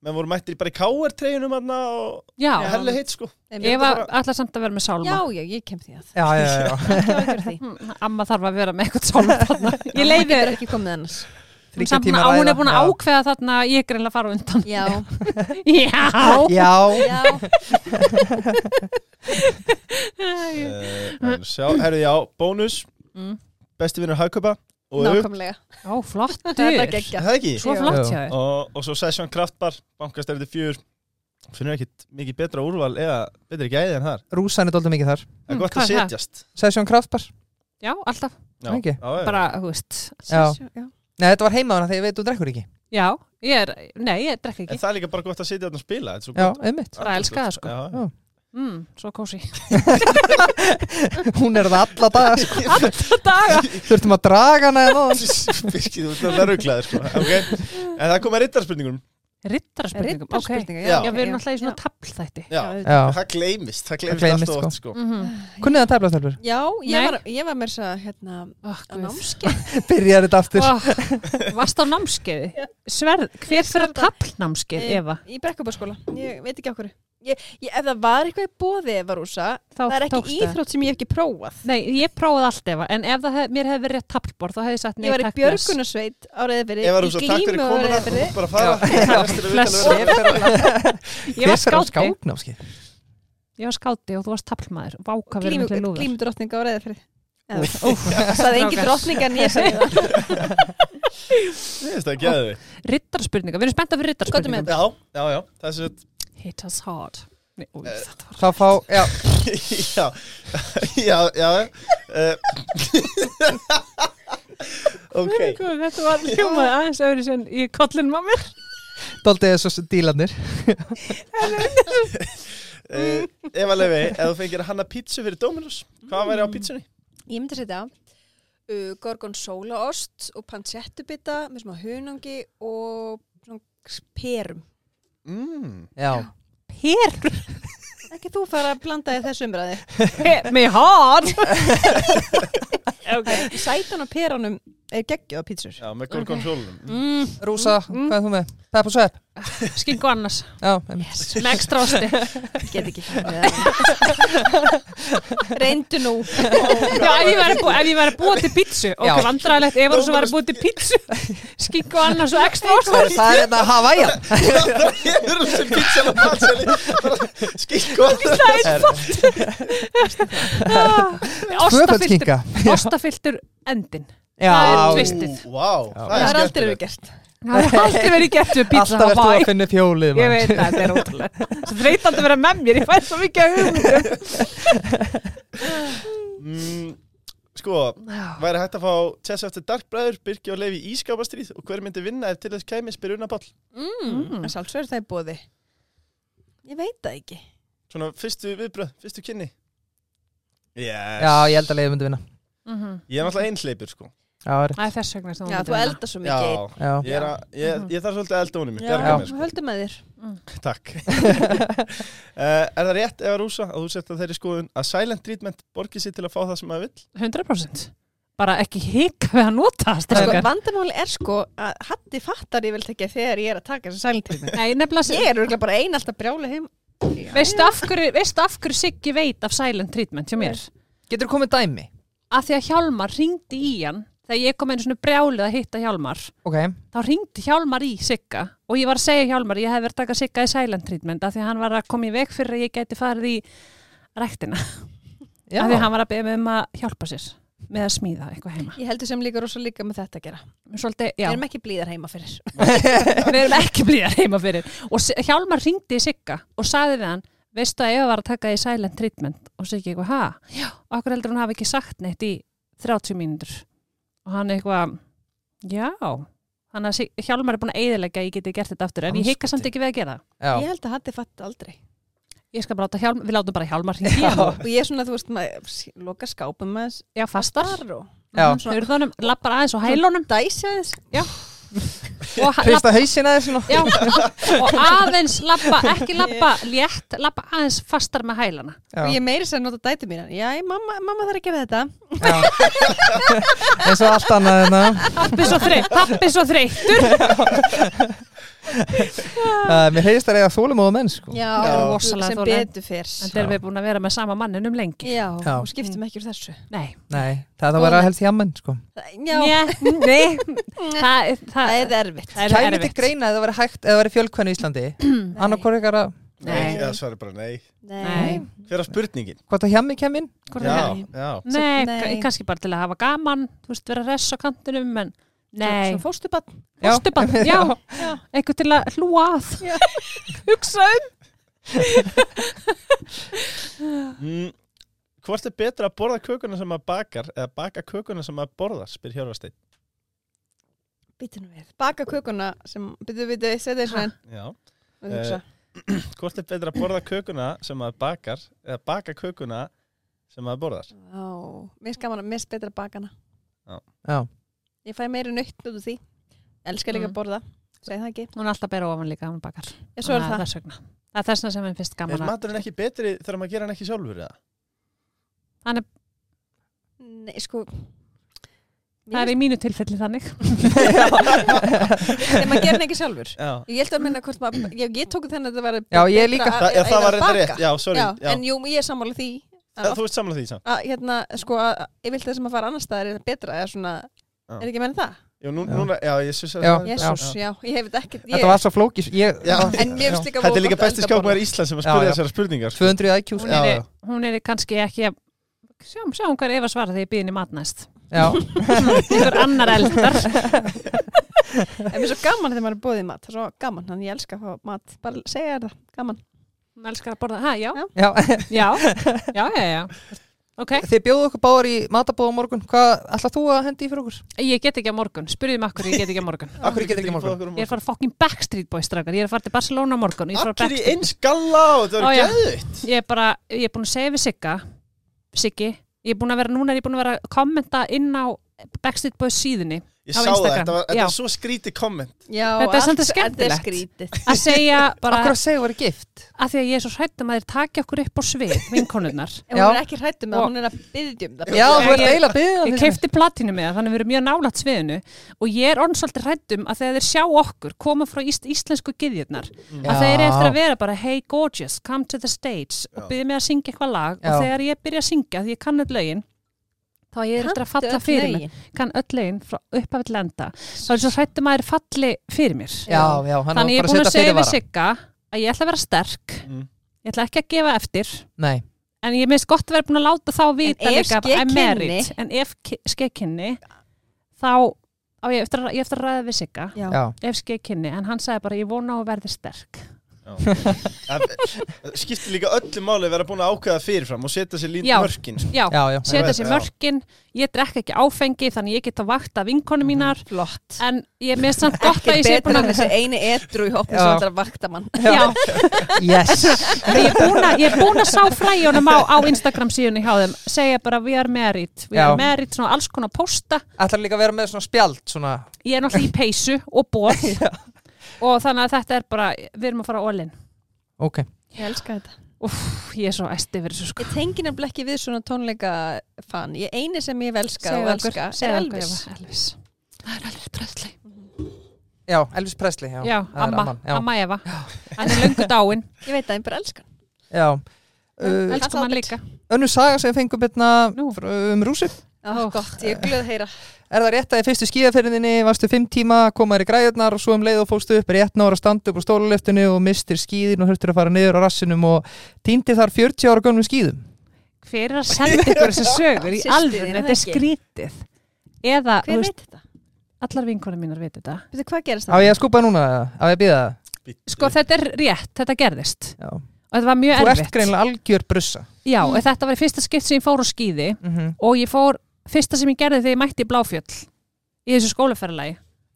[SPEAKER 1] menn voru mættir bara í káir treyjunum hann og
[SPEAKER 3] Já,
[SPEAKER 1] ja. hellu hitt sko
[SPEAKER 3] ég var alltaf samt að vera með sálma
[SPEAKER 4] Já, já, ég kem því að.
[SPEAKER 2] Já, já, já, já.
[SPEAKER 4] Ekki áhyggjur af því.
[SPEAKER 3] Hm, Amma þarf að vera með eitthvað sálma þarna. Ég
[SPEAKER 4] Amma
[SPEAKER 3] leiði
[SPEAKER 4] getur ekki komið annars.
[SPEAKER 3] hún,
[SPEAKER 2] Þriggja
[SPEAKER 3] samt búin
[SPEAKER 2] tíma
[SPEAKER 3] að- hún
[SPEAKER 2] ræða.
[SPEAKER 3] er búin
[SPEAKER 2] Já.
[SPEAKER 3] að ákveða þarna að ég er greinlega að fara á undan
[SPEAKER 4] Já,
[SPEAKER 3] Já,
[SPEAKER 2] Já,
[SPEAKER 4] já.
[SPEAKER 1] uh, sjá, herðu já, bónus
[SPEAKER 3] Mm.
[SPEAKER 1] besti vinnur hagkaupa og upp,
[SPEAKER 4] Nákvæmlega.
[SPEAKER 3] Já, flottur
[SPEAKER 4] Það er ekki ekki.
[SPEAKER 1] er það ekki
[SPEAKER 3] Svo
[SPEAKER 4] Já.
[SPEAKER 3] flott
[SPEAKER 2] Já.
[SPEAKER 3] hjá þér
[SPEAKER 1] og, og svo Session Kraftbar, bankastærið fjör finnur ekkit mikið betra úrval eða betri gæði en þar
[SPEAKER 2] rúsan er doldið mikið þar
[SPEAKER 1] það
[SPEAKER 3] Mm,
[SPEAKER 1] er gott
[SPEAKER 3] hvað
[SPEAKER 1] að
[SPEAKER 3] er það?
[SPEAKER 1] setjast
[SPEAKER 2] Sessjón Kraftbar
[SPEAKER 3] Já, alltaf,
[SPEAKER 1] já,
[SPEAKER 2] Ekki?
[SPEAKER 1] já, já.
[SPEAKER 3] bara, þú veist
[SPEAKER 2] Já.
[SPEAKER 4] já.
[SPEAKER 2] Nei, þetta var heimaðan að þegar ég veit þú drekkur ekki
[SPEAKER 3] Já, ég er, nei, ég drekka
[SPEAKER 1] en
[SPEAKER 3] ekki
[SPEAKER 1] það er líka bara gott að setja þarna og spila þetta er svo
[SPEAKER 2] Já,
[SPEAKER 1] gott.
[SPEAKER 2] einmitt
[SPEAKER 3] Bara elska það, sko.
[SPEAKER 1] Já, já.
[SPEAKER 3] mm, Svo kósi
[SPEAKER 2] Hún er það alla daga sko.
[SPEAKER 3] Alla daga
[SPEAKER 2] Þurftum að draga hana hérna eða náðan
[SPEAKER 1] Birkir, þú ert að rugglaðir sko. okay. En það kom að rittarspurningum
[SPEAKER 3] Rittarspurningum, ok
[SPEAKER 4] Riddarspurningar,
[SPEAKER 1] Já.
[SPEAKER 3] Já, við erum alltaf í svona
[SPEAKER 4] Já.
[SPEAKER 3] tablþætti
[SPEAKER 1] Já,
[SPEAKER 4] Já,
[SPEAKER 2] Já,
[SPEAKER 1] það gleymist Það gleymist,
[SPEAKER 2] gleymist,
[SPEAKER 1] alltaf oft sko.
[SPEAKER 3] Mhm.
[SPEAKER 2] kunnið það tefla stelfur
[SPEAKER 4] Já, ég
[SPEAKER 3] Nei.
[SPEAKER 4] var, ég var mér svo hérna
[SPEAKER 3] Ó,
[SPEAKER 4] á
[SPEAKER 3] guð.
[SPEAKER 4] námskeið.
[SPEAKER 2] Byrjar þetta aftur
[SPEAKER 3] Ó, Varst á námskeiði? Sverð, hver fyrir að tablnámskeið,
[SPEAKER 4] Eh,
[SPEAKER 3] Eva?
[SPEAKER 4] Í Brekkubaskóla, ég veit ekki okkur. Ég, ég, ef það var eitthvað í bóði Eva Rúsa,
[SPEAKER 3] Þá
[SPEAKER 4] það er ekki
[SPEAKER 3] tókstu.
[SPEAKER 4] íþrótt sem ég hef ekki prófað.
[SPEAKER 3] Nei, ég prófaði allt, Eva En ef það hef, mér hefði verið rétt tablborð, þá hefði ég sagt nei,
[SPEAKER 4] Ég var í
[SPEAKER 3] takk, bless.
[SPEAKER 4] Björgunarsveit á
[SPEAKER 1] Ef
[SPEAKER 4] Reyðfyrri, í
[SPEAKER 1] var þú svo takk fyrir
[SPEAKER 4] Glímu á
[SPEAKER 1] komuna Þú
[SPEAKER 4] Reyðfyrri.
[SPEAKER 1] ert bara að fara Restur af
[SPEAKER 3] bless.
[SPEAKER 1] viðtalinu verður-
[SPEAKER 3] Ég var
[SPEAKER 2] Hver fer um á
[SPEAKER 3] skáti,
[SPEAKER 2] skáknámskeið?
[SPEAKER 3] ég var skáti og þú varst tablmaður Váka verið miklu
[SPEAKER 4] Glímu-
[SPEAKER 3] lúður
[SPEAKER 4] Glímudrottninga á Reyðfyrri.
[SPEAKER 2] Úff.
[SPEAKER 4] Það er engin drottning en ég segi það.
[SPEAKER 1] Mér finnst Það geði við
[SPEAKER 3] Rittarspurningar, við erum spenntað fyrir
[SPEAKER 4] Skotum með
[SPEAKER 3] rittarspurningum
[SPEAKER 1] Já, já, já Það er svo
[SPEAKER 3] Hit us hard Nei, ó, þetta var
[SPEAKER 2] Þá fá, já,
[SPEAKER 1] Já, já, já uh, Ok
[SPEAKER 3] Guð, Þetta var hljómaði aðeins öðru sem í kollin maður.
[SPEAKER 2] doldið þessu dílanir
[SPEAKER 1] uh, Eva Lefi, ef þú fengir að hanna pítsu fyrir Dominus Hvað væri á pítsunni?
[SPEAKER 4] Ég myndi að setja uh, gorgonzólaost og pancettubitta með smá hunangi og svona perum.
[SPEAKER 1] Mm.
[SPEAKER 2] Já,
[SPEAKER 3] Hér,
[SPEAKER 4] Ekki þú fara að blanda í þessu umræði.
[SPEAKER 3] hér, með hard.
[SPEAKER 4] Okay. Sætan og perunum er geggjöða pítsur.
[SPEAKER 1] Já, með Gorgon Sjólunum
[SPEAKER 3] Mm,
[SPEAKER 2] Rúsa, hvað er þú með? Pepp og svepp
[SPEAKER 3] Skingu annars.
[SPEAKER 2] Já, einmitt
[SPEAKER 3] Með ekstra ásti.
[SPEAKER 4] Get ekki. Reyndu nú.
[SPEAKER 3] Já, ef ég væri bú- ef ég væri að búa til pítsu.
[SPEAKER 2] Já.
[SPEAKER 3] Ok, vandræðilegt, ef þú væri að búa til pítsu. Skingu annars og ekstra ásti.
[SPEAKER 2] hérna Það er þetta Havajan
[SPEAKER 1] Það eru sem pítsu Marcella, Marcella Skýt gott
[SPEAKER 3] Ostafiltur, Ah,
[SPEAKER 2] Tvöföldkinka
[SPEAKER 3] ostafiltur endin.
[SPEAKER 2] Já,
[SPEAKER 3] Það er
[SPEAKER 2] já.
[SPEAKER 3] tvist. Tvistið.
[SPEAKER 1] Vá,
[SPEAKER 2] Já.
[SPEAKER 1] það er skemmtilegt
[SPEAKER 4] gert.
[SPEAKER 3] Það hefur aldrei verið gert við pizza
[SPEAKER 2] Alltaf
[SPEAKER 3] á
[SPEAKER 2] ertu
[SPEAKER 3] bæ.
[SPEAKER 2] að finna upp hjólið
[SPEAKER 3] Ég
[SPEAKER 2] maður.
[SPEAKER 3] veit það, þetta er ótrúlega. Það er freytandi að vera með mér, ég fæði svo mikið að hugmyndum.
[SPEAKER 1] Mm, Sko, væri hægt að fá Tess eftir Dark Bræður, Birki og Leif í Ískapastríð og hver myndi vinna ef til þess kæmi spyr Una Páll
[SPEAKER 3] Mm.
[SPEAKER 4] En salsverður það er bóði. Ég veit það ekki.
[SPEAKER 1] Svona fyrstu viðbröð, fyrstu kynni yes.
[SPEAKER 2] Já, ég held að leiði myndi vinna
[SPEAKER 3] Mhm.
[SPEAKER 1] Ég er náttúrulega einhleipur sko
[SPEAKER 2] Já, það er
[SPEAKER 3] Það er þess vegna sem hún
[SPEAKER 4] Já,
[SPEAKER 3] myndi
[SPEAKER 4] þú
[SPEAKER 3] vinna.
[SPEAKER 4] eldar svo
[SPEAKER 1] Já,
[SPEAKER 4] mikið. einn.
[SPEAKER 2] rétt. Já.
[SPEAKER 1] ég, er að,
[SPEAKER 3] Mhm.
[SPEAKER 1] ég, ég þarf svolítið að elda honum
[SPEAKER 4] Já,
[SPEAKER 1] Bjarga mér,
[SPEAKER 4] já. höldum að þér.
[SPEAKER 1] sko. Takk Uh, er það rétt eða rúsa að þú setja þeirri skoðun að silent treatment borgi sér til að fá það sem maður vill?
[SPEAKER 3] 100%. Bara ekki hika við að nota það,
[SPEAKER 4] Sko,
[SPEAKER 3] strákar.
[SPEAKER 4] vandamáli er sko að Hatti fattar ég vel ekki þegar ég er að taka þessi sælintími.
[SPEAKER 3] Nei, nefnilega sem...
[SPEAKER 4] Ég er örugglega bara einn alltaf brjála heim.
[SPEAKER 3] Veistu af, hverju, veistu af hverju Siggi veit af silent treatment hjá mér?
[SPEAKER 2] Getur komið dæmi?
[SPEAKER 3] Af því að Hjálmar ringdi í hann þegar ég kom einu svona brjálið að hitta Hjálmar
[SPEAKER 2] Ok,
[SPEAKER 3] þá ringdi Hjálmar í Sigga og ég var að segja Hjálmar, ég hef verið að taka Sigga í silent treatment af því að hann var að koma í veg fyrir að ég gæti farið í ræktina
[SPEAKER 2] já
[SPEAKER 3] af því að hann var að beða mig um að hjálpa sér með að smíða eitthvað heima
[SPEAKER 4] Ég heldur sem líka rosa líka með þetta að gera.
[SPEAKER 3] Svolítið, já,
[SPEAKER 4] Við erum ekki blíðar heima fyrir.
[SPEAKER 3] við erum ekki blíðar heima fyrir og S- Hjálmar ringdi í Sigga og sagði við hann veistu að ég var að taka í silent treatment og Siggi eitthvað, ha? Já, okkur heldur hún hafi ekki sagt neitt í 30 mínútur og hann eitthvað, já þannig að Sig- Hjálmar er búin að eiðilega að ég geti gert þetta aftur en ég hika samt
[SPEAKER 2] Andskoti.
[SPEAKER 3] ekki við að gera það
[SPEAKER 4] Ég
[SPEAKER 2] já.
[SPEAKER 4] held að Hatti fatta aldrei.
[SPEAKER 3] Ég skal bara láta hjálmar, við látum bara hjálmar hringi hann.
[SPEAKER 4] Og ég er svona, þú veist, maður loka skápum maður
[SPEAKER 3] Já, fastar.
[SPEAKER 4] starf og
[SPEAKER 2] Já.
[SPEAKER 3] Hurðanum, lappar aðeins og hælunum.
[SPEAKER 4] dæsja þess.
[SPEAKER 3] Og, ha- lapp,
[SPEAKER 2] Hrista hausina þér svona
[SPEAKER 3] já, og aðeins lappa, ekki lappa létt, lappa aðeins fastar með hælana.
[SPEAKER 2] Já.
[SPEAKER 4] Og ég meiri sér að nota dæti mín. Já, mamma, mamma þarf að gera þetta.
[SPEAKER 2] Já. eins og allt annað hérna.
[SPEAKER 3] Pappi svo þreytt, pappi svo þreyttur.
[SPEAKER 2] uh, Mér heyrist það eiga þólumóða menn sko.
[SPEAKER 4] Já,
[SPEAKER 3] rosalega
[SPEAKER 4] sem
[SPEAKER 3] þolinmóð.
[SPEAKER 4] betur fyrr.
[SPEAKER 3] En þeir eru búin að vera með sama mannin um lengi.
[SPEAKER 4] Já,
[SPEAKER 2] Já.
[SPEAKER 4] og skiptum ekki úr þessu.
[SPEAKER 3] Nei.
[SPEAKER 2] Nei, það er að vera helst hjá menn sko.
[SPEAKER 4] Já,
[SPEAKER 3] Né, Nei, það, það,
[SPEAKER 4] það
[SPEAKER 3] það,
[SPEAKER 4] er erfitt.
[SPEAKER 3] það er
[SPEAKER 2] Kæmi til
[SPEAKER 3] erfitt.
[SPEAKER 2] greina eða það væri hægt eða það væri fjölkvæðin í Íslandi annað hvort ykkar að
[SPEAKER 3] Nei.
[SPEAKER 1] Eða svarið bara nei
[SPEAKER 3] Nei,
[SPEAKER 4] Nei.
[SPEAKER 1] Hver er spurningin?
[SPEAKER 2] hvort að hjemmi kemur inn
[SPEAKER 3] hvort það
[SPEAKER 1] Já,
[SPEAKER 3] er.
[SPEAKER 1] já
[SPEAKER 3] Nei,
[SPEAKER 4] Nei.
[SPEAKER 3] ka- kannski bara til að hafa gaman, þú veist, vera res á kantinum, en nei.
[SPEAKER 4] Svo fórstu bann.
[SPEAKER 2] Já.
[SPEAKER 3] Fórstubann, já, já. einhver til að hlúa að hugsa um
[SPEAKER 1] Mm, hvort er betra að borða kökuna sem maður bakar eða baka kökuna sem maður borðar, spyr Hjörvarsteinn.
[SPEAKER 4] Býtum við. Baka kökuna sem, býtum við, setja þessu enn.
[SPEAKER 1] Já. Eh.
[SPEAKER 4] Og hugsa.
[SPEAKER 1] Hvort er betra að borða kökuna sem maður bakar eða baka kökuna sem maður borðar?
[SPEAKER 4] Já, mér skaman að mér spetra bakana.
[SPEAKER 2] Já,
[SPEAKER 4] Ég fæ meiri nöytt út úr því. Elskar líka að
[SPEAKER 3] Mm.
[SPEAKER 4] borða. Segð það ekki.
[SPEAKER 3] Hún er alltaf bera ofan líka, hún bakar
[SPEAKER 4] Ég svo er Ah, það.
[SPEAKER 3] Þannig að Þess vegna Það er þessna sem henn finnst
[SPEAKER 1] Er
[SPEAKER 3] gaman að
[SPEAKER 1] maturinn ekki betri þegar maður gera hann ekki sjálfur eða?
[SPEAKER 3] Þannig,
[SPEAKER 4] Nei, sko.
[SPEAKER 3] það er í mínu tilfelli þannig
[SPEAKER 4] Nei, maður gerir það ekki sjálfur.
[SPEAKER 1] Já.
[SPEAKER 4] Ég held að minna hvort maður, ég, ég tók þannig að þetta var
[SPEAKER 2] Já, ég líka.
[SPEAKER 1] Þa, já, það var þetta rétt, já, sorry.
[SPEAKER 4] já,
[SPEAKER 1] Já,
[SPEAKER 4] En jú, ég er sammála því
[SPEAKER 1] Þa,
[SPEAKER 4] að,
[SPEAKER 1] þú ert samlega því samt.
[SPEAKER 4] að hérna, sko, að ég vil það sem að fara annar staðar er betra, eða svona,
[SPEAKER 1] Já.
[SPEAKER 4] er ekki að menna það?
[SPEAKER 1] Jú, nú,
[SPEAKER 2] Já.
[SPEAKER 1] Núna, já, ég syns að
[SPEAKER 2] Já.
[SPEAKER 1] það-
[SPEAKER 4] Jésús, já. ég hef þetta ekki ég,
[SPEAKER 2] þetta var svo flókis ég,
[SPEAKER 1] Já.
[SPEAKER 4] En mér finnst líka
[SPEAKER 1] Þetta er líka
[SPEAKER 4] voða gott að
[SPEAKER 1] besti
[SPEAKER 4] elda bara.
[SPEAKER 1] skjókmaður Ísland sem að
[SPEAKER 2] Já,
[SPEAKER 1] spyrja
[SPEAKER 2] já.
[SPEAKER 1] þessara spurningar. sko.
[SPEAKER 2] 200 IQ sko.
[SPEAKER 3] Hún
[SPEAKER 1] Já,
[SPEAKER 3] er,
[SPEAKER 1] já.
[SPEAKER 3] hún er kannski ekki að Sjáum, sjáum hvað Eva svarar þegar ég býðin í matnæst
[SPEAKER 2] Já,
[SPEAKER 3] Einhver annar eldar
[SPEAKER 4] En mér er svo gaman þegar maður er búið í mat, það er svo gaman, þannig ég elska að fá mat, bara segja þér það, gaman.
[SPEAKER 3] Hún elskar að borða, ha, já,
[SPEAKER 4] Já.
[SPEAKER 2] já
[SPEAKER 3] já, já, já, já. Ok,
[SPEAKER 2] Þið bjóðu okkur báðar í matabóð á morgun Hvað ætlað þú að hendi í fyrir okkur?
[SPEAKER 3] ég get ekki að morgun Spurðum akkur ég get ekki að morgun
[SPEAKER 2] Akkur ég get ekki morgun
[SPEAKER 3] Ég er að fara fucking Backstreet Boys strakar Ég er að fara til Barcelona á morgun Ég er að fara
[SPEAKER 1] Allir í
[SPEAKER 3] Backstreet-
[SPEAKER 1] eins galla og þetta
[SPEAKER 3] Ó,
[SPEAKER 1] var
[SPEAKER 3] já.
[SPEAKER 1] gæðvitt.
[SPEAKER 3] ég er bara, ég er búin að segja við Sigga Siggi, ég er búin að vera núna er ég búin að vera að kommenta inn á Backstreet Boys síðunni
[SPEAKER 1] Ég
[SPEAKER 3] Á
[SPEAKER 1] sá það,
[SPEAKER 3] Instagram,
[SPEAKER 1] þetta var- þetta
[SPEAKER 3] já.
[SPEAKER 1] var svo skrítið komment.
[SPEAKER 4] Já,
[SPEAKER 3] Þetta er samt
[SPEAKER 4] allt-
[SPEAKER 3] skemmtilegt.
[SPEAKER 4] Þetta er skrítið.
[SPEAKER 3] að segja bara,
[SPEAKER 2] Akkur að segja var gift
[SPEAKER 3] að því að ég er svo hrætt um að þeir taki okkur upp á svið, vinkonurnar
[SPEAKER 4] En
[SPEAKER 2] Já.
[SPEAKER 4] hún er ekki hrættum með,
[SPEAKER 3] Og-
[SPEAKER 4] það, hún er að byggja um það.
[SPEAKER 2] Já, þú ert
[SPEAKER 3] Ég-
[SPEAKER 2] eiginlega byggðan
[SPEAKER 3] ég keipti platinu með það, þannig að við erum mjög nálægt sviðinu og ég er orðin svolítið hrætt um að þegar þeir sjá okkur koma frá íst, íslensku gyðjarnar að þeir eru eftir að vera bara hey gorgeous, come to the stage og
[SPEAKER 1] Já.
[SPEAKER 3] byrja mig að syngja eitthvað lag
[SPEAKER 2] Já.
[SPEAKER 3] og þegar ég byrja að syngja, því ég kann öll lögin þá ég er eftir að falla fyrir mig kann öll lögin frá upphafið lenda þá er svo hrættum að þeir falli fyrir mér
[SPEAKER 2] Já, já, hann var
[SPEAKER 3] þannig ég
[SPEAKER 2] bara
[SPEAKER 3] er
[SPEAKER 2] að
[SPEAKER 3] búin að
[SPEAKER 2] setja
[SPEAKER 3] segja við
[SPEAKER 2] fyrirvara
[SPEAKER 3] Sigga að ég ætla að vera sterk
[SPEAKER 1] Mm.
[SPEAKER 3] ég ætla ekki að gefa eftir
[SPEAKER 2] nei,
[SPEAKER 3] en ég minnst gott að vera búin að láta þá vita
[SPEAKER 4] En ef
[SPEAKER 3] líka,
[SPEAKER 4] ske
[SPEAKER 3] I'm married.
[SPEAKER 4] kynni-
[SPEAKER 3] en ef skekkinni þá á ég eftir, að, ég eftir að ræða við sigga
[SPEAKER 4] Já.
[SPEAKER 2] já,
[SPEAKER 3] ef skekkinni, en hann sagði bara ég vona á að verði sterk
[SPEAKER 1] Það skiptir líka öllu máli að vera búin að ákveða fyrirfram og setja sér línt
[SPEAKER 3] Já.
[SPEAKER 1] mörkin sko.
[SPEAKER 3] já,
[SPEAKER 2] já, já.
[SPEAKER 3] setja
[SPEAKER 1] veit,
[SPEAKER 3] sér
[SPEAKER 1] já.
[SPEAKER 3] mörkin ég drekka ekki áfengi þannig ég get að vakta vinkonu mínar
[SPEAKER 4] Flott.
[SPEAKER 3] en ég minnst samt gott að
[SPEAKER 4] Ekki
[SPEAKER 3] ég sé
[SPEAKER 4] betra en
[SPEAKER 3] búin að
[SPEAKER 4] þessi eini edru í hópni
[SPEAKER 2] Já.
[SPEAKER 4] sem ætlar að vakta mann.
[SPEAKER 3] já,
[SPEAKER 2] yes,
[SPEAKER 3] En ég er búin að, ég er búin að sá fræjunum á, á Instagram síðunni hjá þeim segja bara we are married, we
[SPEAKER 2] Já.
[SPEAKER 3] are married svona alls konar posta,
[SPEAKER 2] ætlar líka að vera með svona spjald svona,
[SPEAKER 3] ég er náttúrulega í peysu og bóð og þannig að þetta er bara við erum að fara all in
[SPEAKER 2] ok,
[SPEAKER 4] Ég elska þetta.
[SPEAKER 3] Úff, ég er svo æsti yfir þessu sko
[SPEAKER 4] Ég tengi nefnilega ekki við svona tónleika fan. Ég eini sem ég velska
[SPEAKER 3] Segðu
[SPEAKER 4] og
[SPEAKER 3] okkur,
[SPEAKER 4] elska er
[SPEAKER 3] segðu okkur,
[SPEAKER 4] Elvis.
[SPEAKER 3] Eva, Elvis Það er Elvis Presley
[SPEAKER 2] já, Elvis Presley já,
[SPEAKER 3] Já,
[SPEAKER 2] það er
[SPEAKER 3] amma,
[SPEAKER 2] amman, já.
[SPEAKER 3] amma Eva Hann er löngu dáin,
[SPEAKER 4] Ég veit að ég bara elska hann.
[SPEAKER 2] já Uh,
[SPEAKER 3] elskum hann líka
[SPEAKER 2] önnu saga sem ég fengum betna
[SPEAKER 3] Nú.
[SPEAKER 2] um rúsi
[SPEAKER 4] Oh, gott, ég er glöð að heyra.
[SPEAKER 2] Er það rétt að í fyrstu skíðaferðinni varstu fimm tíma, komaður í græðurnar og svo um leið og fóstu upp rétt náður að standa upp á stóluleftinu og mistir skíðin og hurtur að fara niður á rassinum og týndi þar 40 ára gönnum skíðum.
[SPEAKER 3] Hver er að senda ykkur þessu sögur í
[SPEAKER 4] Systir þín,
[SPEAKER 3] alveg,
[SPEAKER 4] er
[SPEAKER 3] þetta
[SPEAKER 4] það
[SPEAKER 3] er
[SPEAKER 4] ekki?
[SPEAKER 3] skrítið Eða,
[SPEAKER 4] Hver
[SPEAKER 3] þú veist,
[SPEAKER 4] veit þetta?
[SPEAKER 3] allar vinkonum mínar veit þetta
[SPEAKER 4] Veitu hvað gerist
[SPEAKER 2] Á ég að skupa núna það? Á ég að býða það?
[SPEAKER 3] Sko þetta er rétt, þetta gerðist
[SPEAKER 2] Já.
[SPEAKER 3] og þetta var mjög
[SPEAKER 2] Þú
[SPEAKER 3] erfitt
[SPEAKER 2] ert greinlega algjör brussa.
[SPEAKER 3] Já, mm. þetta var í fyrsta skipt sem ég fór á skýði og ég fór, fyrsta sem ég gerði þegar ég mætti í Bláfjöll í þessu skólaferðalagi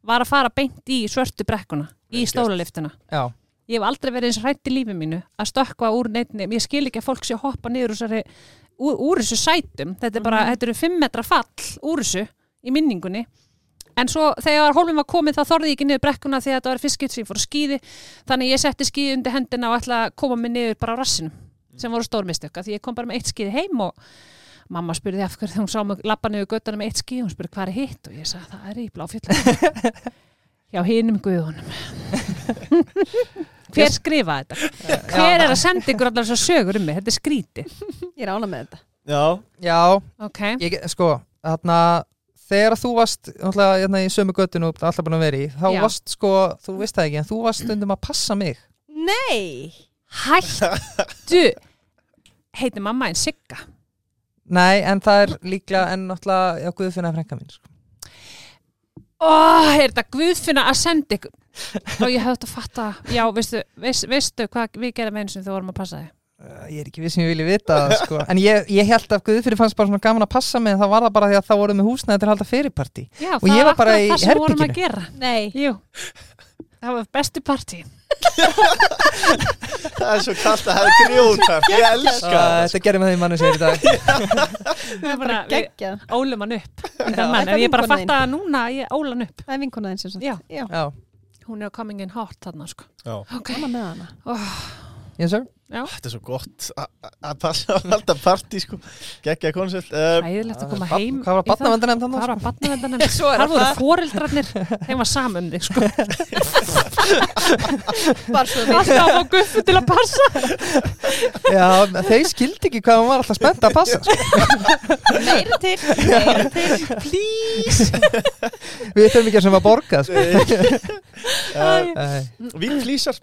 [SPEAKER 3] var að fara beint í svörtu brekkuna
[SPEAKER 1] Vel
[SPEAKER 3] í
[SPEAKER 1] gert.
[SPEAKER 3] stólaliftuna
[SPEAKER 2] Já.
[SPEAKER 3] Ég hef aldrei verið eins hrætt í lífi mínu að stökkva úr neittni, ég skil ekki að fólk sé að hoppa niður úr, þessari, úr, úr þessu sætum þetta er bara, þetta eru fimm metra fall úr þessu í minningunni en svo þegar hólfum var komið þá þorði ég ekki niður brekkuna því að þetta var fyrst skipt sem ég fór að skýði þannig að ég setti skýði undir hendina og ætla að koma mig niður bara á rassinum sem voru stórmistökka því ég kom bara með eitt skýði heim og mamma spurði af hverju þegar hún sá mig lappa niður göttuna með eitt skýði hún spurði hvað er hitt og ég sagði það er í bláfjöldum já hinum guðunum hver skrifa þetta hver er að senda ykkur allar svo sögur um mig þetta er skríti
[SPEAKER 4] Ég er ána með þetta.
[SPEAKER 1] Já,
[SPEAKER 2] Já,
[SPEAKER 3] okay.
[SPEAKER 2] ég, sko, þarna, þegar þú varst náttúrulega hérna, í sömu göttinu og alltaf búin að vera í, þá
[SPEAKER 3] Já.
[SPEAKER 2] varst, sko, þú veist það ekki, en þú varst stundum að passa mig.
[SPEAKER 4] Nei!
[SPEAKER 3] hættu heitir mamma en Sigga
[SPEAKER 2] Nei, en það er líklega, en náttúrulega, já, Guðfinna frænka mín, sko.
[SPEAKER 3] Ó, er þetta Guðfinna að senda ykkur og ég hefði þetta að fatta já, veistu, veist, veistu hvað við gerðum eins og þú vorum að passa þig
[SPEAKER 2] Uh, Ég er ekki við sem ég vilja vita það, sko. En ég, ég held að Guðfyrir fannst bara svona gaman að passa mig en það var það bara því að þá voru með húsnaði til að halda fyrirparti.
[SPEAKER 3] já,
[SPEAKER 2] Og ég var bara
[SPEAKER 3] akkurat
[SPEAKER 2] í
[SPEAKER 3] það sem við vorum að
[SPEAKER 2] herberginu.
[SPEAKER 3] gera
[SPEAKER 4] Nei.
[SPEAKER 3] Jú. það var bestu partí
[SPEAKER 1] það er svo kallt að hafa grjótar Ég elska það
[SPEAKER 2] Eh, Þetta gerir með því manni sér í dag.
[SPEAKER 3] við erum bara, við
[SPEAKER 4] Geggjað.
[SPEAKER 3] ólum hann upp
[SPEAKER 2] Já.
[SPEAKER 3] en
[SPEAKER 4] Það er
[SPEAKER 3] ég er bara að
[SPEAKER 4] vinkonan
[SPEAKER 3] fatta að núna að ég óla hann upp
[SPEAKER 4] Það er vinkonaðin sem sagt.
[SPEAKER 3] Já.
[SPEAKER 4] Já.
[SPEAKER 2] Já,
[SPEAKER 3] hún er coming in hot þarna sko
[SPEAKER 1] Já.
[SPEAKER 3] okay.
[SPEAKER 2] Ehm,
[SPEAKER 4] Ána með hana.
[SPEAKER 2] yes sir.
[SPEAKER 1] Þetta er svo gott að- að að passa að halda partí sko. Gekkja koncept uh,
[SPEAKER 3] æðilegt að koma
[SPEAKER 2] Barn-
[SPEAKER 3] heim
[SPEAKER 2] Hvað var
[SPEAKER 3] í það.
[SPEAKER 2] batnavendan enn
[SPEAKER 3] Hvað
[SPEAKER 2] þannig?
[SPEAKER 3] var batnavendanum?
[SPEAKER 4] Svo er
[SPEAKER 3] Þar voru
[SPEAKER 4] það-
[SPEAKER 3] fóreldrarnir, þeim var saman um þig sko.
[SPEAKER 4] Bara svo við.
[SPEAKER 3] Alltaf á guffu til að passa.
[SPEAKER 2] sko? Já, þeir skildi ekki hvað hún var alltaf spennt að passa. Sko.
[SPEAKER 4] Meira til. Meira til.
[SPEAKER 2] Við þurfum ekki að sem að borga, sko.
[SPEAKER 1] uh,
[SPEAKER 2] Æ,
[SPEAKER 1] Vínflýsar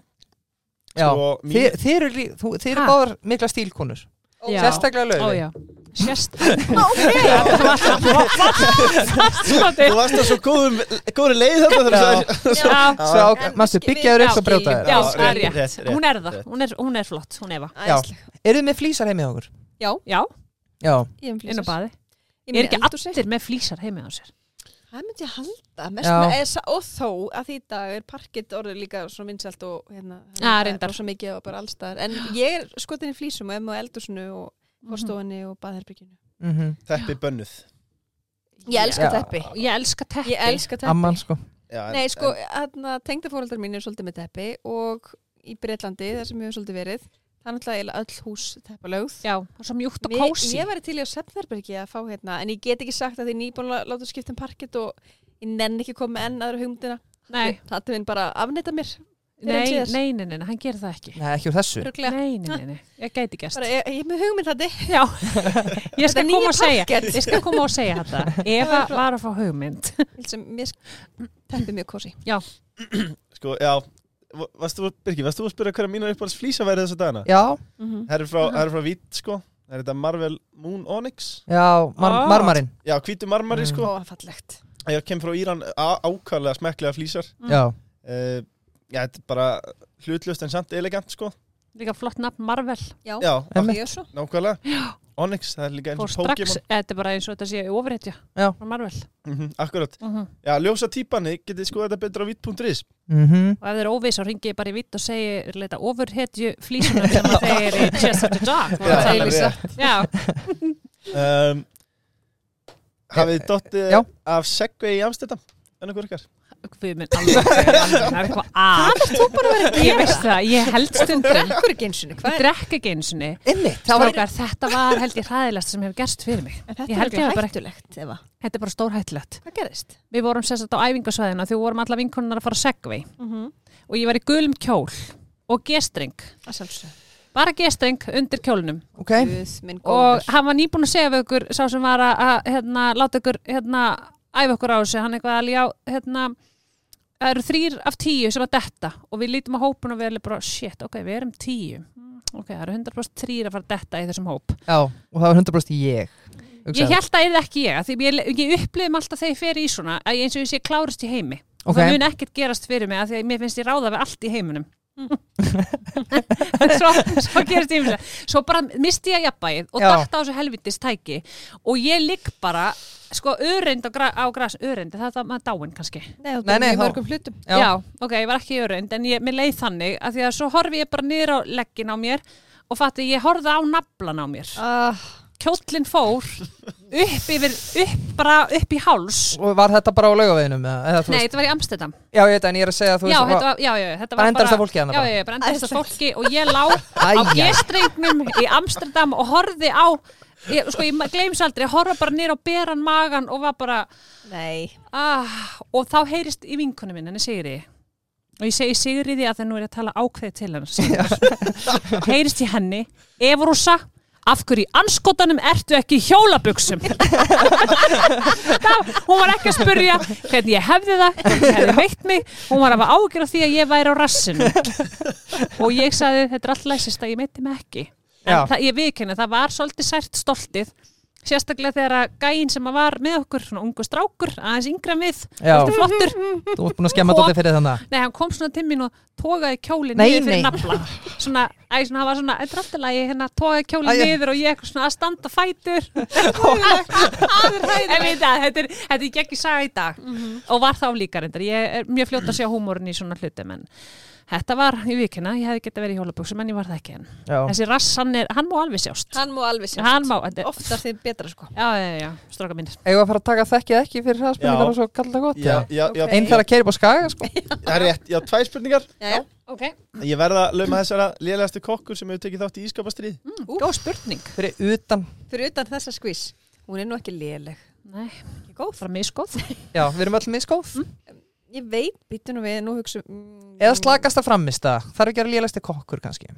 [SPEAKER 2] Já,
[SPEAKER 1] Sko, mín-
[SPEAKER 2] þeir, þeir eru lí- þú- þeir eru
[SPEAKER 3] Ha?
[SPEAKER 2] báðar mikla stílkonur.
[SPEAKER 3] Já.
[SPEAKER 2] Sérstaklega
[SPEAKER 3] Ó
[SPEAKER 2] lögum.
[SPEAKER 3] já, sérstaklega. Ok.
[SPEAKER 1] Þú varst að svo góðum, góðum leið þarna þegar
[SPEAKER 2] Já.
[SPEAKER 1] þú sagðir-
[SPEAKER 3] Já,
[SPEAKER 2] Sá,
[SPEAKER 4] En
[SPEAKER 2] maður,
[SPEAKER 4] við-
[SPEAKER 2] byggjaður
[SPEAKER 3] já,
[SPEAKER 2] upp og brjóta þér.
[SPEAKER 3] já,
[SPEAKER 1] Já,
[SPEAKER 3] það er
[SPEAKER 1] rétt,
[SPEAKER 3] rétt.
[SPEAKER 1] rétt,
[SPEAKER 3] Hún er það,
[SPEAKER 1] rétt.
[SPEAKER 3] hún er, hún er flott, hún Eva.
[SPEAKER 4] Æðislega.
[SPEAKER 2] Eruð þið með flýsar heimið okkur?
[SPEAKER 4] Já.
[SPEAKER 3] Já,
[SPEAKER 2] Já.
[SPEAKER 4] Ég er með
[SPEAKER 3] inn á
[SPEAKER 4] flísar.
[SPEAKER 3] baði.
[SPEAKER 4] Ég
[SPEAKER 3] Er ekki
[SPEAKER 4] með eldhúsi.
[SPEAKER 3] allir með flísar heimi á sér?
[SPEAKER 4] Það myndi ég halda, mest
[SPEAKER 2] Já.
[SPEAKER 4] með ESA og þó að því í dag er parkitt orðið líka svo vinsælt og hérna,
[SPEAKER 3] Já, reyndar.
[SPEAKER 4] svo mikið og bara allstaðar, en ég er skotin í flýsum og emma og eldúsinu og
[SPEAKER 3] Mhm.
[SPEAKER 4] fórstofunni og baðherbygginu.
[SPEAKER 2] Mm
[SPEAKER 1] Teppi bönnuð
[SPEAKER 4] Ég
[SPEAKER 2] Já.
[SPEAKER 4] elska teppi.
[SPEAKER 3] Ég elska teppi.
[SPEAKER 4] Ég elska teppi.
[SPEAKER 2] Amman, sko.
[SPEAKER 1] Já, en-
[SPEAKER 4] Nei, sko, hérna, tengdafóreldar mín er svolítið með teppi og í Breitlandi, þar sem ég hef svolítið verið, það er náttúrulega öll hús teppalögð.
[SPEAKER 3] Já, og svo mjúkt og
[SPEAKER 4] Mér-
[SPEAKER 3] kósi.
[SPEAKER 4] Ég væri til í að svefnherbergi að fá hérna, en ég get ekki sagt að því nýbúin að láta skipta um parkitt og ég nenn ekki að koma með enn aðra hugmyndina.
[SPEAKER 3] Nei,
[SPEAKER 4] Þetta minn bara afnita mér. Fyrr en
[SPEAKER 3] nei,
[SPEAKER 4] síðar.
[SPEAKER 3] nei, nei, nei, nei, hann gerir það ekki.
[SPEAKER 2] Nei, ekki úr þessu.
[SPEAKER 4] Ruglega.
[SPEAKER 3] Nei, nei, nei, nei, ég gæti gæst.
[SPEAKER 4] Bara, ég, ég er með hugmynd þetta.
[SPEAKER 3] Já, ég skal
[SPEAKER 4] nýja
[SPEAKER 3] koma og segja,
[SPEAKER 4] parkett.
[SPEAKER 3] ég skal koma og segja þetta. Eva var að fá hugmynd.
[SPEAKER 4] Ég sem, mér teppið mjög kosi.
[SPEAKER 1] sko, já va- varstu, að- Birgir, varstu að spyrja hverja mínar uppáhalds flýsa væri þessa dagana?
[SPEAKER 2] Já,
[SPEAKER 3] Mhm.
[SPEAKER 1] Það er frá, það er frá Vít, sko Það er þetta Marvel Moon Onyx
[SPEAKER 2] já, mar
[SPEAKER 3] Ah.
[SPEAKER 2] marmarinn
[SPEAKER 1] Já, hvítu marmari,
[SPEAKER 2] Mm.
[SPEAKER 1] sko
[SPEAKER 3] Ó, fallegt.
[SPEAKER 1] Ég kem frá Íran á- ákvarlega smekklega flýsar
[SPEAKER 3] Mm.
[SPEAKER 2] Já,
[SPEAKER 1] uh, Já, þetta er bara hlutlust en samt elegant, sko
[SPEAKER 3] Líka flott nafn Marvel.
[SPEAKER 4] Já,
[SPEAKER 1] Já,
[SPEAKER 2] Einmitt.
[SPEAKER 4] mjög svo.
[SPEAKER 1] nákvæmlega Onyx, það er líka eins
[SPEAKER 3] Fór
[SPEAKER 1] og
[SPEAKER 3] strax,
[SPEAKER 1] Pokémon
[SPEAKER 3] þetta er bara eins og þetta sé ofurhetja.
[SPEAKER 2] Já.
[SPEAKER 3] Frá Marvel.
[SPEAKER 1] mm Akkurat,
[SPEAKER 3] Mm
[SPEAKER 4] Mhm.
[SPEAKER 1] já, ljósa típani getið sko þetta betur á vít.is
[SPEAKER 2] mhm
[SPEAKER 3] Og ef þeir eru óviss, þá ringi ég bara í vitt og segi, leita ofurhetju flýsunum sem að þeir eru í Chess of the Dark. voru að
[SPEAKER 1] Já,
[SPEAKER 3] tala um.
[SPEAKER 1] rétt.
[SPEAKER 3] Já,
[SPEAKER 1] um, Hafið þið dottið
[SPEAKER 2] Eh, Já.
[SPEAKER 1] af Segway í Amstedam? En okkur ykkar
[SPEAKER 3] við minn alveg, það er eitthvað að.
[SPEAKER 4] Þú bara verið að
[SPEAKER 3] Ég
[SPEAKER 4] gera
[SPEAKER 3] veist það, ég held stundum,
[SPEAKER 4] Drekkur ekki eins og
[SPEAKER 3] ég drekka ekki eins og
[SPEAKER 2] Einmitt,
[SPEAKER 3] Þá var þetta var held ég hræðilegst sem hefur gerst fyrir mig.
[SPEAKER 4] En þetta
[SPEAKER 3] Ég
[SPEAKER 4] er
[SPEAKER 3] held ég
[SPEAKER 4] ekki
[SPEAKER 3] hafi bara-
[SPEAKER 4] hættulegt, Eva.
[SPEAKER 3] Þetta er bara stórhættilegt.
[SPEAKER 4] Hvað gerist?
[SPEAKER 3] Við vorum sérstætt á æfingasvæðina þegar við vorum alla vinkonunar að fara segvei
[SPEAKER 4] Mhm.
[SPEAKER 3] og ég var í gulum kjól og gestring,
[SPEAKER 4] Það sjálfsög.
[SPEAKER 3] bara gestring undir kjólnum
[SPEAKER 2] Ok,
[SPEAKER 4] Guð minn
[SPEAKER 3] og
[SPEAKER 4] góður.
[SPEAKER 3] hann var nýbúin að segja við ykkur sá sem var að, að hérna, láta ykkur hérna, æfa ykkur á þessu, hann eitthvað alveg á hérna, það eru þrýr af tíu sem að detta og við lítum á hópun og við erum bara, shit, ok, við erum tíu Mm, ok, það eru 100% þrýr að fara að detta í þessum hóp
[SPEAKER 2] já, og það var 100% ég hugsaði.
[SPEAKER 3] ég held að það er ekki ég, af því ég, ég upplifum alltaf þegar ég fer í svona, að ég- eins og ég sé klárist í heimi og
[SPEAKER 2] Ok.
[SPEAKER 3] það mun ekkert gerast fyrir mig að því að mér finnst ég ráða við allt í heiminum svo, svo gerist ég ýmislegt. svo bara misti ég jafnbæið og
[SPEAKER 2] Já.
[SPEAKER 3] dætt á þessu helvitis tæki og ég ligg bara sko öreind á, gra, á græs öreind, það er það maður dáin kannski
[SPEAKER 4] Nei, þú
[SPEAKER 2] Nei,
[SPEAKER 4] erum
[SPEAKER 2] nei,
[SPEAKER 4] í
[SPEAKER 2] þá-
[SPEAKER 4] mörgum hlutum.
[SPEAKER 2] Já.
[SPEAKER 3] ok, ég var ekki öreind en ég, mér leið þannig að því að svo horfi ég bara niður á leggin á mér og fatti ég horfði á naflan á mér
[SPEAKER 4] Ah,
[SPEAKER 3] kjóllin fór upp yfir, upp bara upp í háls
[SPEAKER 2] Og var þetta bara á laugaveginum? eða- eða þú
[SPEAKER 3] Nei,
[SPEAKER 2] veist-
[SPEAKER 3] þetta var í Amsterdam
[SPEAKER 2] Já, ég veit en ég er að segja að þú
[SPEAKER 3] já,
[SPEAKER 2] veist
[SPEAKER 3] þetta
[SPEAKER 2] var-
[SPEAKER 3] var, já, já, þetta
[SPEAKER 2] bara
[SPEAKER 3] var
[SPEAKER 2] endalasta fólkið þarna
[SPEAKER 3] já,
[SPEAKER 2] bara.
[SPEAKER 3] já, já, bara endalasta fólki og ég lá á
[SPEAKER 2] Æja.
[SPEAKER 3] gestrengnum í Amsterdam og horfði á ég, sko, ég glems aldrei, ég horfa bara nýr á beran magan og var bara
[SPEAKER 4] nei.
[SPEAKER 3] ah, og þá heyrist í vinkunum minn henni Sigri og ég segi Sigri því að það nú er ég að tala ákveði til hennar heyrist í henni Evrúsa af hverju í anskotanum ertu ekki í hjólabuxum það, hún var ekki að spurja hvernig ég hefði það, hvernig ég hefði veitt mig hún var að hafa ágjur af því að ég væri á rassinu og ég sagði þetta er allt læsist að ég meiti mig ekki
[SPEAKER 2] Já.
[SPEAKER 3] en það, ég viðkynna, það var svolítið sært stoltið sérstaklega þegar að gæinn sem að var með okkur, svona ungu strákur aðeins yngra en við,
[SPEAKER 2] Já.
[SPEAKER 3] alltaf flottur
[SPEAKER 2] Þú ert búin að skemma dótið fyrir þannig
[SPEAKER 3] nei, hann kom svona til mín og tókaði kjólinn
[SPEAKER 2] Nei,
[SPEAKER 3] niður fyrir
[SPEAKER 2] nei.
[SPEAKER 3] nafla svona, æ, svona, hann var svona, þetta er alltaf lagi hérna, tókaði kjólinn
[SPEAKER 2] Æ, já.
[SPEAKER 3] niður og ég eitthvað svona að standa á fætur en við það, þetta er, þetta er ekki saga í dag
[SPEAKER 4] Mhm.
[SPEAKER 3] og var þá líka reyndar, ég er mjög fljótt að sjá húmórin í svona hlutum en þetta var, ég vikina, ég hefði getað verið í hjólabuxum en ég var það ekki en
[SPEAKER 2] Já,
[SPEAKER 3] þessi rass, hann, er, hann má alveg sjást
[SPEAKER 4] Hann má alveg sjá.
[SPEAKER 3] hann má, þetta er
[SPEAKER 4] Oftar þið betra, sko.
[SPEAKER 3] já, já, já, stróka mínir
[SPEAKER 2] eigum við að fara að taka þekkið ekki fyrir hraðspurningar
[SPEAKER 1] Já.
[SPEAKER 2] og svo kalla það gott
[SPEAKER 1] Já,
[SPEAKER 2] eða?
[SPEAKER 1] já, já,
[SPEAKER 4] Ok.
[SPEAKER 2] Einn þarf að keira upp á skaga sko
[SPEAKER 1] það er rétt, já, tvær spurningar
[SPEAKER 4] Já,
[SPEAKER 3] ok,
[SPEAKER 1] Ég verða að lauma þessara lélegastu kokkur sem hefur tekið þátt í ískapastrið
[SPEAKER 3] Mm, góð spurning
[SPEAKER 2] Fyrir utan,
[SPEAKER 4] fyrir utan þessa skvís. Hún er nú ekki léleg.
[SPEAKER 3] nei,
[SPEAKER 4] Ekki góð.
[SPEAKER 3] bara miskóð
[SPEAKER 2] já, við erum öll miskóð
[SPEAKER 3] Mhm.
[SPEAKER 4] Ég veit, býttu nú við, nú hugsa... Mm,
[SPEAKER 2] Eða slagast að framista, þarf ekki að lélæsti kokkur kannski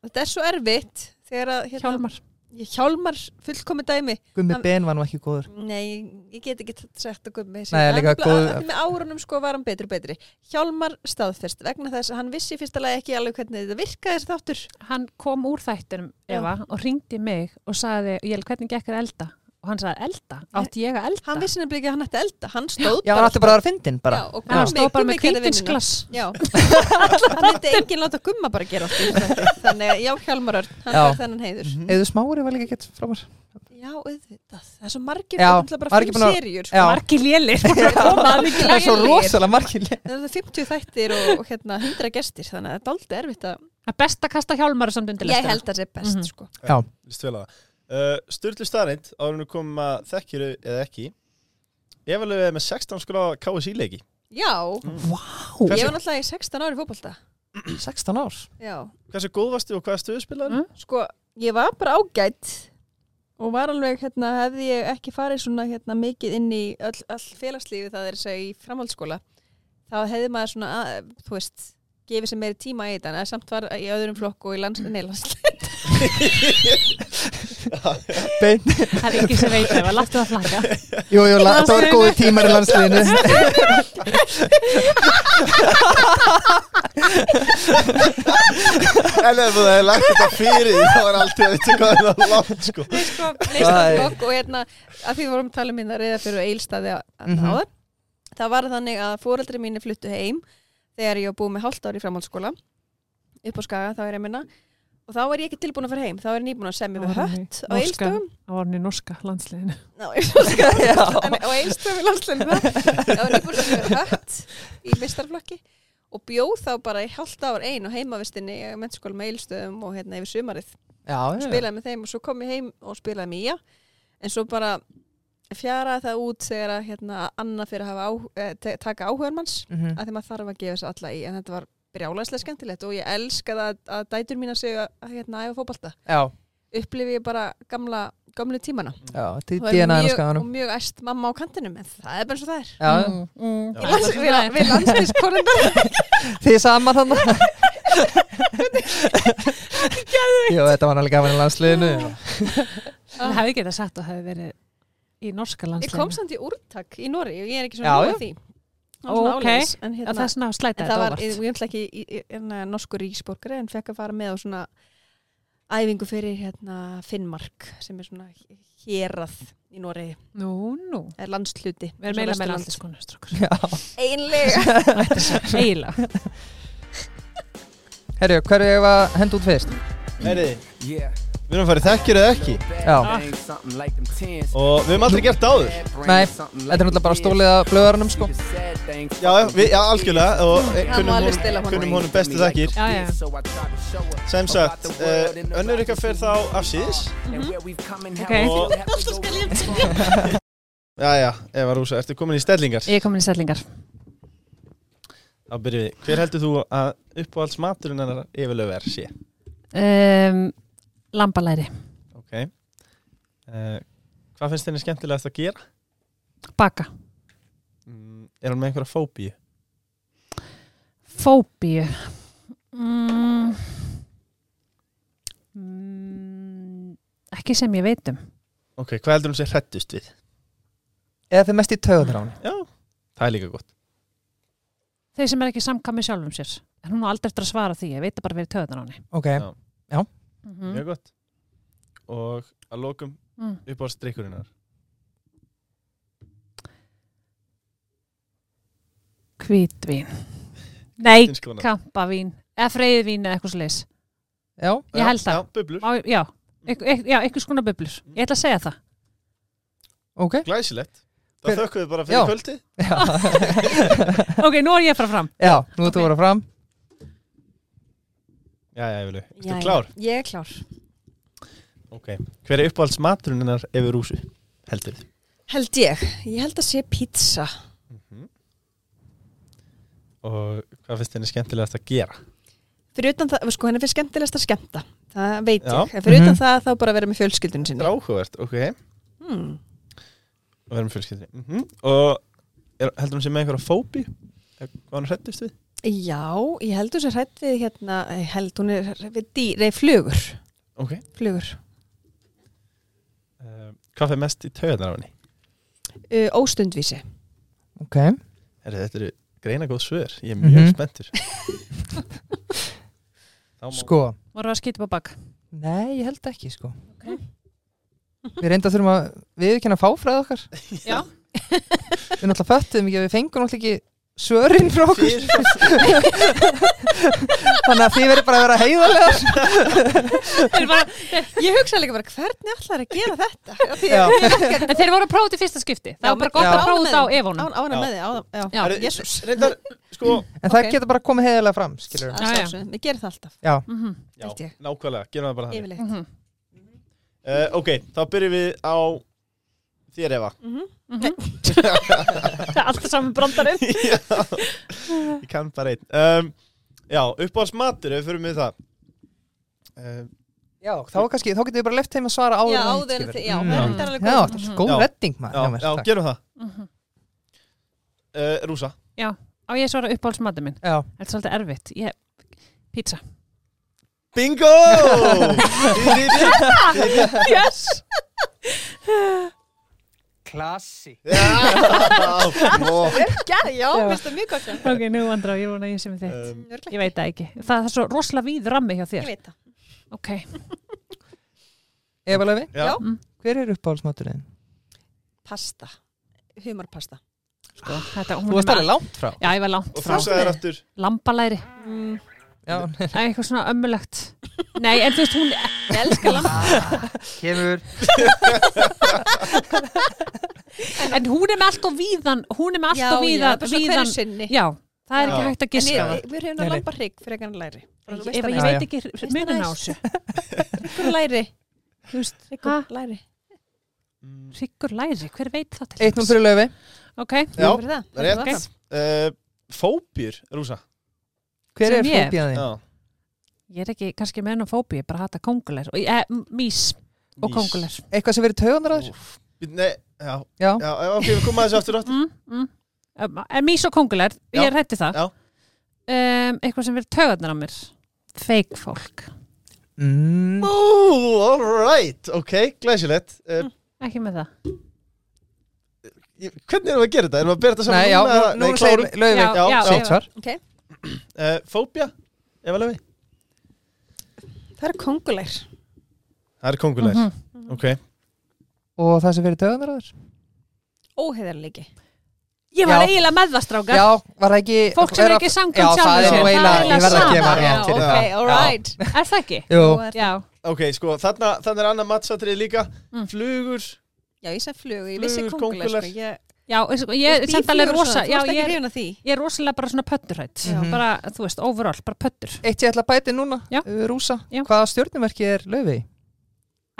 [SPEAKER 4] Þetta er svo erfitt þegar að... Hérna,
[SPEAKER 3] hjálmar,
[SPEAKER 4] Ég hjálmar fullkomi dæmi.
[SPEAKER 2] Gummi
[SPEAKER 4] Hann-
[SPEAKER 2] Ben var nú ekki góður
[SPEAKER 4] Nei, ég get ekki sagt að gummi
[SPEAKER 2] Nei, líka góð-
[SPEAKER 4] Með árunum sko var hann betri og betri Hjálmar staðfest vegna þess að hann vissi í fyrsta lagi ekki alveg hvernig þetta virkaði þessi þáttur
[SPEAKER 3] hann kom úr þættinum Eva, og ringdi mig og sagði Jél, hvernig gekk er elda? og hann sagði elda, átti ég að elda?
[SPEAKER 4] Hann vissi nefnilega ekki að hann ætti að elda Hann stóð
[SPEAKER 2] Já, hann átti bara að vera fyndin bara
[SPEAKER 4] Já, og
[SPEAKER 3] hann
[SPEAKER 4] gummi,
[SPEAKER 3] stóð bara
[SPEAKER 4] gummi
[SPEAKER 3] með
[SPEAKER 4] gerði vinnuna.
[SPEAKER 3] kvítinsglas
[SPEAKER 4] Já, hann myndi enginn láta gumma bara gera allt í þessu þætti. Þannig að já, Hjálmar Örn, hann
[SPEAKER 2] Já. Mhm.
[SPEAKER 4] er þennan heiður
[SPEAKER 2] Eðu smári var líka gett frámar
[SPEAKER 4] Já, auðvitað, það er svo margir
[SPEAKER 2] Já,
[SPEAKER 4] Það er bara
[SPEAKER 2] margir
[SPEAKER 4] fimm
[SPEAKER 2] búin að- Já.
[SPEAKER 4] seríur sko.
[SPEAKER 3] margi lélir það
[SPEAKER 2] Það er svo rosalega margir lé-
[SPEAKER 4] Það eru 50 þættir og, og hérna 100 gestir Þannig að þetta er aldrei erfitt að
[SPEAKER 3] er best að kasta hjálmar samt undir
[SPEAKER 4] Ég
[SPEAKER 3] lestina.
[SPEAKER 4] held að það sé best
[SPEAKER 3] Mhm.
[SPEAKER 4] sko.
[SPEAKER 2] Já,
[SPEAKER 1] Lýst vel að það. Uh, Sturlu staðrind, áður en við komum að þekkiru eða ekki. Efalegu er með 16 skráða KSÍ-leiki.
[SPEAKER 4] Já,
[SPEAKER 2] Ó,
[SPEAKER 4] ég
[SPEAKER 1] Hversu,
[SPEAKER 4] var náttúrulega í 16 ári fótbolta
[SPEAKER 2] 16 ár
[SPEAKER 4] Já,
[SPEAKER 1] hversu góð varstu og hvaða stöðu spilaður?
[SPEAKER 3] Mm.
[SPEAKER 4] sko, ég var bara ágætt og var alveg, hérna, hefði ég ekki farið svona, hérna, mikið inn í öll, öll félagslífi, það er þess að í framhaldsskóla þá hefði maður svona, að, þú veist gefið sér meiri tíma í þetta en að samt var í öðrum flokku og í lands, nei, lands
[SPEAKER 2] beint
[SPEAKER 3] Það er ekki sem veit ef að láttu það flakka.
[SPEAKER 2] Jú, jú, la- þetta var góði tímar í landsliðinu
[SPEAKER 1] En ef þú hefði lagt þetta fyrir því þá er alltaf að veitir hvað það er langt sko.
[SPEAKER 4] Nei, sko,
[SPEAKER 2] Æ.
[SPEAKER 4] neistabokk og hérna að því við vorum að tala um hérna reyða fyrir eilstaði að mm
[SPEAKER 2] Mhm.
[SPEAKER 4] áðan það var þannig að fóreldri mínu fluttu heim þegar ég var búið með hálft ár í framhaldsskóla upp á skaga þá er ég minna og þá er ég ekki tilbúin að fara heim þá er ég nýbúin að semja
[SPEAKER 3] Ó,
[SPEAKER 4] við
[SPEAKER 3] nei.
[SPEAKER 4] hött á
[SPEAKER 3] Norska.
[SPEAKER 4] eilstöðum
[SPEAKER 3] Það var hann í norska landsliðinu.
[SPEAKER 4] Ná, ég svo skal- En á einstöðum í landslunum það var nýbúin sem er hött í mistarflokki og bjóð þá bara í hálft ár ein og heimavistinni í mennskóla með eilstöðum og hérna yfir sumarið og
[SPEAKER 2] Já,
[SPEAKER 4] spilaði með þeim og svo kom ég heim og spilaði með ég en svo bara fjaraði það út þegar að hérna, Anna fyrir að hafa á, eh, te- taka áhugan manns
[SPEAKER 2] Mhm.
[SPEAKER 4] að því maður þarf að gefa sér alla í en þetta var brjálæslega skemmtilegt og ég elska það að, að dætur mín að segja að hérna, æfa fótbalta
[SPEAKER 2] já,
[SPEAKER 4] upplifi ég bara gamla, gamlu tímana
[SPEAKER 2] já,
[SPEAKER 4] og,
[SPEAKER 2] þetta
[SPEAKER 4] er
[SPEAKER 2] er DNA
[SPEAKER 4] mjög, og
[SPEAKER 2] skanum
[SPEAKER 4] mjög æst mamma á kantinum en það er bara eins og það er
[SPEAKER 2] Já,
[SPEAKER 3] mm.
[SPEAKER 1] Já.
[SPEAKER 4] Ég lands- við- við landsbyðskonum
[SPEAKER 2] þið saman hann Jú, þetta var alveg gaman í landsliðinu
[SPEAKER 3] Það hefði getað sagt að það hefði verið í norska
[SPEAKER 4] ég
[SPEAKER 3] landsliðinu.
[SPEAKER 4] kom samt í úrtak í Nóri og ég er ekki
[SPEAKER 2] Já,
[SPEAKER 4] svona
[SPEAKER 2] já.
[SPEAKER 4] nóg að því Það var svona
[SPEAKER 3] Ó, ok.
[SPEAKER 4] áleiðis, en, hérna-
[SPEAKER 3] Að það er svona
[SPEAKER 4] En
[SPEAKER 3] slætaði
[SPEAKER 4] það
[SPEAKER 3] þetta
[SPEAKER 4] var, ég
[SPEAKER 3] óvart.
[SPEAKER 4] ég ætla ekki í, í, hérna, norskur ríkisborgari en fekk að fara með á svona æfingu fyrir hérna Finnmark sem er svona hérað í Noregi,
[SPEAKER 3] Nú, nú.
[SPEAKER 4] er landsluti
[SPEAKER 3] Við erum eiginlega með landsliðskonu, strókur.
[SPEAKER 2] Já.
[SPEAKER 4] Einlega
[SPEAKER 3] Eiginlega.
[SPEAKER 2] Herru, hverju ég var hend út fyrst?
[SPEAKER 1] Heyri,
[SPEAKER 5] Yeah,
[SPEAKER 1] við erum að fara í þekkir eða ekki
[SPEAKER 2] Já,
[SPEAKER 5] bang something like them tens.
[SPEAKER 1] og við höfum aldrei gert það áður.
[SPEAKER 2] nei, þetta er náttúrulega bara stólið að blöðarunum sko
[SPEAKER 1] Já, við, já algjörlega og eh,
[SPEAKER 4] Hann má
[SPEAKER 1] kunnum
[SPEAKER 4] alveg stela
[SPEAKER 1] honum,
[SPEAKER 4] honum.
[SPEAKER 1] kunnum honum bestu þekkir.
[SPEAKER 3] Já, já.
[SPEAKER 1] Sem sagt, uh, önnur ykkar fer þá af síðis.
[SPEAKER 4] Mm-hmm.
[SPEAKER 3] Ok.
[SPEAKER 1] Og- Já, já, Eva Rúsa, ertu komin í stellingar?
[SPEAKER 3] Ég er komin í stellingar.
[SPEAKER 1] Þá byrjum við. Hver heldur þú að uppáhalds maturinn hennar yfirlega er sé?
[SPEAKER 3] Um, lambalæri.
[SPEAKER 1] Ok. Uh, hvað finnst henni skemmtilegast að gera?
[SPEAKER 3] Baka.
[SPEAKER 1] Mm, er hann með einhverja fóbíu?
[SPEAKER 3] Fóbíu. Mm. Mm. Ekki sem ég veit um.
[SPEAKER 1] Ok, hvað heldur hún sér hrættust við?
[SPEAKER 2] Eða þið mest í töðunar á hann
[SPEAKER 1] Já, það er líka gott.
[SPEAKER 3] Þeir sem er ekki samkami sjálfum sér. En hún á aldrei eftir að svara því. Ég veit það bara fyrir töðunar á henni.
[SPEAKER 2] Ok,
[SPEAKER 3] Mhm.
[SPEAKER 1] Mjög gott. Og að lokum
[SPEAKER 3] Mm.
[SPEAKER 1] uppáhalds drikkurinn hennar.
[SPEAKER 3] Hvítvín. Nei,
[SPEAKER 1] Þín skoðun.
[SPEAKER 3] kampavín. Eða freyðvín eða eitthvað svo leis.
[SPEAKER 2] já,
[SPEAKER 3] Ég held
[SPEAKER 1] Já,
[SPEAKER 3] það.
[SPEAKER 1] já, bublur.
[SPEAKER 3] Já, já. Einhver- einhver- Já, einhvers konar bublur. Ég ætla að segja það.
[SPEAKER 2] ok
[SPEAKER 1] Glæsilegt. Það
[SPEAKER 2] Hver-
[SPEAKER 1] þökkum við bara
[SPEAKER 2] Já.
[SPEAKER 1] fyrir kvöldi.
[SPEAKER 2] Já,
[SPEAKER 3] Ok, nú er ég að fara fram.
[SPEAKER 2] já nú ertu að voru fram
[SPEAKER 1] Já, já, Evilu. Erstu klár?
[SPEAKER 4] Ég er klár
[SPEAKER 1] Ok. Hver er uppáhalds maturinn hennar yfir rúsu? Heldur þið.
[SPEAKER 4] Held ég, ég held að sé pizza
[SPEAKER 1] Mhm. Og hvað finnst henni skemmtilegast að gera?
[SPEAKER 4] fyrir utan það, sko henni finnst skemmtilegast að skemmta það veit
[SPEAKER 1] Já.
[SPEAKER 4] ég, en fyrir utan
[SPEAKER 2] Mhm.
[SPEAKER 4] það þá bara að vera með fjölskyldun
[SPEAKER 1] Þetta
[SPEAKER 4] sinni
[SPEAKER 1] er áhugavert, ok.
[SPEAKER 4] hmm.
[SPEAKER 1] Og verðum fjölskyldri. Mm Og er, heldur hún sér með einhverja fóbíu? Eða Hvað hann hrættist við?
[SPEAKER 4] Já, ég held hún sér hrætt við hérna, ég held hún er hrædd við dýr, nei flugur,
[SPEAKER 1] Ok.
[SPEAKER 4] flugur
[SPEAKER 1] Uh, hvað fyrir mest í taugarnar á henni?
[SPEAKER 4] uh, óstundvísi
[SPEAKER 2] Ok,
[SPEAKER 1] Herri, þetta eru greina góð svör. Ég er mjög
[SPEAKER 2] Mhm.
[SPEAKER 1] spenntur. Þá má-
[SPEAKER 2] sko
[SPEAKER 3] Voru að skýta upp á bak.
[SPEAKER 2] Nei, ég held ekki sko
[SPEAKER 4] Hm.
[SPEAKER 2] Við reynda þurfum að við ekki hann að fá fræð okkar
[SPEAKER 3] Já.
[SPEAKER 2] Við náttúrulega föttum ekki að við fengum náttúrulega ekki svörin frá okkur
[SPEAKER 1] Fyrir-
[SPEAKER 2] Þannig að þið verður bara að vera heiðarlegar
[SPEAKER 3] Þeir bara,
[SPEAKER 4] Ég hugsaði líka bara hvernig allar að gera þetta Því
[SPEAKER 2] Já.
[SPEAKER 4] að ég hef ekki
[SPEAKER 3] en þeir voru að prófa út í fyrsta skipti.
[SPEAKER 4] Já,
[SPEAKER 3] Það var bara
[SPEAKER 4] men-
[SPEAKER 3] gott
[SPEAKER 2] já.
[SPEAKER 3] að prófa út á
[SPEAKER 4] á,
[SPEAKER 3] evónum.
[SPEAKER 4] á hana
[SPEAKER 1] Já.
[SPEAKER 4] með þig, á, á, já,
[SPEAKER 1] Herri,
[SPEAKER 4] jésús
[SPEAKER 1] Reyndar, sko,
[SPEAKER 2] En það
[SPEAKER 4] Ok.
[SPEAKER 2] getur bara komið heiðarlega fram, skilur
[SPEAKER 3] Já, já.
[SPEAKER 4] Ég ger það alltaf,
[SPEAKER 3] Mhm.
[SPEAKER 1] já,
[SPEAKER 4] Held ég.
[SPEAKER 1] nákvæmlega, gerum það bara þannig.
[SPEAKER 4] yfirleitt
[SPEAKER 3] Mhm.
[SPEAKER 1] Uh, ok, þá byrjum við á þér Eva.
[SPEAKER 3] Mhm. Það er alltaf saman brandarinn.
[SPEAKER 1] já, ég kann bara einn. Um, já, uppáhalds matur, ef við fyrir með það. Uh,
[SPEAKER 2] Já, þá, er kannski, þá getum við bara left heim að svara áður
[SPEAKER 4] Já,
[SPEAKER 2] en
[SPEAKER 4] áður en
[SPEAKER 2] hitt,
[SPEAKER 4] þið-
[SPEAKER 2] skilurðu.
[SPEAKER 4] já,
[SPEAKER 2] Mm.
[SPEAKER 4] þetta er alveg
[SPEAKER 2] Já,
[SPEAKER 4] góð.
[SPEAKER 2] þetta er góð
[SPEAKER 1] Já.
[SPEAKER 2] redding maður hjá
[SPEAKER 1] já,
[SPEAKER 2] mér,
[SPEAKER 1] já,
[SPEAKER 2] takk.
[SPEAKER 1] gerum það.
[SPEAKER 3] Mhm.
[SPEAKER 1] Uh, Rúsa,
[SPEAKER 3] Á ég svara uppáhaldsmatur minn.
[SPEAKER 2] já,
[SPEAKER 3] Þetta er svolítið erfitt. Ég, pizza.
[SPEAKER 1] Bingo! Di, di, di.
[SPEAKER 4] Yes!
[SPEAKER 2] Klassi
[SPEAKER 1] Já, ó.
[SPEAKER 4] Já, já,
[SPEAKER 3] Já.
[SPEAKER 4] finnst það mjög gott.
[SPEAKER 3] Ok, nú andra, ég vona að ég sem er þitt.
[SPEAKER 1] Um,
[SPEAKER 4] Mm, Örugglega.
[SPEAKER 3] Ég veit það ekki. Það er svo rosalega víð rammi hjá
[SPEAKER 4] Ég
[SPEAKER 3] þér.
[SPEAKER 4] veit það.
[SPEAKER 3] Ok.
[SPEAKER 2] Eva Löfi,
[SPEAKER 1] já.
[SPEAKER 4] Já.
[SPEAKER 2] hver er uppáhaldsmáturinn?
[SPEAKER 4] Pasta. Humarpasta.
[SPEAKER 3] Sko, þetta, hún
[SPEAKER 2] Þú varst
[SPEAKER 3] er
[SPEAKER 2] alveg langt frá
[SPEAKER 3] Já, ég var langt
[SPEAKER 1] Og
[SPEAKER 3] frá.
[SPEAKER 1] þú sagðir aftur
[SPEAKER 3] Lambalæri.
[SPEAKER 4] Mm.
[SPEAKER 2] Já,
[SPEAKER 3] Æ, Eitthvað svona ömmulegt. Nei, en þú veist, hún ég elskar lambalæri.
[SPEAKER 2] kemur
[SPEAKER 3] En hún er með allt og víðan, hún er með allt og víðan,
[SPEAKER 4] bara svo hverju
[SPEAKER 3] víðan.
[SPEAKER 4] sinni.
[SPEAKER 3] Já, það
[SPEAKER 1] Já.
[SPEAKER 3] er ekki hægt að
[SPEAKER 4] En
[SPEAKER 3] giska
[SPEAKER 4] ég,
[SPEAKER 3] það.
[SPEAKER 4] við höfum
[SPEAKER 2] Nei,
[SPEAKER 4] að
[SPEAKER 2] nei.
[SPEAKER 4] lampa hrygg fyrir eitthvað læri.
[SPEAKER 3] Ef
[SPEAKER 4] Þú
[SPEAKER 3] ég
[SPEAKER 4] veist
[SPEAKER 2] Já,
[SPEAKER 3] veit
[SPEAKER 2] já.
[SPEAKER 3] ekki
[SPEAKER 4] Veist
[SPEAKER 3] munina
[SPEAKER 4] það
[SPEAKER 3] á
[SPEAKER 4] næst?
[SPEAKER 3] þessu.
[SPEAKER 4] Hryggur læri. Þú veist,
[SPEAKER 3] Ha?
[SPEAKER 4] hryggur læri.
[SPEAKER 1] Mm,
[SPEAKER 3] Hryggur læri, hver veit það til?
[SPEAKER 2] 1-0 fyrir Löfi
[SPEAKER 3] Ok,
[SPEAKER 1] Já,
[SPEAKER 4] Fyrir það.
[SPEAKER 1] rétt.
[SPEAKER 4] Fyrir það.
[SPEAKER 1] uh, Fóbjur, Rúsa
[SPEAKER 2] Hver
[SPEAKER 3] Sem
[SPEAKER 2] er
[SPEAKER 3] ég?
[SPEAKER 2] fóbíðan þín?
[SPEAKER 1] Já.
[SPEAKER 3] ég er ekki kannski með enn á fóbi, ég bara hata kongulir. Og, eh, mís og
[SPEAKER 1] Mís.
[SPEAKER 3] kongulir.
[SPEAKER 2] Eitthvað sem verið taugandaráður?
[SPEAKER 1] Úff. Nei, já,
[SPEAKER 2] Já,
[SPEAKER 1] já, ok, við komum að þessu aftur aftur
[SPEAKER 3] Mm, mm. Um, En mís og kongulir, ég
[SPEAKER 1] Já.
[SPEAKER 3] rætti það.
[SPEAKER 1] Já.
[SPEAKER 3] Um, eitthvað sem verður tögarnar á mér. Feik fólk.
[SPEAKER 2] mm,
[SPEAKER 1] Ooh, all right, ok, glæsilegt uh,
[SPEAKER 3] Ekki með það.
[SPEAKER 1] ég- Hvernig erum við að gera þetta? Erum við að bera þetta saman
[SPEAKER 2] Nei, já,
[SPEAKER 1] núna?
[SPEAKER 2] nú, nú segir Löfi
[SPEAKER 1] Já, já.
[SPEAKER 2] Sitt svar
[SPEAKER 1] uh, Fóbja, ef að lefi
[SPEAKER 4] Það er kongulær.
[SPEAKER 1] Það er kongulær,
[SPEAKER 3] Mhm.
[SPEAKER 1] ok
[SPEAKER 2] Og það sem verið taugandaráður?
[SPEAKER 4] Óheðarleiki.
[SPEAKER 3] Ég var
[SPEAKER 2] Já.
[SPEAKER 3] eiginlega með það, strákar.
[SPEAKER 2] Já, var það ekki
[SPEAKER 3] Fólk sem er
[SPEAKER 2] vera-
[SPEAKER 3] ekki
[SPEAKER 2] Já,
[SPEAKER 3] samkvæmt
[SPEAKER 2] það
[SPEAKER 3] sjálfum
[SPEAKER 2] er nú eiginlega-
[SPEAKER 3] sér. Það
[SPEAKER 2] ég
[SPEAKER 3] er
[SPEAKER 2] verð að
[SPEAKER 3] sama.
[SPEAKER 2] gefa rétt
[SPEAKER 3] Já,
[SPEAKER 2] fyrir
[SPEAKER 4] Ok,
[SPEAKER 2] það.
[SPEAKER 4] all
[SPEAKER 2] Já.
[SPEAKER 4] right.
[SPEAKER 3] Er það ekki?
[SPEAKER 2] Jú,
[SPEAKER 4] Þú ert-
[SPEAKER 3] Já.
[SPEAKER 1] Ok, sko, þarna, þarna er annað mattsatrið líka
[SPEAKER 3] Mm.
[SPEAKER 1] Flugur,
[SPEAKER 4] Já, ég sem flug, ég vissi
[SPEAKER 1] Flugur,
[SPEAKER 4] kongulær.
[SPEAKER 1] kóngulær.
[SPEAKER 4] sko, ég-
[SPEAKER 3] Já, og sko, ég er samt alveg
[SPEAKER 4] Býflugur og
[SPEAKER 3] rosa
[SPEAKER 4] svona,
[SPEAKER 3] já,
[SPEAKER 4] Þú ert
[SPEAKER 3] ég,
[SPEAKER 4] ekki
[SPEAKER 3] er,
[SPEAKER 4] hrifin af því.
[SPEAKER 3] ég er rosalega bara svona pötturhætt
[SPEAKER 2] Mhm.
[SPEAKER 3] bara, þú veist, overall, bara pöttur
[SPEAKER 2] Eitt ég ætla að bæti núna,
[SPEAKER 3] Já.
[SPEAKER 2] uh, Rúsa
[SPEAKER 3] Já.
[SPEAKER 2] Hvaða stjórnumerki er Löfi?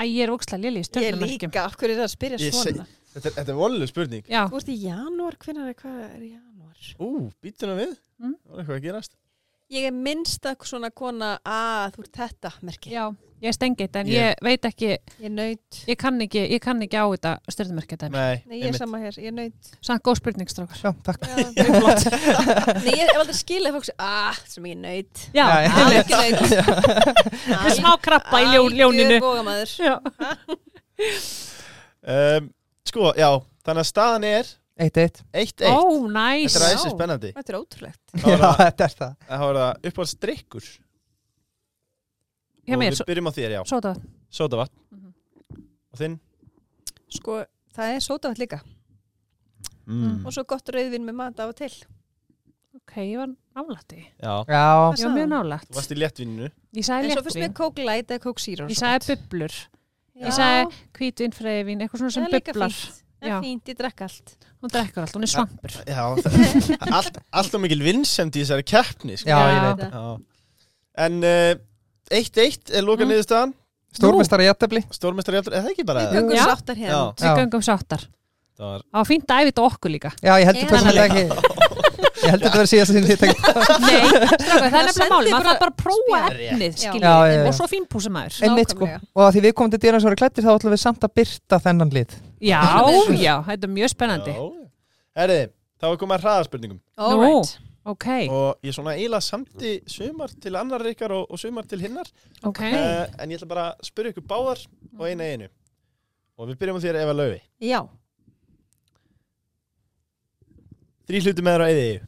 [SPEAKER 3] Æ, ég er ókslega léli í
[SPEAKER 4] Ég
[SPEAKER 3] stjórnumerkjum
[SPEAKER 4] líka, af hverju er það að spyrja
[SPEAKER 1] Ég
[SPEAKER 4] svona?
[SPEAKER 1] þetta er, þetta er vonlega spurning
[SPEAKER 3] Já,
[SPEAKER 4] Þú ert í janúar, hvernig er, hvað er í janúar?
[SPEAKER 1] Ú, býtum við,
[SPEAKER 3] Mm.
[SPEAKER 1] það var eitthvað að gerast
[SPEAKER 4] Ég er minnsta svona kona að þú ert þetta, merki.
[SPEAKER 3] já, ég stengi þetta en
[SPEAKER 1] Ég-
[SPEAKER 3] ég veit ekki,
[SPEAKER 4] Ég naut.
[SPEAKER 3] ég kann ekki ég kann ekki á þetta stjórnumerkja dæmi
[SPEAKER 1] Nei,
[SPEAKER 4] Nei, ég er
[SPEAKER 1] einmitt.
[SPEAKER 4] sama hér, ég naut.
[SPEAKER 3] Sann góð spurning, strákar
[SPEAKER 2] Já, takk
[SPEAKER 4] Já, mjög flott. Nei, ég hef aldrei skilið fólks, að, sem ég naut.
[SPEAKER 3] Já,
[SPEAKER 2] Já, já.
[SPEAKER 4] Alveg ekki naut.
[SPEAKER 3] með smá krabba í ljón,
[SPEAKER 4] Algjör
[SPEAKER 3] ljóninu
[SPEAKER 4] bógamæður.
[SPEAKER 3] Já,
[SPEAKER 1] um, Sko, já, þannig að staðan er
[SPEAKER 2] 1-1
[SPEAKER 1] 1-1
[SPEAKER 3] ó, næs
[SPEAKER 1] Þetta er aðeins spennandi
[SPEAKER 4] Þetta er ótrúlegt.
[SPEAKER 1] Þá
[SPEAKER 2] Já,
[SPEAKER 1] er það-
[SPEAKER 2] þetta er það
[SPEAKER 1] þá er það uppáhaldsdrykkur
[SPEAKER 3] Hjá
[SPEAKER 1] Og
[SPEAKER 3] mér,
[SPEAKER 1] við byrjum á þér, já
[SPEAKER 3] svo það
[SPEAKER 1] Sódavatn
[SPEAKER 3] Mhm.
[SPEAKER 1] Og þinn
[SPEAKER 4] Sko, það er sótavætt líka.
[SPEAKER 3] Mm.
[SPEAKER 4] Og svo gott rauðvin með mat af og til.
[SPEAKER 3] Ok, ég var nálætti
[SPEAKER 1] Já,
[SPEAKER 2] Já,
[SPEAKER 3] Ég var mjög nálætt
[SPEAKER 1] þú varst í léttvinnu
[SPEAKER 3] Ég
[SPEAKER 4] En
[SPEAKER 3] sagði
[SPEAKER 4] svo fyrst
[SPEAKER 3] léttvín
[SPEAKER 4] með kók light eða kók zero.
[SPEAKER 3] Ég
[SPEAKER 4] svo
[SPEAKER 3] sagði
[SPEAKER 4] gott.
[SPEAKER 3] bublur
[SPEAKER 4] Já.
[SPEAKER 3] Ég sagði hvítvinn, freyðvinn, eitthvað svona sem
[SPEAKER 4] Það er líka
[SPEAKER 3] bublar
[SPEAKER 4] fínt. Það
[SPEAKER 3] Já.
[SPEAKER 4] er fínt, ég drekka allt.
[SPEAKER 3] Hún drekkur allt, hún er svampur
[SPEAKER 1] Já, það- allt, allt og mikil vinsend í þessari keppni sko.
[SPEAKER 2] já, ég
[SPEAKER 3] Já.
[SPEAKER 2] veit
[SPEAKER 1] já. En eh, 1-1 er loka
[SPEAKER 3] Mm.
[SPEAKER 1] mm. niðurstaðan
[SPEAKER 2] Stórmestara jættabli
[SPEAKER 1] Stórmestari játtur, eða ekki bara
[SPEAKER 4] Við göngum
[SPEAKER 3] Já.
[SPEAKER 4] sáttar
[SPEAKER 1] Já.
[SPEAKER 4] hérna.
[SPEAKER 2] Já.
[SPEAKER 3] Við göngum sáttar
[SPEAKER 1] Það var
[SPEAKER 3] Það var fínt að æfi þetta okkur líka.
[SPEAKER 2] Já, ég heldur
[SPEAKER 4] Eða
[SPEAKER 2] þess að þetta ekki Ég heldur þetta verið síðast sinni þetta
[SPEAKER 3] Nei, stráka, það er nefnilega
[SPEAKER 4] sendi
[SPEAKER 3] máli. Maður
[SPEAKER 4] bara-
[SPEAKER 3] þarf bara að prófa
[SPEAKER 4] Spjall. Já.
[SPEAKER 3] efnið, skiljið.
[SPEAKER 2] Já, já, já.
[SPEAKER 3] Og svo fínpúsa maður.
[SPEAKER 2] Einmitt sko
[SPEAKER 4] Nákvæmlega.
[SPEAKER 2] Og að því við komum til dýran svo eru klættir þá ætlum við samt að byrta þennan lit
[SPEAKER 3] Já, já, þetta er mjög spennandi.
[SPEAKER 1] Já. Herri, þá er komið að hraðarspurningum
[SPEAKER 4] All
[SPEAKER 3] Nú.
[SPEAKER 4] right.
[SPEAKER 3] Ok,
[SPEAKER 1] og ég svona eiginlega samti sumar til annar ykkar og, og sumar til hinnar
[SPEAKER 3] ok.
[SPEAKER 1] uh, en ég ætla bara að spyrja ykkur báðar og eina í einu og við byrjum á þér Eva Laufi
[SPEAKER 4] Já.
[SPEAKER 1] Þrý hluti með þér á eðið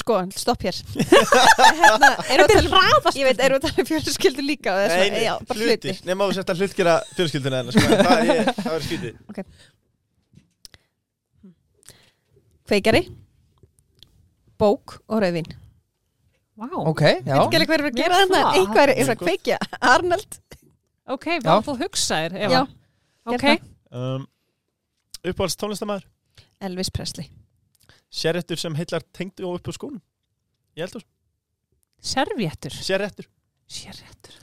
[SPEAKER 4] Sko, stopp hér hérna, erum við að tala um, Ég veit, erum við að tala um fjölskyldu líka og þess vegna- já, bara hluti
[SPEAKER 1] nema þú setja hlutgera fjölskylduna hennar sko. það er, ég- það er skýti
[SPEAKER 4] Kveikari, bók og rauðvin
[SPEAKER 3] Vá,
[SPEAKER 2] Ok, já
[SPEAKER 4] Gæli hver er að gera
[SPEAKER 3] Mjög
[SPEAKER 4] þannig
[SPEAKER 3] flott.
[SPEAKER 4] Eitthvað er eitthvað
[SPEAKER 1] Mjög
[SPEAKER 4] að kveikja Arnald
[SPEAKER 3] ok, vá, þú hugsaðir, Eva.
[SPEAKER 4] Já.
[SPEAKER 3] Ok,
[SPEAKER 4] Hérna.
[SPEAKER 1] um, uppáhalds tónlistamæður
[SPEAKER 4] Elvis Presley
[SPEAKER 1] sérrettur sem heillar tengdu og upp á skónum ég held þú,
[SPEAKER 3] servjettur.
[SPEAKER 1] sérrettur
[SPEAKER 3] Sérréttur.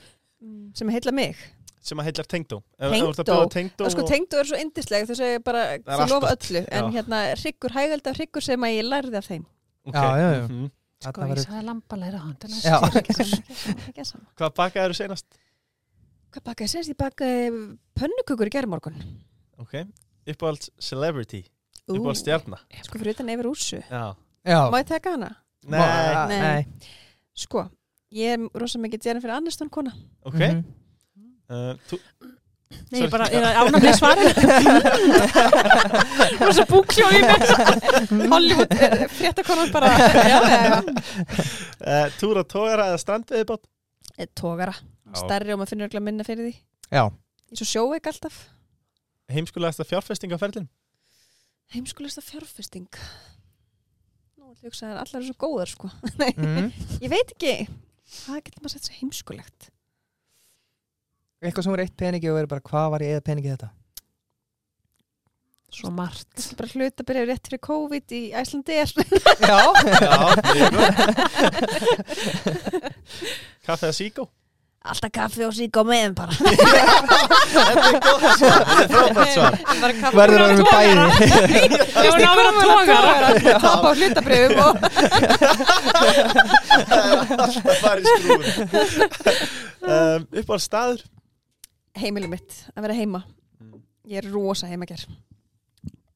[SPEAKER 3] Mm.
[SPEAKER 4] sem heilla mig
[SPEAKER 1] sem að heillar tengdó
[SPEAKER 4] Tengdó?
[SPEAKER 1] tengdó
[SPEAKER 4] og sko tengdu er svo indisleg þess að ég
[SPEAKER 1] Það
[SPEAKER 4] bara
[SPEAKER 1] er
[SPEAKER 4] þau lofa
[SPEAKER 1] allt
[SPEAKER 4] öllu en
[SPEAKER 1] Já.
[SPEAKER 4] hérna hryggur hægald af hryggur sem að ég lærði af þeim
[SPEAKER 1] okay.
[SPEAKER 2] Já, já, já.
[SPEAKER 1] Mhm.
[SPEAKER 3] Sko,
[SPEAKER 2] Þarna
[SPEAKER 3] ég
[SPEAKER 2] verður
[SPEAKER 3] sagði lambalæra hann. þetta er
[SPEAKER 2] Já.
[SPEAKER 3] næst.
[SPEAKER 4] Ekki sama, ekki sama, ekki sama.
[SPEAKER 1] hvað bakaði þú senast
[SPEAKER 4] Hvað bakaði sérst? Ég bakaði pönnukökur í gerðmorgun
[SPEAKER 1] okay. uppáhalds celebrity
[SPEAKER 4] Ú,
[SPEAKER 1] uppáhalds stjarnar
[SPEAKER 4] Sko fyrir utan yfir ússu
[SPEAKER 1] já
[SPEAKER 2] Já
[SPEAKER 4] Má ég taka hana?
[SPEAKER 1] Nei,
[SPEAKER 2] Nei
[SPEAKER 4] Sko, Ég er rosa mikið djærin fyrir annarstun kona.
[SPEAKER 1] ok
[SPEAKER 2] Mhm.
[SPEAKER 1] uh, þú,
[SPEAKER 3] Nei,
[SPEAKER 1] Sorry.
[SPEAKER 3] ég bara, ég er ánum með svarin og svo búkljó í mér Hollywood, fréttakonar bara já, já.
[SPEAKER 1] uh, Túra tóra eða strandveðibátt
[SPEAKER 4] Eða tógara. Stærri og maður finnur örugglega minna fyrir því.
[SPEAKER 2] Já,
[SPEAKER 4] Ég er svo sjóveik alltaf.
[SPEAKER 1] heimskulegasta fjárfestingaferlin
[SPEAKER 4] Heimskulegsta fjárfesting. Nú, ég hugsa að allar eru svo góðar, sko.
[SPEAKER 2] mm.
[SPEAKER 4] Ég veit ekki. Hvað getur maður sett svo heimskulegt?
[SPEAKER 2] eitthvað sem er eitt peningi og verður bara hvað var ég eða peningi í þetta
[SPEAKER 3] svo margt
[SPEAKER 4] Kannski bara hluta að byrja rétt fyrir COVID í Æslandi er.
[SPEAKER 2] Já,
[SPEAKER 1] kaffe eða síkó
[SPEAKER 4] Alltaf kaffi og sík á meðum bara.
[SPEAKER 1] frábært svar
[SPEAKER 2] verður að vera með bæði
[SPEAKER 3] Ég var náður að tóga
[SPEAKER 4] Tapa á hlutabrifum og
[SPEAKER 1] alltaf farið skrúfur um, uppáhald staður
[SPEAKER 4] heimili mitt að vera heima. Ég er rosa heimager.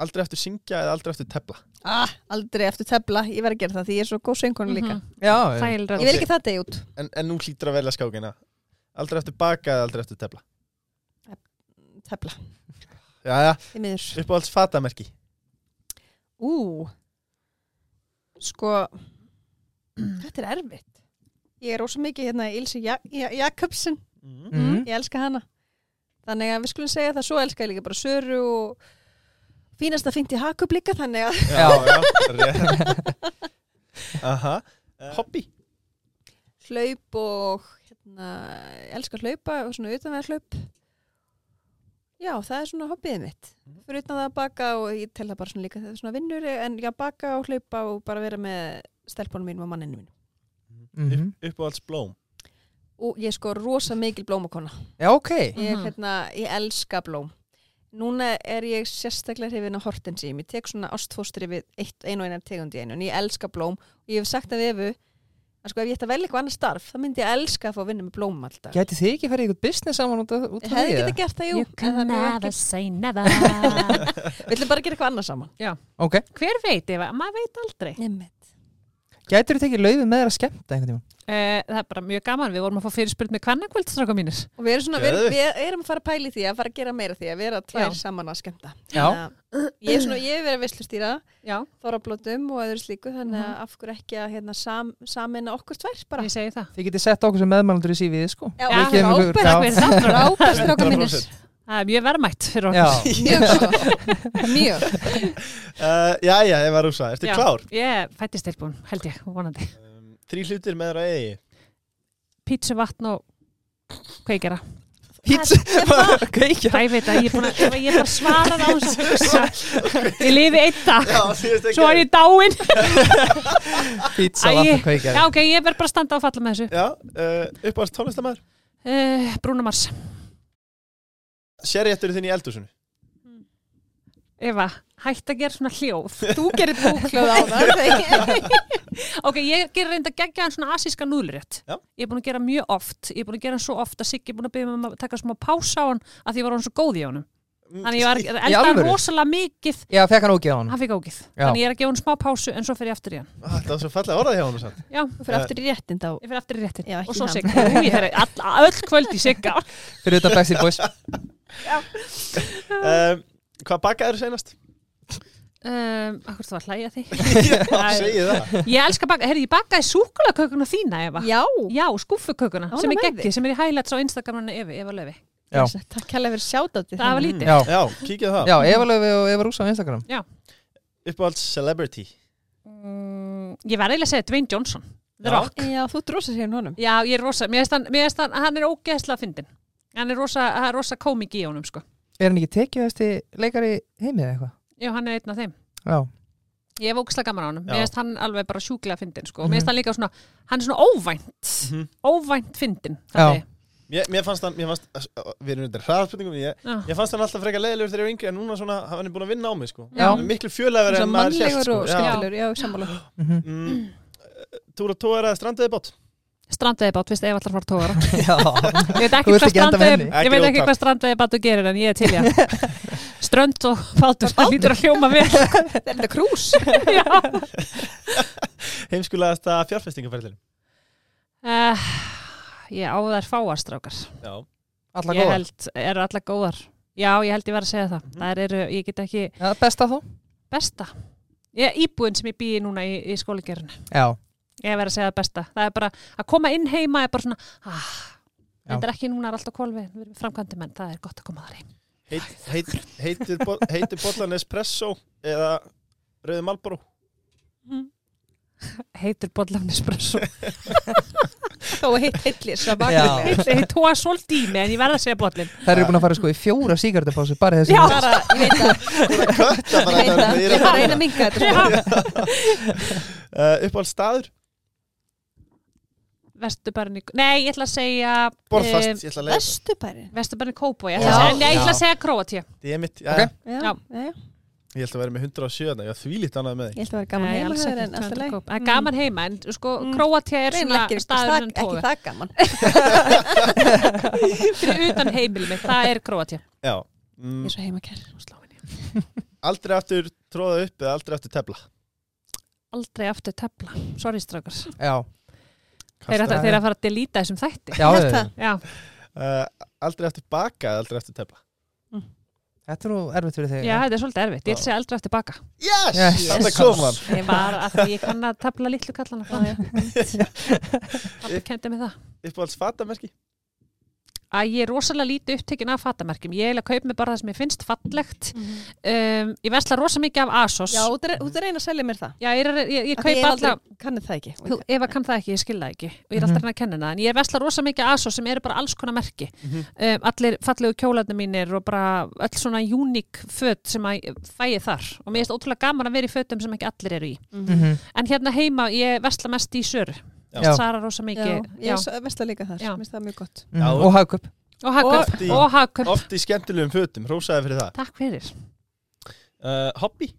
[SPEAKER 1] aldrei eftir syngja eða aldrei eftir tepla
[SPEAKER 4] Ah, aldrei eftir tefla. Ég verð að gera það því ég er svo góð söngkona líka.
[SPEAKER 2] Já,
[SPEAKER 4] Ég vil ekki það degi út.
[SPEAKER 1] en, en nú hlýtur að velja skákina aldrei eftir baka eða aldrei eftir tepla
[SPEAKER 4] Tefla.
[SPEAKER 1] Jæja,
[SPEAKER 4] Þið miður.
[SPEAKER 1] uppáhalds fatamerki
[SPEAKER 4] Ú. Sko, þetta er erfitt. Ég er rosa mikið hérna Ilse ja ja Jakobsen.
[SPEAKER 2] Mhm.
[SPEAKER 4] Ég elska hana. Þannig að við skulum segja það, svo elska ég líka bara Söru og fínasta fínt í Hakub líka, þannig að
[SPEAKER 1] Já, já, rétt Aha Hobby
[SPEAKER 4] hlaup og hérna, ég elska að hlaupa og svona utanverð hlaup já, það er svona hobbyið mitt fyrir utan það að baka og ég tel það bara svona líka það er svona vinnur en já, baka og hlaupa og bara vera með stelpunum mínum og manninu mínum
[SPEAKER 2] Mhm.
[SPEAKER 1] Uppáhalds blóm
[SPEAKER 4] og ég er sko rosa mikil blómakona
[SPEAKER 2] Já, ok
[SPEAKER 4] ég,
[SPEAKER 3] Mhm.
[SPEAKER 4] hérna, ég elska blóm núna er ég sérstaklega hrifin á hortensím ég tek svona ástfóstri við eitt, ein og einar tegundi einu en ég elska blóm og ég hef sagt að efu að sko ef ég ætti að velja eitthvað annað starf þá myndi ég elska að fá að vinna með blómum alltaf
[SPEAKER 2] Gæti þið ekki farið í eitthvað business saman út af út af
[SPEAKER 4] hefði
[SPEAKER 2] því,
[SPEAKER 4] geta
[SPEAKER 2] eða?
[SPEAKER 4] gert það, jú
[SPEAKER 3] You
[SPEAKER 4] en
[SPEAKER 3] can
[SPEAKER 4] það er
[SPEAKER 3] never
[SPEAKER 4] ekki-
[SPEAKER 3] say never
[SPEAKER 4] Við ætlum bara að gera eitthvað annað saman
[SPEAKER 2] Ok,
[SPEAKER 3] Hver veit, ef að maður veit aldrei
[SPEAKER 4] Nemmit.
[SPEAKER 2] gætir þið tekið laufið með þér að skemmta einhvern tímann?
[SPEAKER 3] Eh, Það er bara mjög gaman, við vorum að fá fyrirspurt með kvennakvöldstráka mínir
[SPEAKER 4] og við erum, svona, við,
[SPEAKER 1] Geðveikt.
[SPEAKER 4] við erum að fara að pæli því að fara að gera meira af því að vera tvær
[SPEAKER 3] Já.
[SPEAKER 4] saman að skemmta
[SPEAKER 2] Já.
[SPEAKER 4] Þannig að ég er svona, ég er verið að veslustýra
[SPEAKER 3] Já,
[SPEAKER 4] þorrablótum og öðru slíku þannig að af hverju ekki að hérna, sam, samina okkur tvær bara
[SPEAKER 3] ég segi það
[SPEAKER 2] Þið getið sett okkur sem meðmælandur í sífið, sko
[SPEAKER 4] Já,
[SPEAKER 3] Já,
[SPEAKER 2] gefum ykkur-
[SPEAKER 3] frábært,
[SPEAKER 2] já.
[SPEAKER 3] við erum sammála.
[SPEAKER 4] frábært stráka mínir
[SPEAKER 1] 100%.
[SPEAKER 3] Það er mjög verðmætt fyrir
[SPEAKER 2] Já,
[SPEAKER 3] okkur
[SPEAKER 4] mjög sko, mjög
[SPEAKER 1] Uh, Jæja, ég var rúsa, ertu
[SPEAKER 3] Já.
[SPEAKER 1] klár?
[SPEAKER 3] Ég fættist tilbúin, held ég, vonandi
[SPEAKER 1] Um, Þrý hlutir með þér að eigi
[SPEAKER 3] Pítsu, vatn og kveikjara
[SPEAKER 2] pítsu Kveikja
[SPEAKER 3] Það ég veit að ég er búin að ég er bara svarað á þess að hugsa Ég lifi einn dag Svo er ég dáin
[SPEAKER 2] Pítsa,
[SPEAKER 3] Æi.
[SPEAKER 2] vatn, kveikja
[SPEAKER 3] Já ok, ég verð bara að standa og falla með þessu
[SPEAKER 1] Já, uh, uppáhalds tónlistamæður
[SPEAKER 3] uh, Brúna Mars,
[SPEAKER 1] Sérjættur þinn í eldúsinu
[SPEAKER 3] Eva, hætt að gera svona hljóð
[SPEAKER 4] þú gerir búklöð á það
[SPEAKER 3] Ok, ég gerir reynda að gegja hann svona asíska núðlurétt
[SPEAKER 1] Já.
[SPEAKER 3] Ég er búin að gera mjög oft Ég er búin að gera hann svo oft að Siggi er búin að byggja mig um að taka smá pása á hann að því ég var hann svo góð í honum Þannig ég var að elda hann
[SPEAKER 2] alvöru?
[SPEAKER 3] rosalega mikið
[SPEAKER 2] Já, fekk hann ógið á hann
[SPEAKER 3] Hann fikk ógið
[SPEAKER 2] Já.
[SPEAKER 3] Þannig ég er að gefa hann smá pásu en svo fer ég aftur í hann
[SPEAKER 1] Það var svo fallega orðað hjá hann samt
[SPEAKER 3] Já,
[SPEAKER 4] þú fyrir aftur í réttin þá
[SPEAKER 3] ég fer aftur í réttin
[SPEAKER 4] Já,
[SPEAKER 3] Og
[SPEAKER 4] ekki
[SPEAKER 3] svo
[SPEAKER 4] hann.
[SPEAKER 3] Sigga Ú, ég fer all, öll kvöld í Sigga
[SPEAKER 2] Fyrir utan Backstreet Boys
[SPEAKER 1] um, Hvað bakaður seinast?
[SPEAKER 3] um, Akkur þú var að hlæja því
[SPEAKER 1] Já,
[SPEAKER 3] Æ.
[SPEAKER 1] segi það
[SPEAKER 3] Ég elska að baka, herri, ég bakaði súkulakökuna þína, Eva.
[SPEAKER 4] já,
[SPEAKER 3] Já, skúfukökuna,
[SPEAKER 4] Ánægð
[SPEAKER 3] sem er
[SPEAKER 4] með
[SPEAKER 3] geggið, sem er í highlights á Instagraminu Evi, Eva Löfi.
[SPEAKER 2] Já.
[SPEAKER 4] takk hérlega fyrir sjátáttið
[SPEAKER 3] Það var lítið.
[SPEAKER 2] Mm. Já,
[SPEAKER 1] Já, kíkja það
[SPEAKER 2] já Eva Löfi og Eva Rúsa á Instagram
[SPEAKER 1] Uppáhalds celebrity
[SPEAKER 3] Mm, ég verði eiginlega að segja Dwayne Johnson, The
[SPEAKER 1] Já.
[SPEAKER 3] Rock.
[SPEAKER 4] já, þú drosa sér um honum
[SPEAKER 3] Já, ég er rosa, mér finnst hann, mér finnst hann, hann er ógeðslega fyndin. Hann er rosa, hann er rosa komik í honum, sko.
[SPEAKER 2] Er hann ekki tekið þessi leikari heimið eða eitthvað?
[SPEAKER 3] Já, hann er einn af þeim.
[SPEAKER 2] Já,
[SPEAKER 3] Ég hef ógeðslega gaman á honum.
[SPEAKER 1] Já.
[SPEAKER 3] Mér finnst hann alveg bara sjúklega fyndin, sko.
[SPEAKER 2] Mhm.
[SPEAKER 3] Mér finnst hann líka svona, hann er svona óvænt,
[SPEAKER 1] Mhm.
[SPEAKER 3] óvænt fyndin.
[SPEAKER 2] Já.
[SPEAKER 3] þannig.
[SPEAKER 1] Mér, mér fannst hann, mér fannst, við erum undir hraðspurningum ég,
[SPEAKER 3] Já.
[SPEAKER 1] ég fannst hann alltaf frekar leiðilegur þegar ég var yngri en núna svona, hann er búin að vinna á mig sko
[SPEAKER 2] Já.
[SPEAKER 1] Hann er miklu fjölegar
[SPEAKER 4] Svo
[SPEAKER 1] en maður hélt
[SPEAKER 4] mannlegur
[SPEAKER 1] sko Já.
[SPEAKER 4] og skemmtilegur, já, sammála
[SPEAKER 2] Mhm.
[SPEAKER 1] Mm, Túra tóra strandiði bát
[SPEAKER 3] Strandaði bát, veist, Eva allar fara tóra.
[SPEAKER 2] já
[SPEAKER 3] Ég veit ekki
[SPEAKER 2] Þú vilt
[SPEAKER 3] hvað
[SPEAKER 2] ekki enda með
[SPEAKER 3] strandveiði
[SPEAKER 2] henni?
[SPEAKER 3] ég veit
[SPEAKER 1] Ekki,
[SPEAKER 3] ekki
[SPEAKER 1] ó,
[SPEAKER 3] hvað strandveiði bátu gerir en ég er til í hann strönd og bátur, það lítur að hljóma vel
[SPEAKER 4] er þetta krús
[SPEAKER 3] Já.
[SPEAKER 1] Heimskulegasta fjárfestingaferðilin
[SPEAKER 3] Uh, ég á þær fáastrákar.
[SPEAKER 1] Já,
[SPEAKER 2] Alla
[SPEAKER 3] Ég
[SPEAKER 2] góðar. Mhm.
[SPEAKER 3] held, eru allar góðar. Já, ég held ég var að segja það. Það eru, ég get ekki
[SPEAKER 2] Já, besta þá?
[SPEAKER 3] besta. Ég, íbúin sem ég býi núna í, í skólagerinu.
[SPEAKER 2] Já,
[SPEAKER 3] Ég verð að segja það besta. Það er bara, að koma inn heima er bara svona, ah,
[SPEAKER 2] Já.
[SPEAKER 3] þetta er ekki núna er allt á kvolfi, við erum framkvæmdi menn, það er gott að koma þar heim.
[SPEAKER 1] heit, heit, heitir, bo heitir bollan espresso eða rauði malbró?
[SPEAKER 3] Heitur bollafnisbrössu.
[SPEAKER 4] Þó heitt heillir svo
[SPEAKER 2] Já.
[SPEAKER 4] bakið
[SPEAKER 3] Ég tóa svolítið í mig en ég verð að segja bollin.
[SPEAKER 2] þær eru búin að fara sko í fjóra sígardapásu bara þessi
[SPEAKER 3] Já.
[SPEAKER 4] bara, ég veit það,
[SPEAKER 1] Kötta
[SPEAKER 4] ég veit það, ég er bara að reyna að minga þetta sko.
[SPEAKER 3] Já.
[SPEAKER 1] Uh, uppáhald staður?
[SPEAKER 3] Vesturbærin í, nei, ég ætla að segja
[SPEAKER 1] Borðfast, ég ætla að leiða
[SPEAKER 4] Vesturbærin
[SPEAKER 3] Vesturbærin í Kópói,
[SPEAKER 2] Já.
[SPEAKER 3] en ég ætla
[SPEAKER 2] Já.
[SPEAKER 3] að segja Króatíu.
[SPEAKER 1] Ég er mitt, já,
[SPEAKER 2] Ok.
[SPEAKER 4] Já,
[SPEAKER 3] Já.
[SPEAKER 4] já,
[SPEAKER 1] ég ætla að vera með 107 ég var þvílíkt annað með
[SPEAKER 4] ég held að vera gaman
[SPEAKER 3] Nei,
[SPEAKER 4] heima
[SPEAKER 3] alls
[SPEAKER 4] hjá þér
[SPEAKER 3] ekki, um
[SPEAKER 4] en alltaf
[SPEAKER 3] 200
[SPEAKER 4] leið
[SPEAKER 3] kóp. Það er gaman heima, en sko, Króatia er svona um
[SPEAKER 4] Reynilega ekki,
[SPEAKER 3] staður
[SPEAKER 4] það-
[SPEAKER 3] sem
[SPEAKER 4] ekki
[SPEAKER 3] tóður.
[SPEAKER 4] það gaman
[SPEAKER 3] Fyrir utan heimil mitt, það er Króatia.
[SPEAKER 1] því Já, mm,
[SPEAKER 4] Ég er svo heimakær
[SPEAKER 1] aldrei aftur tróða upp eða aldrei aftur tefla
[SPEAKER 3] Aldrei aftur tefla. Sorry, strákar.
[SPEAKER 2] Já,
[SPEAKER 3] Þeir
[SPEAKER 1] Kasta-
[SPEAKER 3] eru að- þeir eru að fara að delíta þessum þætti.
[SPEAKER 2] já
[SPEAKER 4] Ég held
[SPEAKER 2] þau-
[SPEAKER 4] það.
[SPEAKER 3] Já,
[SPEAKER 1] Uh, Aldrei aftur baka eða aldrei aftur tefla
[SPEAKER 2] þetta er nú erfitt fyrir þig
[SPEAKER 3] já, þetta er svolítið erfitt. Ég vil segja aldrei aftur baka.
[SPEAKER 1] Yes,
[SPEAKER 2] Yes.
[SPEAKER 1] þetta kom hann
[SPEAKER 3] Ég var að því ég kann að tefla litlu kallana. sko. Pappi kendi mig það.
[SPEAKER 1] Uppáhalds fatamerki
[SPEAKER 3] Að ég er rosalega lítið upptekin af fatamerkjum. Ég eiginlega kaup mig bara það sem ég finnst fallegt. Um, ég versla rosalega mikið af Asos.
[SPEAKER 4] Já, þú ert að reyna að selja mér það
[SPEAKER 3] Já, ég, er- ég, ég
[SPEAKER 4] Af því
[SPEAKER 3] kaup
[SPEAKER 4] Ég
[SPEAKER 3] alla...
[SPEAKER 4] aldrei kannu það ekki
[SPEAKER 3] Þú, Eva kann það ekki, ég skil það ekki og ég er alltaf að reyna að kenna það, en ég vesla rosa mikið ASOS sem eru bara alls konar merki
[SPEAKER 1] Mhm.
[SPEAKER 3] um, allir fallegu kjólarnir mínir og bara öll svona uník föt sem að ég fæi þar og mér finnst ótrúlega gaman að vera í fötum sem ekki allir eru í
[SPEAKER 2] Mhm.
[SPEAKER 3] en hérna heima, ég vesla mest í sör
[SPEAKER 2] Já.
[SPEAKER 3] Sara rosa mikið
[SPEAKER 4] Já, ég veist það líka þar,
[SPEAKER 3] Já.
[SPEAKER 4] mér finnst það mjög gott
[SPEAKER 2] Mhm.
[SPEAKER 1] Já.
[SPEAKER 2] Og hagkaup
[SPEAKER 3] og hagkaup,
[SPEAKER 1] Oft í-
[SPEAKER 3] og hagkaup
[SPEAKER 1] Oft í skemmtilegum fötum, rósaði fyrir það
[SPEAKER 3] Takk fyrir
[SPEAKER 1] uh, Hobby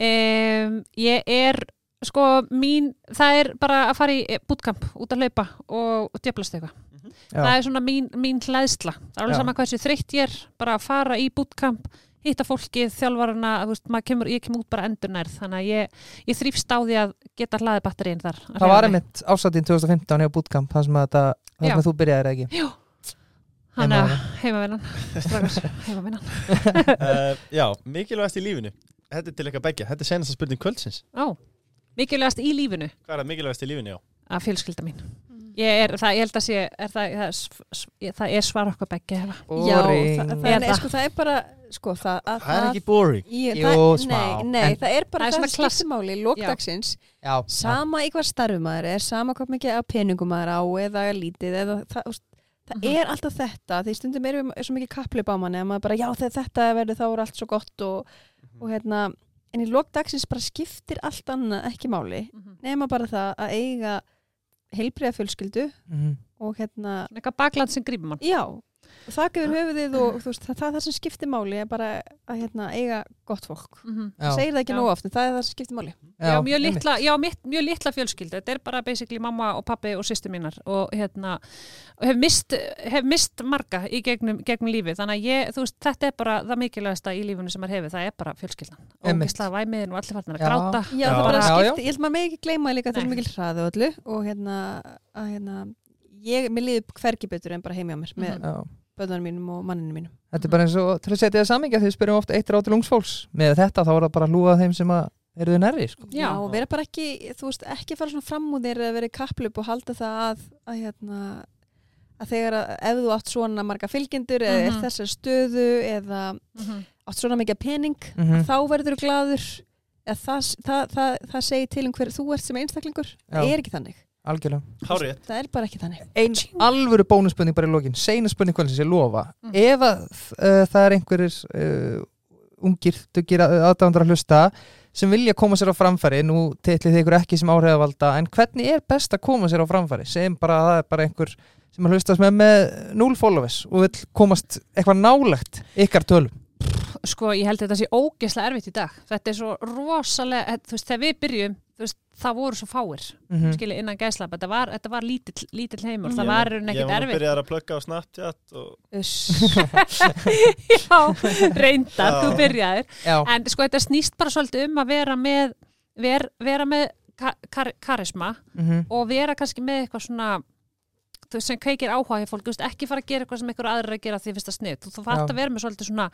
[SPEAKER 3] um, Ég er sko mín, það er bara að fara í eh, bootcamp út að hlaupa og djöflast eitthvað
[SPEAKER 2] Já.
[SPEAKER 3] það er svona mín, mín hlæðsla það er alveg
[SPEAKER 2] Já.
[SPEAKER 3] sama hversu þreytt ég er bara að fara í bootcamp, hitta fólkið þjálfarana, þú veist, maður kemur, ég kemur út bara endurnærð, þannig að ég, ég þrýfst á því að geta hlaði batterín þar að
[SPEAKER 2] Það
[SPEAKER 3] hreyfa
[SPEAKER 2] var
[SPEAKER 3] mig.
[SPEAKER 2] einmitt ásatinn 2015 hjá Bootcamp þar sem, að þetta- þar sem
[SPEAKER 3] Já.
[SPEAKER 2] að þú byrjaðir ekki
[SPEAKER 3] þannig að heimavinnan, strákar, heimavinnan
[SPEAKER 1] uh, Já, mikilvægast í lífinu Þetta er til eitthvað begja, þetta er senast spurning kvöldsins
[SPEAKER 3] Ó, mikilvægast í lífinu
[SPEAKER 1] Hvað er það mikilvægast í lífinu, já?
[SPEAKER 3] að fjölskylda mín ég er, það, ég held að sé er það, það, er sv- sv- það er svar okkur begge hefa
[SPEAKER 4] Já,
[SPEAKER 2] Boring.
[SPEAKER 4] það, það,
[SPEAKER 3] Er
[SPEAKER 4] nei,
[SPEAKER 3] það?
[SPEAKER 4] sko, það er bara sko, það, að,
[SPEAKER 1] Það er ekki boring
[SPEAKER 4] Ég,
[SPEAKER 2] Jú,
[SPEAKER 4] það,
[SPEAKER 2] smá,
[SPEAKER 4] nei,
[SPEAKER 2] en-
[SPEAKER 4] nei, það er bara
[SPEAKER 3] Það er
[SPEAKER 4] það,
[SPEAKER 3] svona
[SPEAKER 4] það
[SPEAKER 3] klass-
[SPEAKER 4] skiptumáli lókdagsins,
[SPEAKER 2] Já, já.
[SPEAKER 4] sama í hvað starfum maður er, sama hvað mikið af peningum maður á eða lítið, eða, það, úst, það
[SPEAKER 3] Mhm.
[SPEAKER 4] er alltaf þetta, því stundum erum við svo mikið kaplið á manni, að maður bara, já þegar þetta verður þá er allt svo gott og,
[SPEAKER 3] Mhm.
[SPEAKER 4] og hérna, en í lókdagsins bara skiptir allt annað ekki máli,
[SPEAKER 3] Mhm.
[SPEAKER 4] nema bara það að eiga heilbriða fjölskyldu
[SPEAKER 2] Mhm.
[SPEAKER 4] og hérna,
[SPEAKER 3] eitthvað bakland sem grífum hann
[SPEAKER 4] já, og þak yfir höfuðið og þú veist, það, það, er það sem skiptir máli er bara að hérna, eiga gott fólk
[SPEAKER 2] Já.
[SPEAKER 4] segir það ekki
[SPEAKER 3] Já.
[SPEAKER 4] nóg oft, en það er það sem skiptir máli
[SPEAKER 3] Já, mjög
[SPEAKER 2] einmitt.
[SPEAKER 3] litla, já, mitt, mjög litla fjölskyldu þetta er bara basically mamma og pappi og sýstu mínar og hérna og hef mist, hef mist marga í gegnum, gegnum lífi, þannig að ég, þú veist, þetta er bara það mikilvægasta í lífinu sem maður hefur, það er bara fjölskyldan og
[SPEAKER 2] Einmitt.
[SPEAKER 3] gíslað væmiðin og allir farnar að
[SPEAKER 2] Já.
[SPEAKER 3] gráta
[SPEAKER 4] já,
[SPEAKER 1] Já.
[SPEAKER 4] það bara
[SPEAKER 2] Já,
[SPEAKER 4] skiptir, ég held maður með ekki gleyma líka
[SPEAKER 3] Nei.
[SPEAKER 4] þessu mikil hraðu öllu og hérna, að, hérna ég, mér líður hvergi betur en bara heim hjá mér með mm
[SPEAKER 2] Já.
[SPEAKER 4] bönnarnum mínum og manninu mínum
[SPEAKER 2] Þetta er bara eins og til að setja það samingja því við spyrjum oft eitt rátur ungsfólks með þetta þá er það bara að lúa þeim sem að eru þau nærri sko.
[SPEAKER 3] Já.
[SPEAKER 4] og vera bara ekki, þú veist, ekki fara svona fram úr þér að vera í kapplup og halda það að, að hérna að þegar að ef þú átt svona marga fylgjendur eða
[SPEAKER 3] Mhm.
[SPEAKER 4] er þessar stöðu eða
[SPEAKER 1] Mhm.
[SPEAKER 4] átt svona mikið pening
[SPEAKER 2] Mhm.
[SPEAKER 4] þá verður þú gladur eða það, það, það, það segir til um hver þú ert sem einstaklingur, það
[SPEAKER 2] Já.
[SPEAKER 4] er ekki þannig
[SPEAKER 2] Algjörlega.
[SPEAKER 1] Hárið
[SPEAKER 4] það er bara ekki þannig
[SPEAKER 2] Einn alvöru bónusspurning bara í lokin, seina spurning hvernig ég lofa.
[SPEAKER 3] Mm.
[SPEAKER 2] Ef að, uh, það er einhverjir uh, ungir, dugir aðdándar að hlusta sem vilja koma sér á framfæri, nú titlið þið ykkur ekki sem áhrifavalda, en hvernig er best að koma sér á framfæri? Segjum bara að það er bara einhver sem að hlusta sem er með núl followers og vil komast eitthvað nálægt ykkar tölum.
[SPEAKER 3] sko, ég held þetta sé ógeðslega erfitt í dag þetta er svo rosalega, eh, þú veist, þegar við byrjum þú veist, það voru svo fáir
[SPEAKER 2] Mm -hmm.
[SPEAKER 3] skilja innan gæsla, þetta var, þetta var lítill, lítill heimur,
[SPEAKER 2] Mm.
[SPEAKER 3] það
[SPEAKER 1] Ég
[SPEAKER 3] var í rauninni
[SPEAKER 1] Ég
[SPEAKER 3] ekkert
[SPEAKER 1] var nú
[SPEAKER 3] erfitt
[SPEAKER 1] byrjaðar að plugga á Snapchat og...
[SPEAKER 4] Uss.
[SPEAKER 3] Já, reyndar,
[SPEAKER 1] Já.
[SPEAKER 3] þú byrjaðir
[SPEAKER 2] Já,
[SPEAKER 3] en sko þetta snýst bara svolítið um að vera með ver, vera með ka kar karisma
[SPEAKER 2] mm -hmm.
[SPEAKER 3] og vera kannski með eitthvað svona þú veist, sem kveikir áhuga hér fólk, þú veist, ekki fara að gera eitthvað sem eitthvað aðrir er að gera því fyrsta snið þú þú fætt
[SPEAKER 2] Já.
[SPEAKER 3] að vera með svolítið svona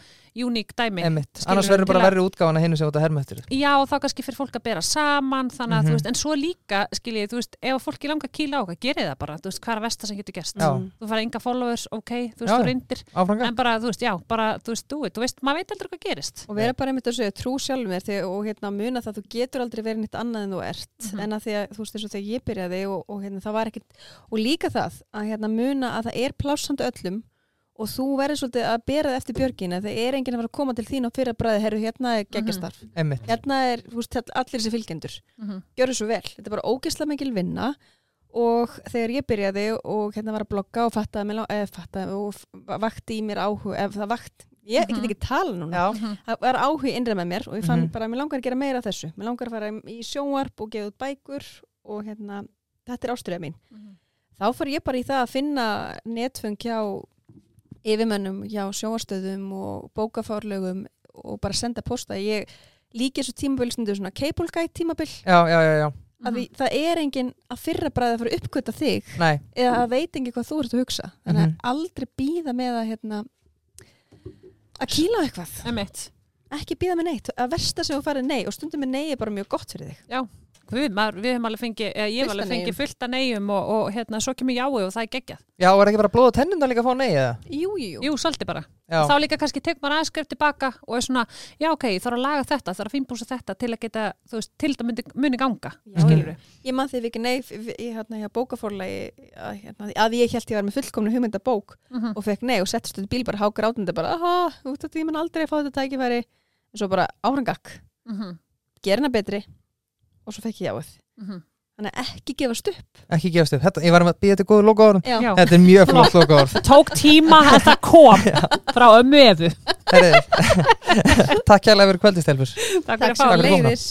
[SPEAKER 3] uník dæmi
[SPEAKER 2] Einmitt,
[SPEAKER 3] skilur
[SPEAKER 2] annars
[SPEAKER 3] við,
[SPEAKER 2] verður bara
[SPEAKER 3] til að-
[SPEAKER 2] verri útgáfana hinu sem þú ert að herma eftir
[SPEAKER 3] já, og þá kannski fyrir fólk að bera saman þannig að,
[SPEAKER 2] Mhm.
[SPEAKER 3] þú veist, en svo líka, skiljið, þú veist ef fólki langar að kýla á okkar, gerið það bara þú veist, hvað er að versta sem getur gerst
[SPEAKER 4] Mm.
[SPEAKER 2] Já.
[SPEAKER 3] þú fara enga followers, ok, þú veist,
[SPEAKER 2] Já,
[SPEAKER 3] þú
[SPEAKER 2] já.
[SPEAKER 3] reyndir
[SPEAKER 2] áfranga
[SPEAKER 3] en bara, þú veist, já, bara, þú veist, do it, þú veist, maður veit aldrei hvað gerist
[SPEAKER 4] og vera bara einmitt að segja trú sjálfum þér þegar, og hérna muna það að þú getur aldrei verið nýtt annað en þú ert
[SPEAKER 3] Mhm.
[SPEAKER 4] en að því að þú veist eins og þegar ég byrjaði og, og hérna það var ekkit og líka það að hérna muna að það er plássandi öllum og þú verður svolítið að bera það eftir björgina þegar er enginn að fara að koma til þín og fyrir að bræði herru hérna er geggjastarf
[SPEAKER 2] einmitt, Mhm.
[SPEAKER 4] hérna er þú veist, allir þessi fylgjendur
[SPEAKER 3] mm -hmm.
[SPEAKER 4] gjöru svo vel, þetta er bara ógeðslega mikil vinna og þegar ég byrjaði og hérna var að blogga og fattaði, mig lang- eh, fattaði og f- vakti í mér áhug ef það vakt, ég
[SPEAKER 3] Mhm.
[SPEAKER 4] get ekki tala núna Mhm.
[SPEAKER 2] já,
[SPEAKER 4] það var áhugi innra með mér og ég fann
[SPEAKER 2] Mhm.
[SPEAKER 4] bara að mér langar að gera meira af þessu mér langar að fara í sjónvarp og gefa út bækur og hérna, þetta er ástriða mín
[SPEAKER 2] Mhm.
[SPEAKER 4] þá fór ég bara í það að finna netfung hjá yfirmönnum, hjá sjónvarstöðum og bókafárlögum og bara senda posta ég líki þessu tímabil stundu svona cable guide tímabil
[SPEAKER 2] já, já, já, já.
[SPEAKER 4] mm -hmm. það er enginn að fyrra bræða að fara að uppgöta þig
[SPEAKER 2] Nei,
[SPEAKER 4] eða að veit enginn hvað þú ert að hugsa þannig
[SPEAKER 2] Mhm.
[SPEAKER 4] að aldrei býða með að hérna, að kýla á eitthvað
[SPEAKER 3] Emitt.
[SPEAKER 4] ekki býða með neitt, að versta sem þú farið nei og stundum með nei er bara mjög gott fyrir þig
[SPEAKER 3] Guð, maður, við hefum alveg fengið, eða ég
[SPEAKER 4] Fullt
[SPEAKER 3] hef
[SPEAKER 4] af
[SPEAKER 3] alveg fengið fullt að neyjum og, og hérna, svo kemur jáu og það er geggjað.
[SPEAKER 2] já, og er ekki bara blóð og tennum líka að fá nei eða?
[SPEAKER 4] Jú, jú,
[SPEAKER 3] Jú, svolítið bara.
[SPEAKER 2] Já,
[SPEAKER 3] Þá líka kannski tek maður aðskrif tilbaka og er svona, já ok, ég þarf að laga þetta, þarf að fínbúsa þetta til að geta, þú veist, til það muni, muni ganga.
[SPEAKER 4] Já,
[SPEAKER 3] skilurðu.
[SPEAKER 4] Ég man því við ekki nei f- ég, hérna, hjá bókaforlagi að, hérna, að ég held ég var með fullkomna hugmyndabók
[SPEAKER 3] Mhm.
[SPEAKER 4] og fekk nei og settist þetta bíl bara hákur átnenda bara, aha, út af því ég mun aldrei að fá þetta tækifæri en svo bara árangak,
[SPEAKER 3] Mhm,
[SPEAKER 4] gera hana betri og svo fekk ég jáið
[SPEAKER 3] mhm.
[SPEAKER 4] Þannig að ekki gefast upp
[SPEAKER 2] ekki gefast upp, þetta, ég var um að býja þetta góðu lokaorðum
[SPEAKER 4] Já,
[SPEAKER 3] Já.
[SPEAKER 2] Þetta er mjög flott lokaorð
[SPEAKER 3] Það tók tíma að það kom frá ömmu efu.
[SPEAKER 2] Herri, Takk kærlega fyrir kvöldistelfur
[SPEAKER 3] Takk
[SPEAKER 4] takk
[SPEAKER 3] fyrir
[SPEAKER 4] sem
[SPEAKER 3] að fá
[SPEAKER 2] fyrir að koma.
[SPEAKER 4] leiðis